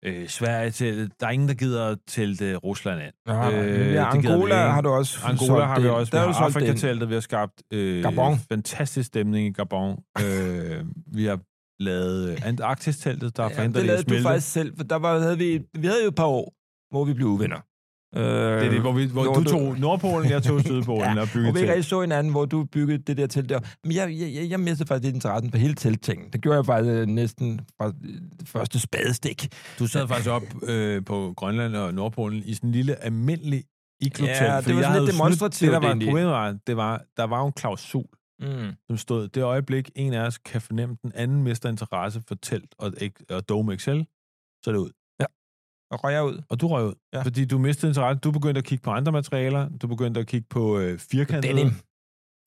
Speaker 2: øh, Sverige-teltet. Der er ingen, der gider at telte Rusland ind.
Speaker 1: Nå,
Speaker 2: Øh,
Speaker 1: øh,
Speaker 2: det
Speaker 1: ja,
Speaker 2: gider vi
Speaker 1: Angola
Speaker 2: ikke.
Speaker 1: har du også
Speaker 2: Angola
Speaker 1: solgt
Speaker 2: har vi
Speaker 1: det.
Speaker 2: også.
Speaker 1: Der
Speaker 2: Der
Speaker 1: har
Speaker 2: vi
Speaker 1: du
Speaker 2: har
Speaker 1: solgt det.
Speaker 2: Afrika-teltet, vi har skabt øh,
Speaker 1: Gabon.
Speaker 2: fantastisk stemning i Gabon. Øh, vi har lavet øh, Antarktis-teltet, der har
Speaker 1: Ja,
Speaker 2: forhindret
Speaker 1: det
Speaker 2: det, i at
Speaker 1: lavede du
Speaker 2: smelte.
Speaker 1: faktisk selv, for der var, havde vi, vi havde jo et par år, hvor vi blev uvenner. Øh,
Speaker 2: Det er det, hvor, vi, hvor
Speaker 1: Hvor
Speaker 2: du
Speaker 1: du-
Speaker 2: tog Nordpolen, jeg tog Sydpolen ja, og
Speaker 1: hvor
Speaker 2: byggede
Speaker 1: vi
Speaker 2: til.
Speaker 1: ikke rigtig så hinanden, hvor du byggede det der telt der. Men jeg, jeg, jeg, jeg mistede faktisk lidt interessen på hele telttingen. Det gjorde jeg faktisk øh, næsten fra øh, første spadestik.
Speaker 2: Du sad faktisk op øh, på Grønland og Nordpolen i sådan en lille almindelig iglotelt.
Speaker 1: Ja, det
Speaker 2: fordi
Speaker 1: var sådan lidt
Speaker 2: jeg havde jo snydt-
Speaker 1: demonstrativt
Speaker 2: Det, der var
Speaker 1: egentlig.
Speaker 2: problemet, var, det var, der var jo en klausul,
Speaker 1: Mm.
Speaker 2: som stod, det øjeblik, en af os kan fornemme, den anden mister interesse for telt og, ek- og Dome Excel, så er det ud.
Speaker 1: Og røg jeg ud.
Speaker 2: Og du røg ud, ja.
Speaker 1: Ja.
Speaker 2: fordi du mistede interesse. Du begyndte at kigge på andre materialer, du begyndte at kigge på øh,
Speaker 1: Denim.
Speaker 2: firkantede,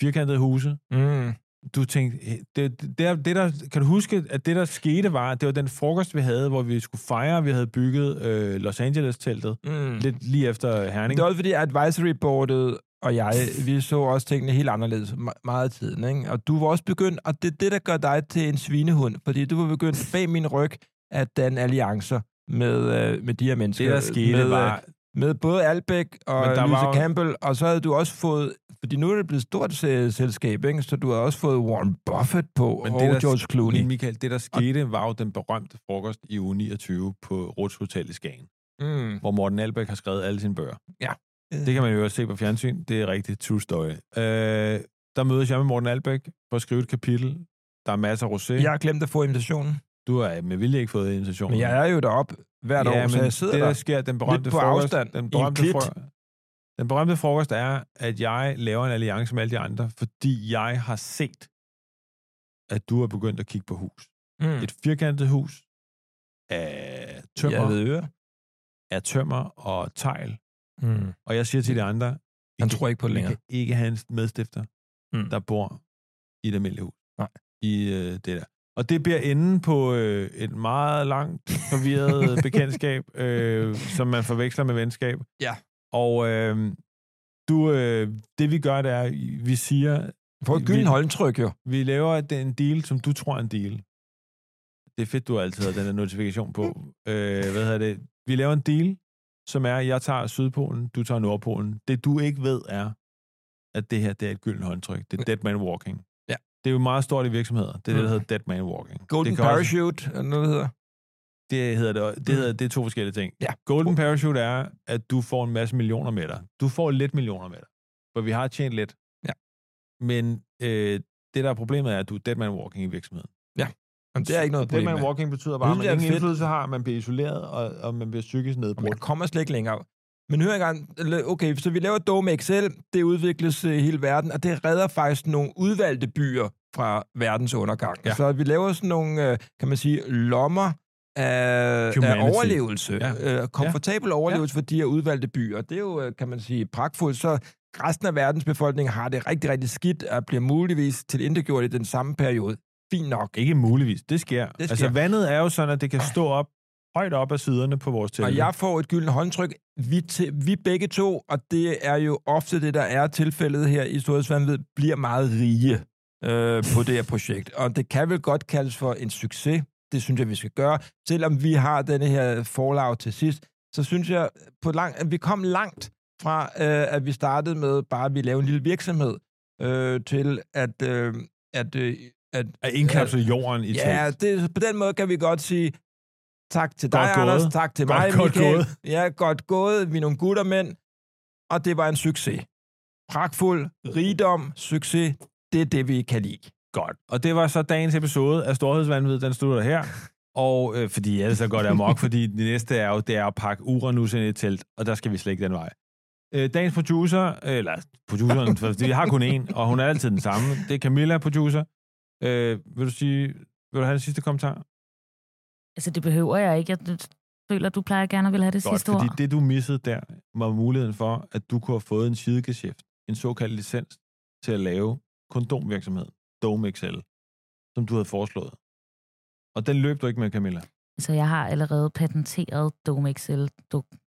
Speaker 2: firkantede huse.
Speaker 1: Mm.
Speaker 2: du tænkte, "Hey, det, det, der, det der, kan du huske, at det der skete var, at det var den frokost, vi havde, hvor vi skulle fejre, at vi havde bygget øh, Los Angeles-teltet,
Speaker 1: Mm.
Speaker 2: lidt lige efter Herning.
Speaker 1: Det er også fordi, at advisory boardet og jeg, vi så også tingene helt anderledes me- meget af tiden. Ikke? Og du var også begyndt, og det er det, der gør dig til en svinehund, fordi du var begyndt bag min ryg at danne alliancer med, øh, med de her mennesker.
Speaker 2: det, der skete
Speaker 1: med, øh,
Speaker 2: var,
Speaker 1: Med både Albæk og
Speaker 2: Men der
Speaker 1: Lise
Speaker 2: var jo-
Speaker 1: Campbell, og så havde du også fået, fordi nu er det blevet et stort øh, selskab, ikke? så du har også fået Warren Buffett på, Men
Speaker 2: Men det
Speaker 1: og
Speaker 2: er der-
Speaker 1: det, George Clooney.
Speaker 2: men Michael, det der skete var jo den berømte frokost i uge 29 på Rots Hotel i Skagen,
Speaker 1: Mm.
Speaker 2: hvor Morten Albæk har skrevet alle sine bøger.
Speaker 1: Ja.
Speaker 2: Det kan man jo også se på fjernsyn. Det er rigtig true story. Øh, der mødes jeg med Morten Albæk for at skrive et kapitel. Der er masser af rosé.
Speaker 1: Jeg har glemt at få invitationen,
Speaker 2: Du har med vilje ikke fået invitationen.
Speaker 1: men jeg er jo deroppe hvert
Speaker 2: ja,
Speaker 1: år, så
Speaker 2: men
Speaker 1: jeg sidder
Speaker 2: det, der
Speaker 1: der.
Speaker 2: sker, den berømte
Speaker 1: på
Speaker 2: frokost,
Speaker 1: afstand, i
Speaker 2: den
Speaker 1: en
Speaker 2: berømte,
Speaker 1: klit.
Speaker 2: fro- den berømte frokost er, at jeg laver en alliance med alle de andre, fordi jeg har set, at du er begyndt at kigge på hus.
Speaker 1: Mm.
Speaker 2: Et firkantet hus af
Speaker 1: Jeg
Speaker 2: tømmer,
Speaker 1: ved øre.
Speaker 2: af tømmer og tegl.
Speaker 1: Mm.
Speaker 2: Og jeg siger til de andre, I
Speaker 1: Han
Speaker 2: kan-
Speaker 1: tror ikke på det
Speaker 2: I
Speaker 1: længere.
Speaker 2: kan ikke have en medstifter,
Speaker 1: Mm.
Speaker 2: der bor i et almindeligt hus.
Speaker 1: Nej.
Speaker 2: I øh, det der. Og det bliver enden på øh, et meget langt,
Speaker 1: <laughs>
Speaker 2: forvirret bekendtskab, øh, som man forveksler med venskab.
Speaker 1: Ja.
Speaker 2: Og øh, du, øh, det vi gør, det er, vi siger,
Speaker 1: Få et
Speaker 2: Vi-
Speaker 1: gylden
Speaker 2: vi-
Speaker 1: håndtryk, jo.
Speaker 2: vi laver den deal, som du tror er en deal. Det er fedt, du har altid har den der notifikation
Speaker 1: <laughs>
Speaker 2: på. Øh, hvad hedder det? Vi laver en deal, som er, jeg tager Sydpolen, du tager Nordpolen. Det du ikke ved er, at det her, det er et gyldent håndtryk. Det er dead man walking.
Speaker 1: Ja.
Speaker 2: Det er jo meget stort i virksomheder. Det er det, der
Speaker 1: Mm.
Speaker 2: hedder dead man walking.
Speaker 1: Golden
Speaker 2: det kan også-
Speaker 1: Parachute, eller noget, det hedder.
Speaker 2: det hedder det, det, hedder, det er to forskellige ting.
Speaker 1: Mm. Ja.
Speaker 2: Golden Parachute er, at du får en masse millioner med dig. Du får lidt millioner med dig, for vi har tjent lidt.
Speaker 1: Ja.
Speaker 2: Men øh, det, der er problemet, er, at du er dead man walking i virksomheden.
Speaker 1: Jamen, det er ikke noget
Speaker 2: Dead
Speaker 1: problem.
Speaker 2: man
Speaker 1: med.
Speaker 2: walking betyder
Speaker 1: Jeg
Speaker 2: bare, at
Speaker 1: synes,
Speaker 2: man
Speaker 1: det er
Speaker 2: ingen
Speaker 1: fedt.
Speaker 2: indflydelse har, man bliver isoleret, og, og man bliver psykisk
Speaker 1: Og Man
Speaker 2: nedbrudt.
Speaker 1: kommer slet ikke længere. Men hør engang, eller, okay, så vi laver Dome Excel, det udvikles øh, i hele verden, og det redder faktisk nogle udvalgte byer fra verdens undergang.
Speaker 2: Ja.
Speaker 1: Ja. Så vi laver sådan nogle, øh, kan man sige, lommer af, af
Speaker 2: Humanity.
Speaker 1: overlevelse.
Speaker 2: Ja.
Speaker 1: Ja. Øh, komfortabel ja. overlevelse for de her udvalgte byer. Det er jo, øh, kan man sige, pragtfuldt. Så resten af verdens befolkning har det rigtig, rigtig skidt, og bliver muligvis tilindegjort i den samme periode. Fint nok.
Speaker 2: Ikke muligvis, det sker. det sker.
Speaker 1: sker.
Speaker 2: Altså vandet er jo sådan, at det kan stå op højt op af siderne på vores tælle.
Speaker 1: Og jeg får et gyldent håndtryk. Vi, til, vi begge to, og det er jo ofte det, der er tilfældet her i Storhedsvandved, bliver meget rige øh, på det her projekt. Og det kan vel godt kaldes for en succes. Det synes jeg, vi skal gøre. Selvom vi har denne her forlag til sidst, så synes jeg, på lang, at vi kom langt fra, øh, at vi startede med bare, at vi lavede en lille virksomhed, øh, til at, øh, at, øh, at
Speaker 2: At indkapsle jorden i telt.
Speaker 1: Ja, det, på den måde kan vi godt sige tak til dig,
Speaker 2: Godt gået.
Speaker 1: Anders. Tak til
Speaker 2: Godt-
Speaker 1: mig,
Speaker 2: godt
Speaker 1: Michael.
Speaker 2: gået.
Speaker 1: Ja, godt gået. Vi er nogle guttermænd, og det var en succes. Pragtfuld, rigdom, succes. Det er det, vi kan lide.
Speaker 2: Godt. Og det var så dagens episode af Storhedsvandvid, den slutter her. Og øh, fordi ellers så går det amok, fordi det næste er jo, det er at pakke Uranus ind i et telt, og der skal vi slet ikke den vej. Øh, dagens producer, eller produceren, for vi har kun en, og hun er altid den samme, det er Camilla, producer. Øh, vil du sige, vil du have den sidste kommentar?
Speaker 3: Altså, det behøver jeg ikke. Jeg føler, du plejer gerne at vil have det
Speaker 2: Godt,
Speaker 3: sidste
Speaker 2: fordi
Speaker 3: ord.
Speaker 2: det du missede der, var muligheden for, at du kunne have fået en sidegeschæft, en såkaldt licens til at lave kondomvirksomhed, Dome XL, som du havde foreslået. Og den løb du ikke med, Camilla.
Speaker 3: Så Altså, jeg har allerede patenteret Domexel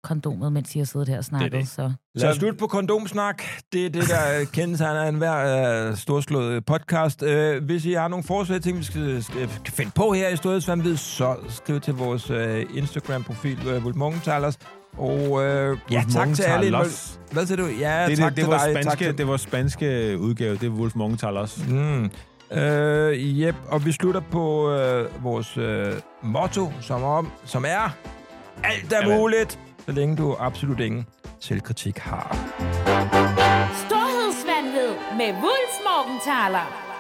Speaker 3: kondomet, mens I har siddet her og snakket.
Speaker 2: det.
Speaker 3: Så
Speaker 1: Lad os slutte på kondomsnak. Det er det, der
Speaker 2: <laughs>
Speaker 1: øh, kendetegner enhver øh, storslået podcast. Øh, hvis I har nogle forslag, ting, vi skal, skal finde på her i Storhedsvandvid, så skriv til vores øh, Instagram-profil, øh, Vultmongentalers. Og øh, ja, tak til alle. invol-
Speaker 2: Los.
Speaker 1: Hvad siger du? Ja,
Speaker 2: Det, er
Speaker 1: tak
Speaker 2: det, det,
Speaker 1: til
Speaker 2: var
Speaker 1: dig. tak
Speaker 2: spanske,
Speaker 1: til
Speaker 2: det var spanske udgave, det er Wolf Morgenthal også.
Speaker 1: Mm. Øh, yep, og vi slutter på øh, vores øh, motto, som, om, som er, alt er
Speaker 2: Jamen.
Speaker 1: muligt, så længe du absolut ingen selvkritik har.
Speaker 5: Storhedsvandhed med Wulf Morgenthaler.